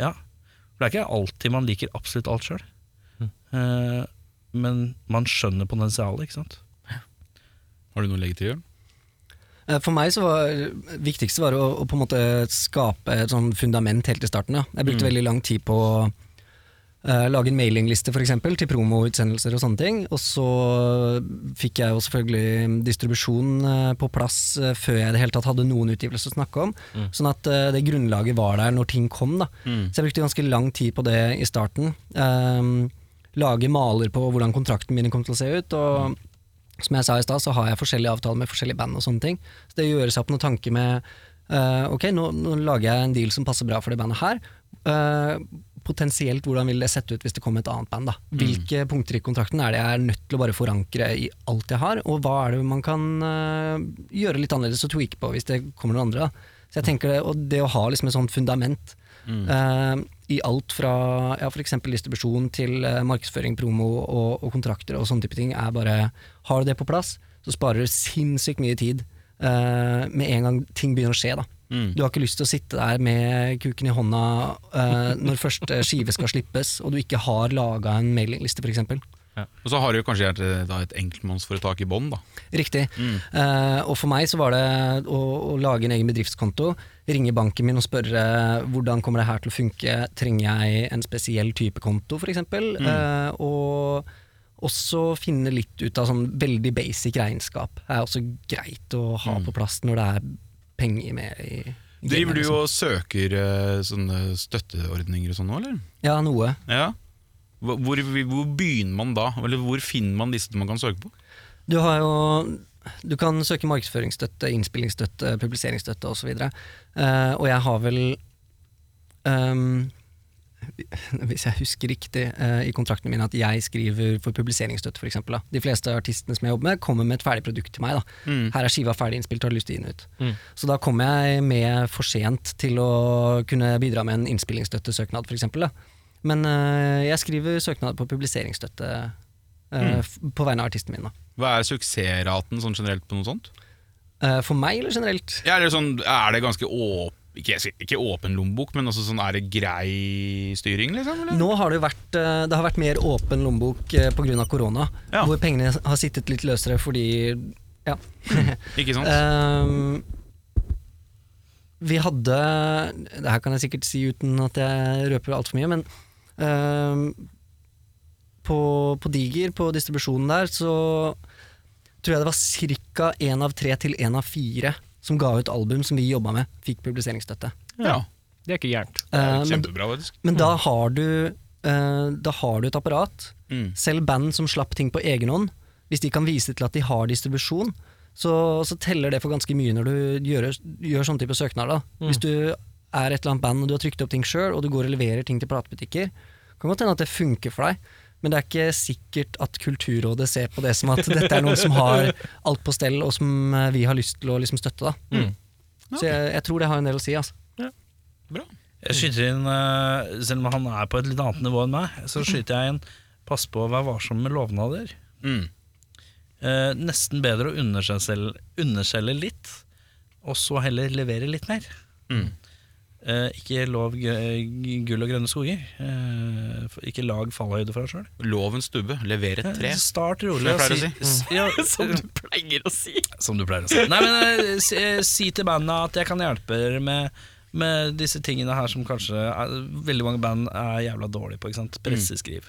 ja. For det er ikke alltid man liker absolutt alt sjøl. men man skjønner potensialet, ikke sant.
Har du noe å legge til, Jørn?
Eh, For meg så var det viktigste var å, å på en måte skape et sånn fundament helt i starten. Da. Jeg brukte veldig lang tid på å eh, lage en mailingliste for eksempel, til promoutsendelser og sånne ting. Og så fikk jeg jo selvfølgelig distribusjon eh, på plass eh, før jeg i det hele tatt hadde noen utgivelse å snakke om. Sånn at eh, det grunnlaget var der når ting kom. Da. Så jeg brukte ganske lang tid på det i starten. Ehm, lage maler på hvordan kontrakten min kom til å se ut. og som jeg sa i stad, så har jeg forskjellige avtaler med forskjellige band og sånne ting. Så det gjøres opp noen tanker med eh, Ok, nå, nå lager jeg en deal som passer bra for det bandet her. Eh, potensielt, hvordan vil det sette ut hvis det kom et annet band? da? Hvilke punkter i kontrakten er det jeg er nødt til å bare forankre i alt jeg har, og hva er det man kan eh, gjøre litt annerledes og tweake på hvis det kommer noen andre? da? Så jeg tenker det, Og det å ha liksom et sånt fundament eh, i alt fra ja, f.eks. distribusjon til eh, markedsføring, promo og, og kontrakter og sånne type ting, er bare Har du det på plass, så sparer du sinnssykt mye tid eh, med en gang ting begynner å skje. da Du har ikke lyst til å sitte der med kuken i hånda eh, når første skive skal slippes, og du ikke har laga en mailingliste, f.eks.
Og så har du jo kanskje gjerne et- da, et enkeltmannsforetak i bånn, da.
Riktig.
Mm.
Eh, og for meg så var det å, å lage en egen bedriftskonto, ringe banken min og spørre eh, hvordan kommer det her til å funke, trenger jeg en spesiell type konto f.eks.? eksempel
Mm.
Eh, og også finne litt ut av sånn veldig basic regnskap. Det er også greit å ha på plass når det er penger med i i
Mm. Driver
gamet,
du
liksom.
og søker eh, sånne støtteordninger og sånn nå, eller?
liksom. Ja, noe.
Ja. Hvor, hvor, hvor begynner man da? Eller hvor finner man disse man kan søke på?
Du har jo du kan søke markedsføringsstøtte, innspillingsstøtte, publiseringsstøtte osv. Uh, og jeg har vel ehm, Hvis jeg husker riktig eh, i kontrakten min at jeg skriver for publiseringsstøtte, f.eks. De fleste artistene som jeg jobber med, kommer med et ferdig produkt til meg. Da. Her er skiva ferdig innspilt, har du lyst til å gi den ut? Så da kommer jeg med for sent til å kunne bidra med en innspillingsstøttesøknad, f.eks. Men eh, jeg skriver søknad på publiseringsstøtte eh, f- på vegne av artisten min. da.
Hva er suksessraten sånn generelt på noe sånt?
Eh, For meg eller generelt?
Ja, eller sånn, er det ganske åpent Ikke, ikke åpen lommebok, men altså sånn er det grei styring, liksom? Eller?
Nå har det jo vært, eh, det har vært mer åpen lommebok eh, pga. korona,
Ja.
hvor pengene har sittet litt løsere fordi Ja.
Ikke sant?
eh,
Ehm, vi hadde Det her kan jeg sikkert si uten at jeg røper altfor mye, men ehm, på, på Diger, på distribusjonen der, så tror jeg det var ca. én av tre til én av fire som ga ut album som vi jobba med, fikk publiseringsstøtte.
ja.
Det er ikke gærent.
Eh, men
Kjempebra, faktisk.
men da har du eh, Da har du et apparat.
Mm.
Selv band som slapp ting på egen hånd, hvis de kan vise til at de har distribusjon, så, så teller det for ganske mye når du gjør, gjør sånn type søknad. Da. Hvis du er et eller annet band og du har trykt opp ting sjøl, og du går og leverer ting til platebutikker, kan godt hende at det funker for deg. Men det er ikke sikkert at Kulturrådet ser på det som at dette er noen som har alt på stell, og som eh, vi har lyst til å liksom støtte. Da. Så jeg, jeg tror det har en del å si. Altså.
Jeg skyter inn, eh, selv om han er på et litt annet nivå enn meg, så skyter jeg inn pass på å være varsom med lovnader.
Mm.
Eh, nesten bedre å underskjelle, underskjelle litt, og så heller levere litt mer.
Mm.
Eh, ikke lov gu- gull og grønne skoger. Eh, f- ikke lag fallhøyde for deg sjøl.
Lovens stubbe leverer
Eh,
et tre.
Start rolig.
Som jeg
og
pleier å si.
s- ja,
Som du pleier å si.
som du pleier å si. Nei, men eh, si, eh, si til bandene at jeg kan hjelpe dere med, med disse tingene her som kanskje er, veldig mange band er jævla dårlige på. ikke sant? Presseskriv.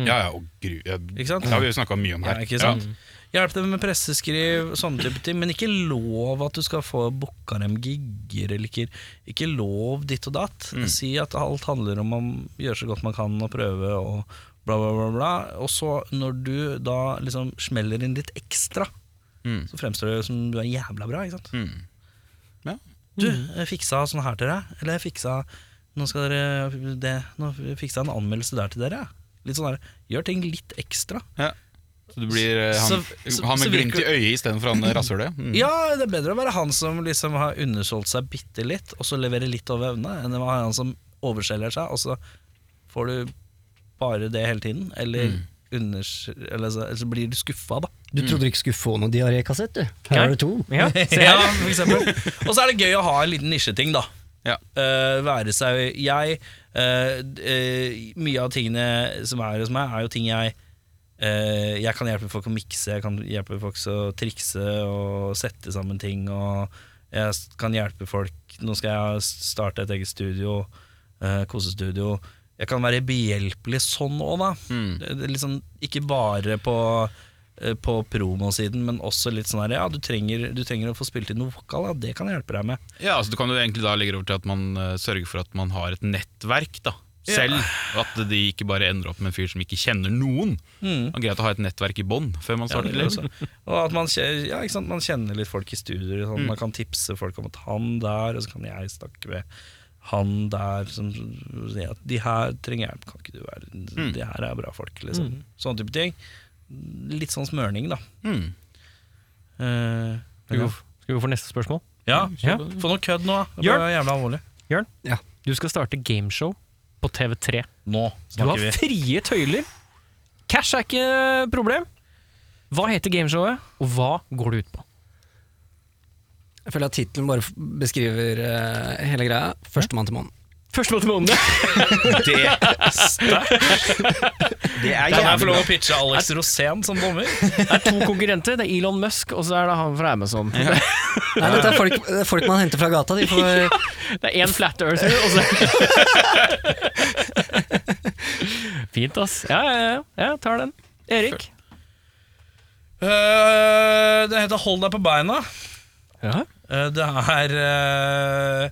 Ja, ja, og gru... Ja, det
Ikke sant?
har vi jo snakka mye om
Ja,
her.
ikke sant? Hjelp dem med presseskriv, sånne type ting, men ikke lov at du skal få booka dem gigger, eller ikke, ikke lov ditt og datt. Si at alt handler om å gjøre så godt man kan og prøve og bla, bla, bla. bla. Og så når du da liksom smeller inn litt ekstra,
Mm.
så fremstår det som du er jævla bra, ikke sant.
Ja. Mm.
Du, jeg fiksa sånn her til deg, eller jeg fiksa nå skal dere, det, nå fiksa jeg en anmeldelse der til dere. jeg. Litt sånn der, Gjør ting litt ekstra.
Så du blir eh, han,
Så- så-
han
så
med glimt i
virker-
øyet istedenfor han rasshølet? Mm.
Ja, det er bedre å være han som liksom har undersolgt seg bitte litt, og så leverer litt over evne, enn å være han som overselger seg, og så får du bare det hele tiden. Eller, unders- eller, så, eller så blir du skuffa, da.
Du trodde du ikke skulle få noen diarékassett, du. Her har du to.
Ja, se
Ja,
her.
for eksempel. Og så er det gøy å ha en liten nisjeting, da.
Ja.
Eh, være seg jeg eh, d- eh, Mye av tingene som er hos meg, er jo ting jeg eh, Jeg kan hjelpe folk å mikse, jeg kan hjelpe folk å trikse og sette sammen ting. Og jeg s- kan hjelpe folk Nå skal jeg starte et eget studio, eh, kosestudio. Jeg kan være behjelpelig sånn òg, da.
Mm.
Det- det er Litt sånn, ikke bare på eh, på promosiden, men også litt sånn her Ja, du trenger, du trenger å få spilt inn noe vokal, ja, det kan jeg hjelpe deg med.
Ja, altså Du kan jo egentlig da legge over til at man eh, sørger for at man har et nettverk da selv. og At de ikke bare ender opp med en fyr som ikke kjenner noen. Det er greit å ha et nettverk i bånn før man
Ja, det
starter.
gjør
liksom.
det også. og at man, kje- ja, ikke sant? man kjenner litt folk i studier. Sånn. Man kan tipse folk om at han der, og så kan jeg snakke med han der. Som, ja, de her trenger hjelp, kan ikke du være De her er bra folk, liksom. Sånne type ting. Litt sånn smørning, da.
mm.
Eh,
Skal vi gå- skal vi gå for neste spørsmål?
ja,
Ja.
få noe kødd nå, da. Det
Gjør
er jævla alvorlig.
Jørn,
Ja.
du skal starte gameshow på TV3.
Nå
Du
snakker
har
vi.
frie tøyler. Cash er ikke problem. Hva heter gameshowet, og hva går det ut på?
Jeg føler at tittelen bare f- beskriver eh, hele greia. Førstemann til månen.
Førstemann til måneden.
Kan jeg få lov å pitche Alex Rosén som dommer?
Det er to konkurrenter. Det er Elon Musk, og så er det han fra Amazon.
Nei, dette er folk, det er folk man henter fra gata. De får,
Det er én flat earther, og så Fint, ass. Ja, ja, ja. Jeg tar den. Erik.
Eh, det heter Hold deg på beina.
Ja.
Eh, Det er eh,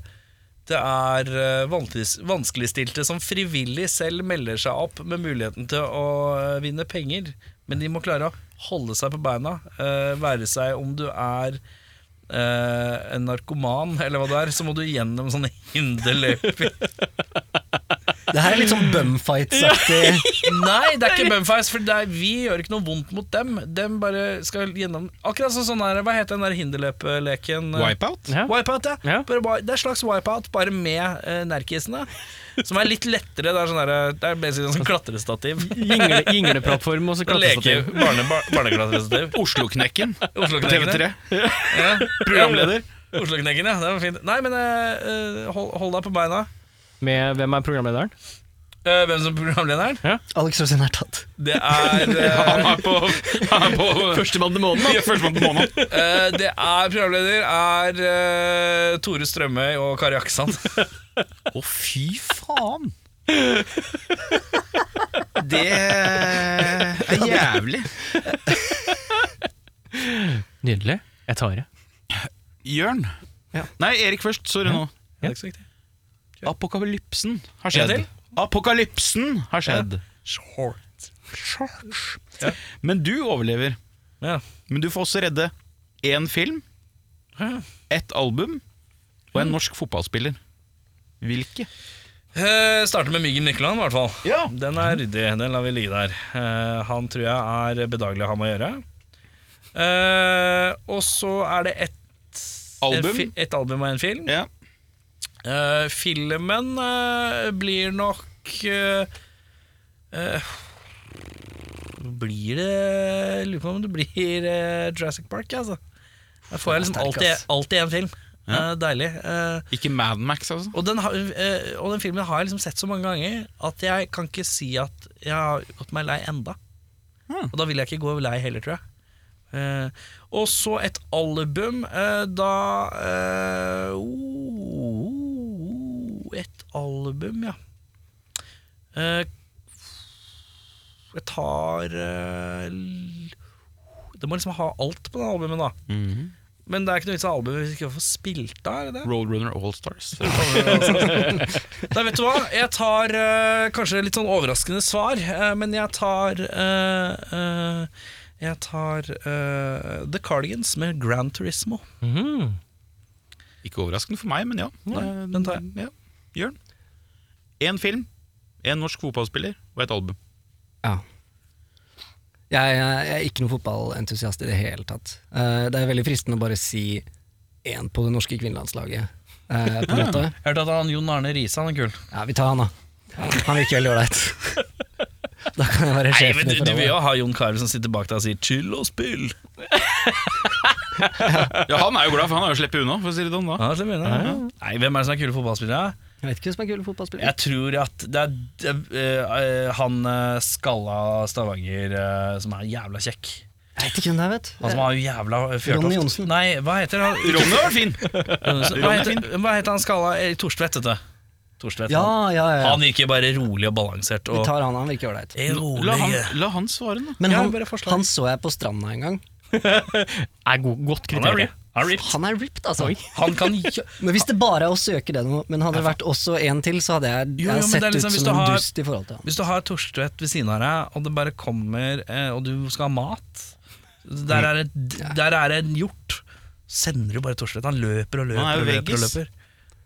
Det er eh, vanskelig- vanskeligstilte som frivillig selv melder seg opp med muligheten til å eh, vinne penger, men de må klare å holde seg på beina. eh, Være seg om du er eh, en narkoman, eller hva du er, så må du gjennom sånne hinderløyper.
det her er litt sånn bumfights-aktig.
Nei, det er ikke bumfights, for det er, vi gjør ikke noe vondt mot dem. Dem bare skal gjennom Akkurat som sånn her, hva heter den der hinderløpeleken? eh,
Wipeout?
Ja.
Wipeout, ja.
Ja.
Bare, bare- det er slags wipeout, bare med eh, nærkisene. Som er litt lettere. Det er sånn der, det er basically sånn klatrestativ.
Gyngle, Gyngleplattform og så
Sånn leke
klatrestativ.
barne, bar, barneklatrestativ.
Oslo-knekken.
Oslo-knekkene.
TV3.
Ja.
Programleder.
Oslo-kneggen, ja. Det var fint. Nei, men eh, eh, hold, hold deg på beina.
Med hvem er programlederen?
Eh, hvem som er programlederen?
Alex Rosén er tatt.
Det er eh,
Han er på, han er på
Førstemann til måneden.
Ja, Førstemann på måneden.
eh, Det er programleder er eh, Tore Strømøy og Kari Aksand.
Å, fy faen!
Det
Det er jævlig.
Nydelig. Jeg tar det.
Jørn.
Ja.
Nei, Erik først. Sorry nå.
er ikke så viktig.
Apokalypsen har
En
skjedd.
til?
Apokalypsen har skjedd. Men du overlever.
Ja.
Men du får også redde én film,
Ja.
ett album og en norsk fotballspiller. Hvilke?
Eh, starter med Myggen Mykland, i hvert fall.
Ja.
Den er ryddig. Den lar vi ligge der. Eh, han tror jeg er bedagelig å ha med å gjøre. Eh, og så er det ett en fi-
Album?
Et album og en film.
Ja.
Eh, filmen eh, blir nok eh, eh, Blir det jeg Lurer på om det blir eh, Jurassic Park, jeg, altså. Der får jeg liksom alltid, alltid en film. Eh, deilig. Eh,
Ikke Mad Max, altså?
og, den har, eh, og den filmen har jeg liksom sett så mange ganger at jeg kan ikke si at jeg har gått meg lei enda. Og da vil jeg ikke gå lei heller, tror jeg. Eh, og så et album. eh, da eh, oh, Et album, ja. Eh, jeg tar eh, l- Det må liksom ha alt på det albumet, da. Men det er ikke noe vits i albumet hvis jeg ikke får spilt av, er det det?
Roadrunner Allstars.
Nei, vet du hva? Jeg tar eh, kanskje litt sånn overraskende svar, eh, men jeg tar eh, eh, Jeg tar eh, The Cardigans med Grand Turismo.
Mhm.
Ikke overraskende for meg, men ja. Eh,
den tar jeg.
Ja. Jørn. Én film, én norsk fotballspiller og et album.
Ja. Jeg, jeg er ikke noen fotballentusiast i det hele tatt. Eh, det er veldig fristende å bare si én på det norske kvinnelandslaget. eh, på en måte.
Jeg hørte at han Jon Arne Riise han er kul.
Ja, vi tar han, da. Han virker veldig ålreit. Da kan jeg være
Nei,
sjefen
men du,
i
du vil
forholdet.
jo ha Jon Carew som sitter bak deg og sier 'chill og spill'.
Ja, Han er jo glad, for han har jo sluppet unna. for å si det sånn da
Ja, så mener jeg. Nei, Hvem er det som er kule fotballspillere?
Jeg vet ikke hvem som er kule fotballspillere.
Jeg tror at det er eh, eh, han eh, skalla Stavanger eh, som er jævla kjekk.
Jeg vet ikke hvem det er, vet
Han som har jævla eh, fjørtoft.
Ronny Johnsen.
Nei, hva heter han?
Ronny har vært fin!
Hva
Ronny er
heter, hva heter han skalla Erik Torstvedt, vet du? Torstvedt,
Ja,
han.
ja, ja.
han virker bare rolig og balansert.
Vi
Og
tar han, han virker ålreit.
Eh,
La han,
rolig.
la han svare, da.
Men
Ja,
han,
bare forslag.
han så jeg på stranda en gang.
Er go godt
Han er
kriterium.
ripped. Han er ripped.
Han er ripped, altså.
Han kan jo-
Men hvis det bare er å søke det nå, men hadde det vært også en til, så hadde jeg,
Jo, jo,
jeg
men
sett
det er liksom
ut
hvis
som
du
en
har-
dust i forhold til han.
Hvis du har Torstvedt ved siden av deg, og det bare kommer eh, Og du skal ha mat Der er det, der er det en hjort. Sender du bare Torstvedt. Han løper og løper
Han er jo
og løper. og
veggis.
løper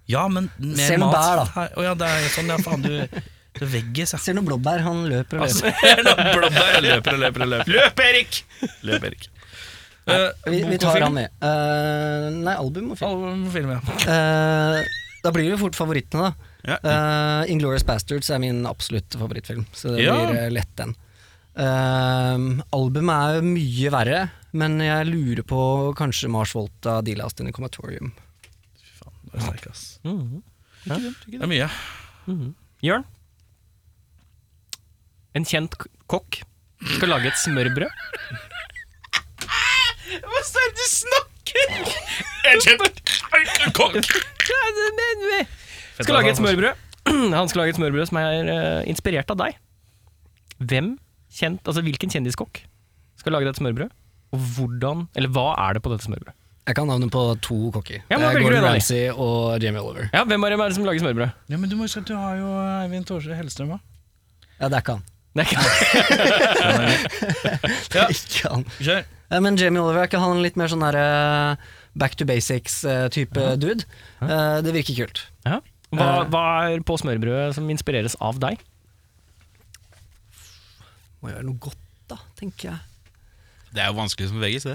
Ja, men mer
Ser noen
mat.
bær, da.
Her- Å ja, det er sånn, ja. Faen, du Det er veggis, ja.
Ser noen blåbær, han løper og
Altså,
løper.
noen blåbær, jeg løper og løper og løper.
Løp, Erik!
Løp, Erik. Eh,
Vi, vi
bok og
tar
film?
han med. Eh, nei, album og film.
Album og film, ja.
Eh, da blir det jo fort favorittene, da.
Ja.
Uh, Inglorious Bastards er min absolutt favorittfilm, så det
Ja.
blir eh, lett den. Eh, albumet er jo mye verre, men jeg lurer på kanskje Mars Volt av D-Last in the Comatorium.
Det er sterk, ass.
Ja.
Det er mye.
Jørn? En kjent k- kokk skal lage et smørbrød.
Hva er det du snakker? En kjent kokk.
Skal lage et smørbrød. Han skal lage et smørbrød som er eh, inspirert av deg. Hvem kjent, altså Hvilken kjendiskokk skal lage dette smørbrødet? Og hvordan, eller hva er det på dette smørbrødet?
Jeg kan navnet på to kokker.
Ja,
det
men
er
velger du en
Gordon
av de?
Ramsay og Jamie Oliver.
Ja, Hvem er det, hvem er det som lager smørbrød?
Ja, men du må huske at du har jo Eivind Tårsrud Hellstrøm òg.
Ja, det er ikke han.
Det er ikke
Det er ikke han.
Kjør.
Ja, men Jamie Oliver, er ikke han litt mer sånn der eh, back to basics-type dude? Eh, det virker kult.
ja. hva,
Eh.
hva er på smørbrødet som inspireres av deg?
Må gjøre noe godt, da, tenker jeg.
Det er jo vanskelig som veggis, det.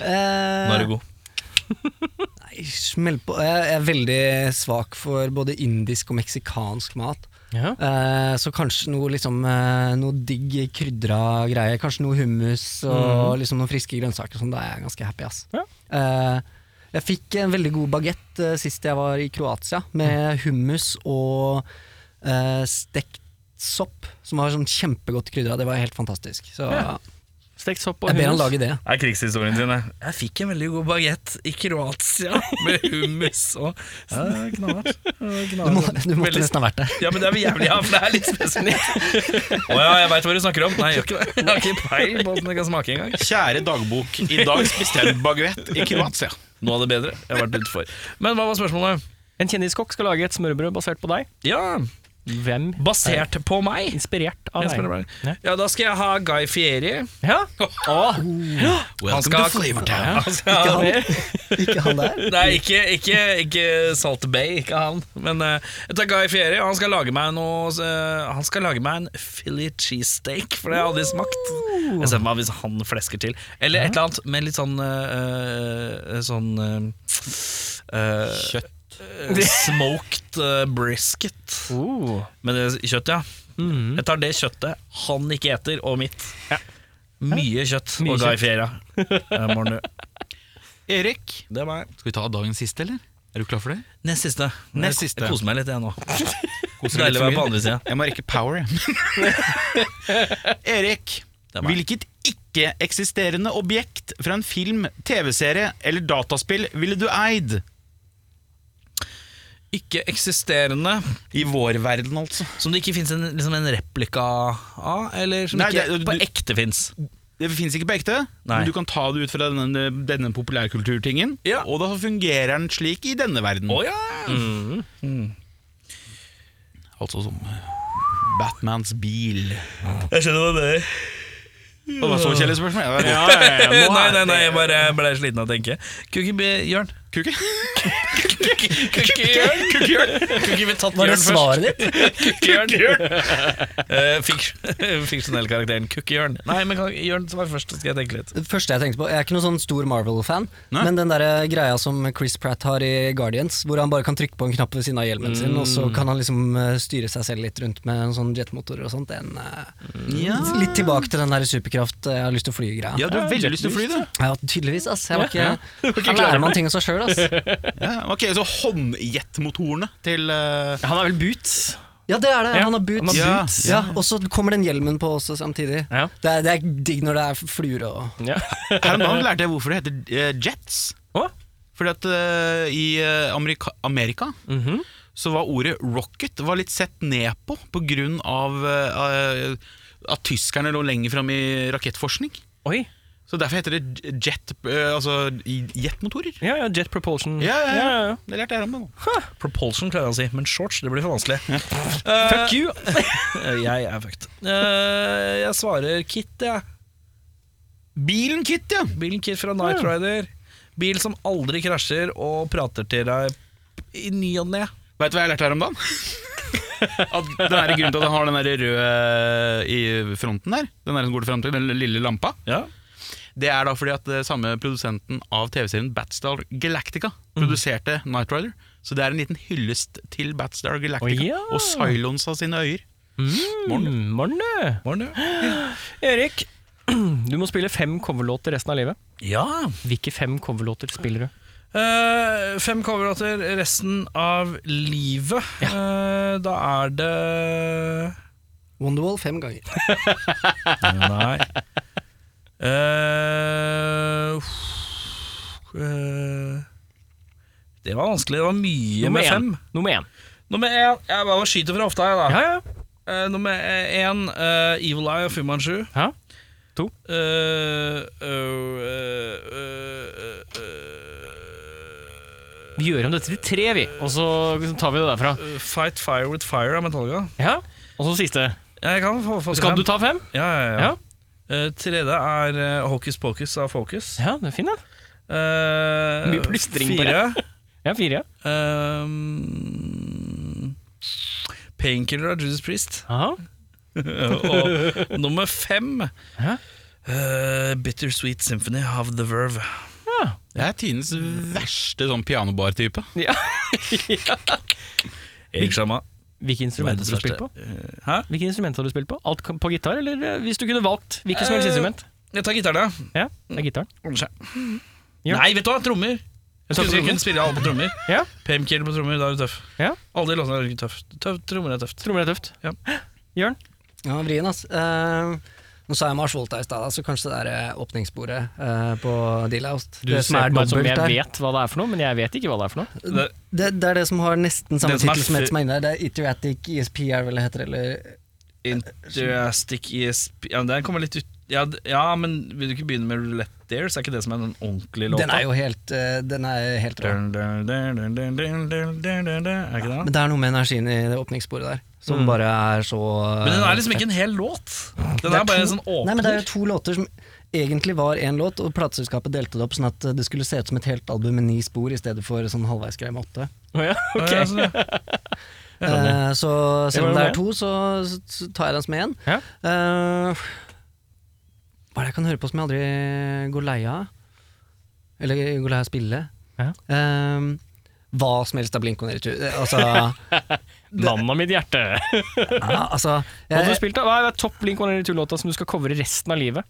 Eh,
Nå er du god.
Nei, smell på. Jeg er veldig svak for både indisk og meksikansk mat.
Ja.
Eh, så kanskje noe, liksom, eh, noe digg krydra greier. Kanskje noe hummus og liksom noen friske grønnsaker. og Sånn, da er jeg ganske happy. Ass.
Mhm. Ja.
Eh, jeg fikk en veldig god bagett eh, sist jeg var i Kroatia, med
Mhm.
hummus og eh, stekt sopp, som var sånn kjempegodt krydra. Det var helt fantastisk. Så
Ja. Stekt sopp og
jeg ber han
hummus.
lage det.
er krigshistorien sin. Jeg. jeg fikk en veldig god bagett i Kroatia med hummus og ja, det er Knallhardt. Det er
Du, må,
knallhardt.
du måtte
Veldig-
nesten ha vært der.
Ja, men det er vel jævlig, ja, for det er litt spesielt. Å ja, jeg veit hva du snakker om. Nei, jeg gjør ikke det. Jeg har ikke peil på hvordan det kan smake engang.
Kjære dagbok, i dag spiste jeg baguett i Kroatia.
Noe av det bedre jeg har vært ute for. Men hva var spørsmålet?
En kjendiskokk skal lage et smørbrød basert på deg.
Ja,
Hvem?
basert på meg.
Inspirert av
Jeg spør
deg.
meg. Ja, da skal jeg ha Guy Fieri.
Ja.
Han skal ha Ja,
altså.
han skal ha-
Ikke han der.
Nei, ikke, ikke, ikke Salt Bay, ikke han. Men eh, jeg tar Guy Fieri, og han skal lage meg noe eh, Han skal lage meg en Philly cheesesteak, for det har jeg aldri smakt. Jeg ser for meg hvis han flesker til. Eller et eller annet med litt sånn eh, eh, Sånn Kjøtt. Smoked eh, brisket.
Oh. Mm-hmm.
Med det kjøttet, ja. Jeg tar det kjøttet han ikke eter, og mitt. Mye kjøtt
Mye
og Guy
kjøtt.
Fieri. ja. Eh, Mornu.
Erik,
Det er meg.
skal vi ta dagens siste, eller? Er du klar for det?
Nest siste.
Nest
Jeg-
siste.
Jeg koser meg litt, jeg nå.
Koser deg litt
Deilig å være
for
på
mye?
andre sida.
Jeg må rekke power, jeg. Erik,
er meg.
hvilket ikke-eksisterende objekt fra en film, TV-serie eller dataspill ville du eid?
Ikke-eksisterende,
I vår verden, altså.
som det ikke fins en, liksom en replika av, eller som
Nei,
ikke
det-
på
du-
ekte fins.
Det fins ikke på ekte,
Nei.
men du kan ta det ut fra denne, denne populærkulturtingen,
Ja.
og da fungerer den slik i denne verden. Mm.
ja!
Altså som Batmans bil.
Jeg skjønner hva du mener.
Det var så kjedelig spørsmål. Mm. Ja,
nei, nei, nei, jeg bare ble sliten av å tenke. Kuki Bjørn.
Kukke?
Kukkebjørn? Kukkebjørn. vi tatt
Var det
Bjørn først?
svaret ditt?
Kukkebjørn. Eh, fik- Fiksjonellkarakteren Kukkebjørn. Nei, men kan- Jørn var først, så skal jeg tenke litt.
Det første jeg tenkte på, Jeg er ikke noen sånn stor Marvel-fan, men den der eh, greia som Chris Pratt har i Guardians, hvor han bare kan trykke på en knapp ved siden av hjelmen sin, og så kan han liksom eh, styre seg selv litt rundt med en sånn jetmotor og sånt, den, eh, Litt tilbake til den der superkraft, eh, jeg har lyst til å fly-greia.
Ja, du har veldig lyst til å fly, du.
Ja, tydeligvis, ass. Jeg var ikke, her lærer man ting av seg sjøl, ass.
Ja, ok, så håndjetmotorene til eh,
Han er vel boot.
Ja, det er det. Han har boots.
Ja.
Ja, og så kommer den hjelmen på også samtidig.
Ja.
Det, er, det er digg når det er fluer og
Ja.
Her om dagen lærte jeg hvorfor det heter eh, jets.
Å?
Fordi at eh, i eh, Amerika, Amerika
Mhm.
så var ordet rocket var litt sett ned på på grunn av eh, eh, at tyskerne lå lenger fram i rakettforskning.
Oi.
Så derfor heter det j- jet, eh, altså i- jetmotorer.
Ja, ja, jet propulsion.
Ja, ja, ja.
ja, ja.
Det lærte jeg om. da.
Propulsion klarer han å si, men shorts det blir for vanskelig.
Fuck you!
Eh, Jeg er fucked. Eh, jeg svarer Kit, jeg.
Bilen Kit, ja!
Bilen Kit fra Night Rider. Bil som aldri krasjer og prater til deg i ny og ne.
Veit du hva jeg lærte her om dagen? At den er grunnen til at den har den der røde i fronten der, den der som går til frem til, den lille lampa,
Ja.
det er da fordi at det samme produsenten av TV-serien Batstar Galactica
Mhm.
produserte Knight Rider. Så det er en liten hyllest til Batstar Galactica
Å, ja.
og Cylons av sine øyer.
Mm, Morne. Erik, du må spille fem coverlåter resten av livet.
ja.
Hvilke fem coverlåter spiller du?
Eh, fem coverlåter resten av livet. Eh, da er det
Wonderwall fem ganger.
Nei. Eh, uff, eh, det var vanskelig. Det var mye med
én.
fem.
Nummer én.
Nummer én Jeg bare skyter fra hofta, jeg, da.
Ja, ja.
Eh, nummer én, eh, Evil Eye av Fu Manchu.
Ja. To.
Eh, eh, eh, eh,
Vi gjør om dette til tre, vi. Og så tar vi det derfra.
eh, Fight Fire With Fire av Metallica.
Ja. Og så siste.
Ja, Jeg kan få, få
Skal du
til den.
ta fem?
Ja, ja, ja.
Ja.
Eh, tredje er eh, Hocus Pocus av Focus.
Ja, det er fin, den.
Eh,
Mye plystring på
fire.
Ja, fire.
ehm, Painkiller av Judas Priest.
Aha.
Og nummer fem
Hæ?
eh, Bittersweet Symphony of the Verve.
Ja.
Jeg er Tines
Mm.
verste sånn pianobar-type.
Ja.
Erik Sjama.
Hvilke instrumenter har du spilt på?
Hæ?
Hvilke instrumenter har du spilt på? Alt kan- på gitar, eller eh, hvis du kunne valgt hvilket som helst
Eh,
instrument?
Jeg tar gitar, da.
Ja, det er gitaren.
Ordner seg.
Ja.
Nei, vet du hva? Trommer. Jeg
tar
skulle
trommer.
jeg kunne spille alle på trommer.
Ja.
Pemkill på trommer, da er du tøff.
Ja.
Alle de låtene er tøff. tøff. Trommer er tøft.
Trommer er tøft.
Ja.
Jørn?
Ja, vrien, ass. Eh, nå sa jeg Mars Volta i stad, da, så kanskje det der eh, åpningsbordet eh, på Dealhouse
Du
Det som er
på meg som
dobbelt
jeg
der.
vet hva det er for noe, men jeg vet ikke hva det er for noe.
Det,
Det, det er det som har nesten samme
Det som er
tittel som
fri-
et som er inne der. Det er E Iteratic ESP, er vel det heter, eller
Interastic ESP Ja, den kommer litt ut ja, d- ja, men vil du ikke begynne med Roulette Dares? Er ikke det som er den ordentlige låta?
Den er jo helt eh, Den er helt rå.
Dun, dun, dun, dun, dun, dun, dun, dun, dun, dun. Er ikke det?
Men det er noe med energien i det åpningssporet der som bare er så
Mm. Men den er liksom ikke en hel låt. Den er bare en sånn
Nei, men det er
åpner.
jo to låter som egentlig var én låt, og plateselskapet delte det opp sånn at eh, det skulle se ut som et helt album med ni spor i stedet for sånn halvveisgreie med åtte.
Å ja, ok. altså,
Ja, sånn, ja.
Eh, så selv
var
om det
med.
er to, så, så tar jeg den som én.
Ja.
Eh, hva er det jeg kan høre på som jeg aldri går lei av? Eller går lei av å spille?
Ja.
Eh, hva som helst av Blink-182. Eh, Altså,
Mannen av mitt hjerte.
ja, altså
Hva har du
jeg,
spilt da? Hva er topp Blink 182-låta som du skal covre resten av livet?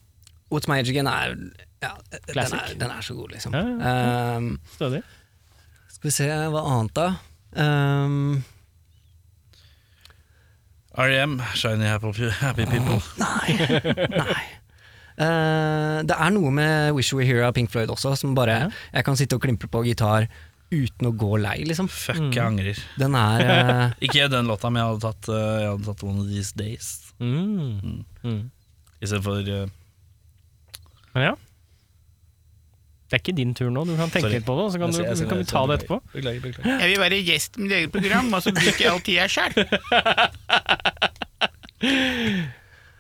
What's My Age Again er ja, den, er,
Classic.
den er så god, liksom.
Ja,
Eh,
Stødig.
skal vi se, hva annet da? Eh,
R.E.M. E Shiny Happy Happy People.
Nei. Nei. Eh, det er noe med Wish You Were Here av Pink Floyd også, som bare Jeg kan sitte og klimpre på gitar uten å gå lei, liksom.
Fuck, jeg angrer.
Den er eh,
Ikke den låta, men jeg hadde tatt, eh, jeg hadde tatt One of These Days.
Mm.
Istedenfor uh,
Men ja. Det er ikke din tur nå, du kan tenke
Sorry.
litt på det, og så kan,
Jeg ser- jeg
du,
ser-
kan
jeg
vi
ser-
ta det etterpå.
Beklager, beklager.
Jeg vil være gjest i mitt eget program, og så bruker jeg all tida sjøl.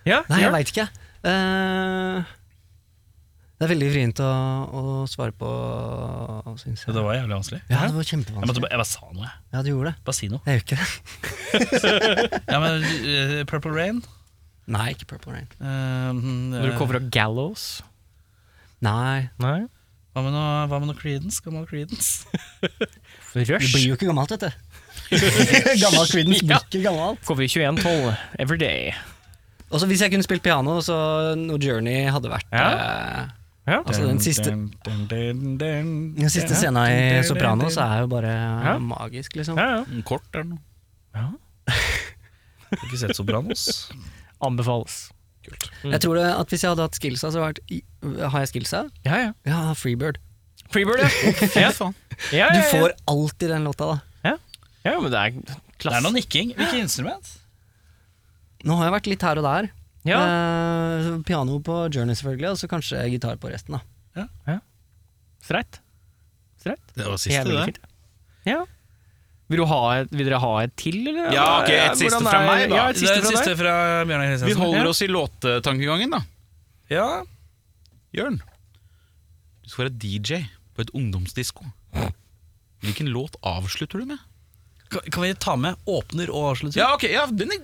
Ja,
Nei, jeg
Jørn?
veit ikke. Eh, det er veldig vrient å, å svare på, syns jeg.
Det var jævlig vanskelig.
Ja, det var
Jeg, måtte,
kjempevanskelig.
bare- jeg bare sa noe, jeg.
Ja, du gjorde det.
Bare si noe.
Jeg gjør ikke det.
Ja, men eh, Purple Rain
Nei, ikke Purple Rain.
eh,
Når du
eh,
covrer Gallows
Nei,
Nei.
hva, med noe, hva med noe Creedence? Gammel Creedence?
det
Rush.
blir jo ikke gammelt, vet du. Gammel Creedence blir ikke gammelt.
Cover 2112 Every Day.
Og så Hvis jeg kunne spilt piano, så No Journey hadde vært
Ja.
eh,
Ja.
Altså den siste,
Dun, dun, dun, dun, dun.
den siste scena i Sopranos er jo bare magisk, liksom.
Ja, ja.
Mm, Kort eller noe.
Har Ikke sett Sopranos?
Anbefales.
Jeg tror det, at Hvis jeg hadde hatt skillsa, så hadde jeg vært i- Har jeg skillsa?
Ja, ja.
Ja, Freebird.
Freebird, ja. ja.
faen.
Ja, ja,
Du
ja.
får alltid den låta, da.
ja, men det er
Det
klasse.
er noe nikking. Hvilket instrument?
Nå har jeg vært litt her og der.
ja.
Eh, så piano på Journey, selvfølgelig, og så kanskje gitar på resten. da
Streit. Streit.
Det var
Jævlig
siste, det.
fint. Ja. Vil, du ha et, vil dere ha et til, eller?
Ja, ok, et siste
Hvordan
fra
er-
meg, da.
Ja, et siste
det
fra
siste
deg.
fra Bjørnar
Vi
Kristiansen.
holder oss i låtetankegangen, da.
Ja.
Jørn. Du skal være DJ på et ungdomsdisko. Hvilken låt avslutter du med?
Kan, kan vi ta med åpner og avslutter?
Ja, ok, ja, den er,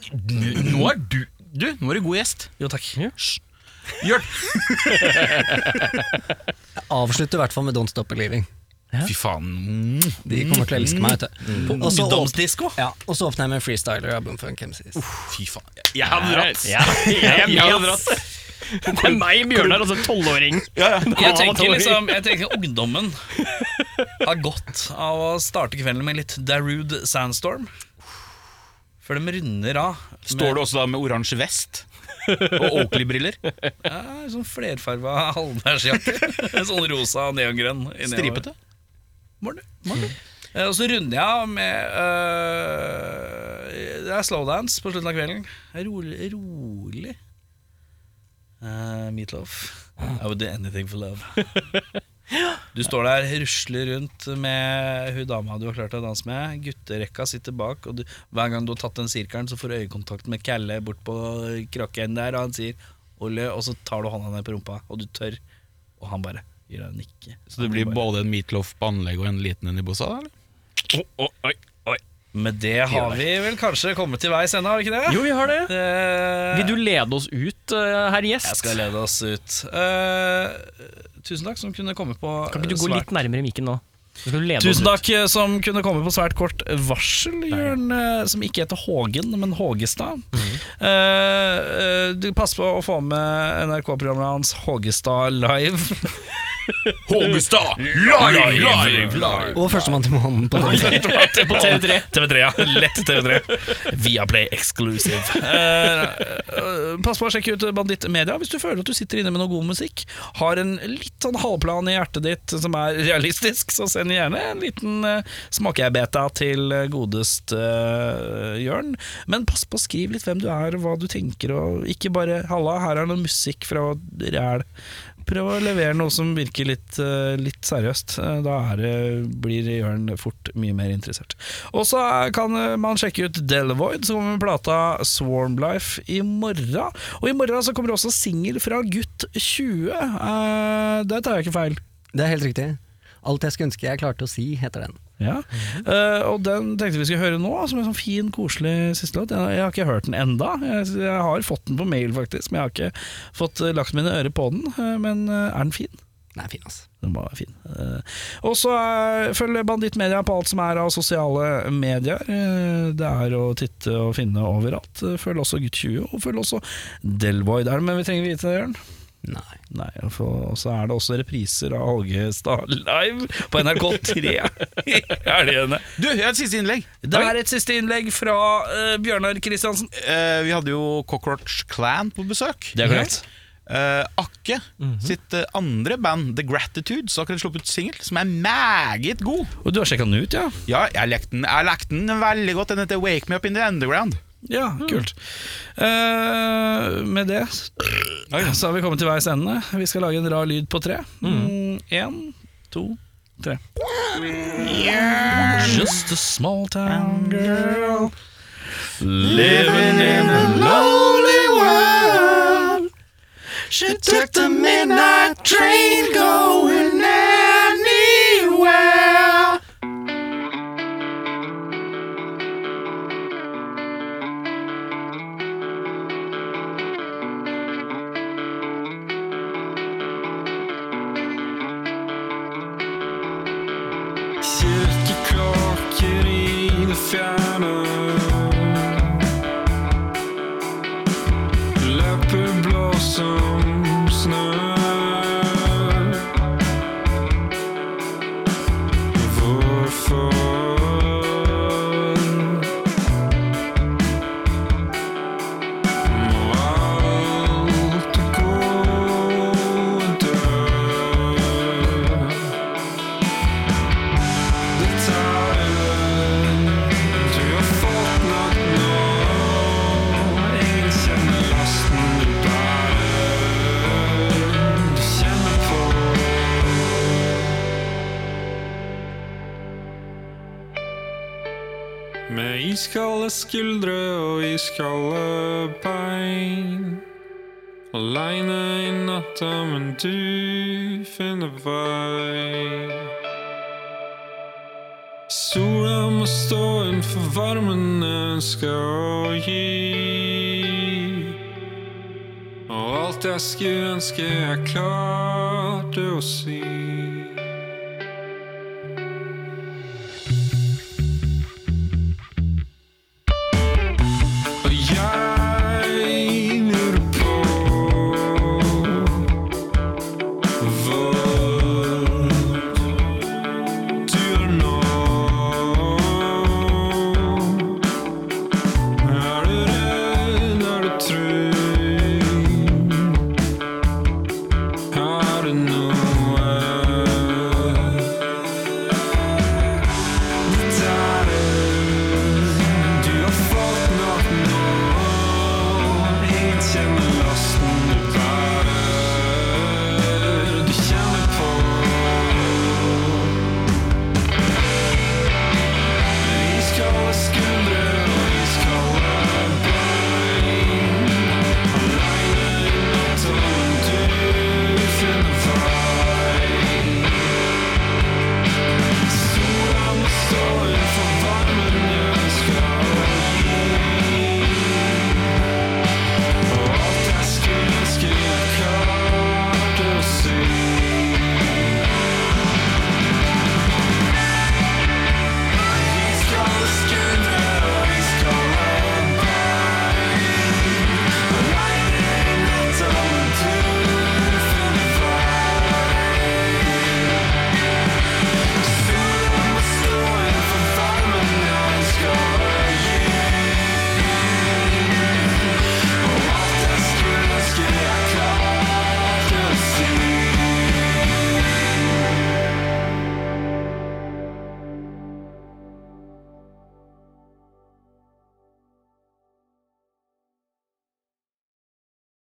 Nå er du Du, nå er du god gjest.
Jo, takk.
Hysj. Jørn.
Jeg Avslutter i hvert fall med Don't Stop Believing.
Fy faen. Mm.
De kommer til å elske meg. vet du
Mm.
Og
altså
så åp-
Ungdomsdisko?
ja, og så åpner jeg med Freestyler av Boomfunk MCs.
Fy faen. Jeg hadde dratt.
Ja, jeg er
Jeg hadde
med, ass.
dratt.
Det er meg, Bjørnar, altså tolvåring.
Jeg tenker liksom Jeg tenker ungdommen har godt av å starte kvelden med litt Darude Sandstorm. Før de runder av. med-
Står du også da med oransje vest? Og Oakley-briller?
Ja, sånn flerfarva halvbærsjakke. sånn rosa og neongrønn. i nedover.
Stripete?
Morgen, du. Morgen, du. Eh, Og så runder jeg av med øh, Det er slowdance på slutten av kvelden. Rolig. rolig. Eh, meatloaf. I would do anything for love. Du står der, rusler rundt med hun dama du har klart å danse med. Gutterekka sitter bak, og du, hver gang du har tatt den sirkelen, så får du øyekontakt med Kalle bort på krakken der, og han sier 'Olle', og så tar du hånda ned på rumpa, og du tør, og han bare gir deg en nikke.
Så det blir både en meatloaf på anlegg og en liten en i bossa? da, eller?
Med det har vi vel kanskje kommet til veis ende, har vi ikke det?
Jo, vi har det.
Eh,
Vil du lede oss ut, eh, herr gjest?
Jeg skal lede oss ut. Eh, Tusen takk som kunne komme på
Kan ikke du gå
svært-
litt nærmere mikken nå? Så skal du lede
Tusen
oss ut.
takk eh, som kunne komme på svært kort varsel, Jørn, eh, som ikke heter Hågen, men Hågestad. Eh, eh, du Pass på å få med NRK-programmet hans Hågestad live.
Hågestad! Live, live, live!
Og førstemann til månen på den.
på TV3. TV3, ja. Lett TV3. Viaplay exclusive. Eh, eh, pass på å sjekke ut Banditt Media hvis du føler at du sitter inne med noe god musikk. Har en litt sånn halvplan i hjertet ditt som er realistisk, så send gjerne en liten uh, smakebeta til eh, godest eh, Jørn. Men pass på å skrive litt hvem du er, og hva du tenker, og ikke bare 'halla, her er noe musikk fra ræl'. Prøv å levere noe som virker litt, eh, litt seriøst. Eh, Da er det, blir Jørn fort mye mer interessert. Og så eh, kan eh, man sjekke ut Delvoid, som kommer med plata Swarm Life i morgen. Og i morgen så kommer det også singel fra Gutt 20. Eh, Der tar jeg ikke feil.
Det er helt riktig. Alt jeg skulle ønske jeg klarte å si, heter den.
Ja. Eh, og den tenkte vi skulle høre nå, som en sånn fin, koselig siste låt. Jeg, jeg har ikke hørt den enda jeg, jeg har fått den på mail, faktisk, men jeg har ikke fått eh, lagt mine ører på den. Eh, men eh, er den fin?
Den er fin, altså.
Den var fin. Eh, Og så eh, følg Banditt Media på alt som er av sosiale medier. Eh, Det er å titte og finne overalt. Eh, Følg også Gutt 20, og følg også Delvoid. Er det med vi trenger vite, Jørn?
Nei.
Nei, og for- og så er det også repriser av Hågestad live på NRK3 i helgene.
Du, jeg har et siste innlegg.
Det er et siste innlegg fra eh, Bjørnar Kristiansen.
Eh, vi hadde jo Cockroach Clan på besøk.
Det er korrekt.
Eh, Akke sitt eh, andre band, The Gratitudes, har akkurat sluppet singel, som er meget god.
Og du har sjekka den ut, ja?
Ja, jeg lekte den, jeg lekte den veldig godt. Den heter Wake Me Up In The Underground.
Ja, kult. Eh, med det så har vi kommet til veis ende. Vi skal lage en rar lyd på tre. Én, to, tre. Just a small town girl living in a lonely world. She took the midnight train going anywhere.
Kirkeklokker i det fjerne Løper blå som snø Hvorfor Må alt det gode dø Med iskalde skuldre og iskalde bein. Aleine i natta, men du finner vei. Sola må stå inn for varmen den skal gi. Og alt jeg skulle ønske jeg klarte å si.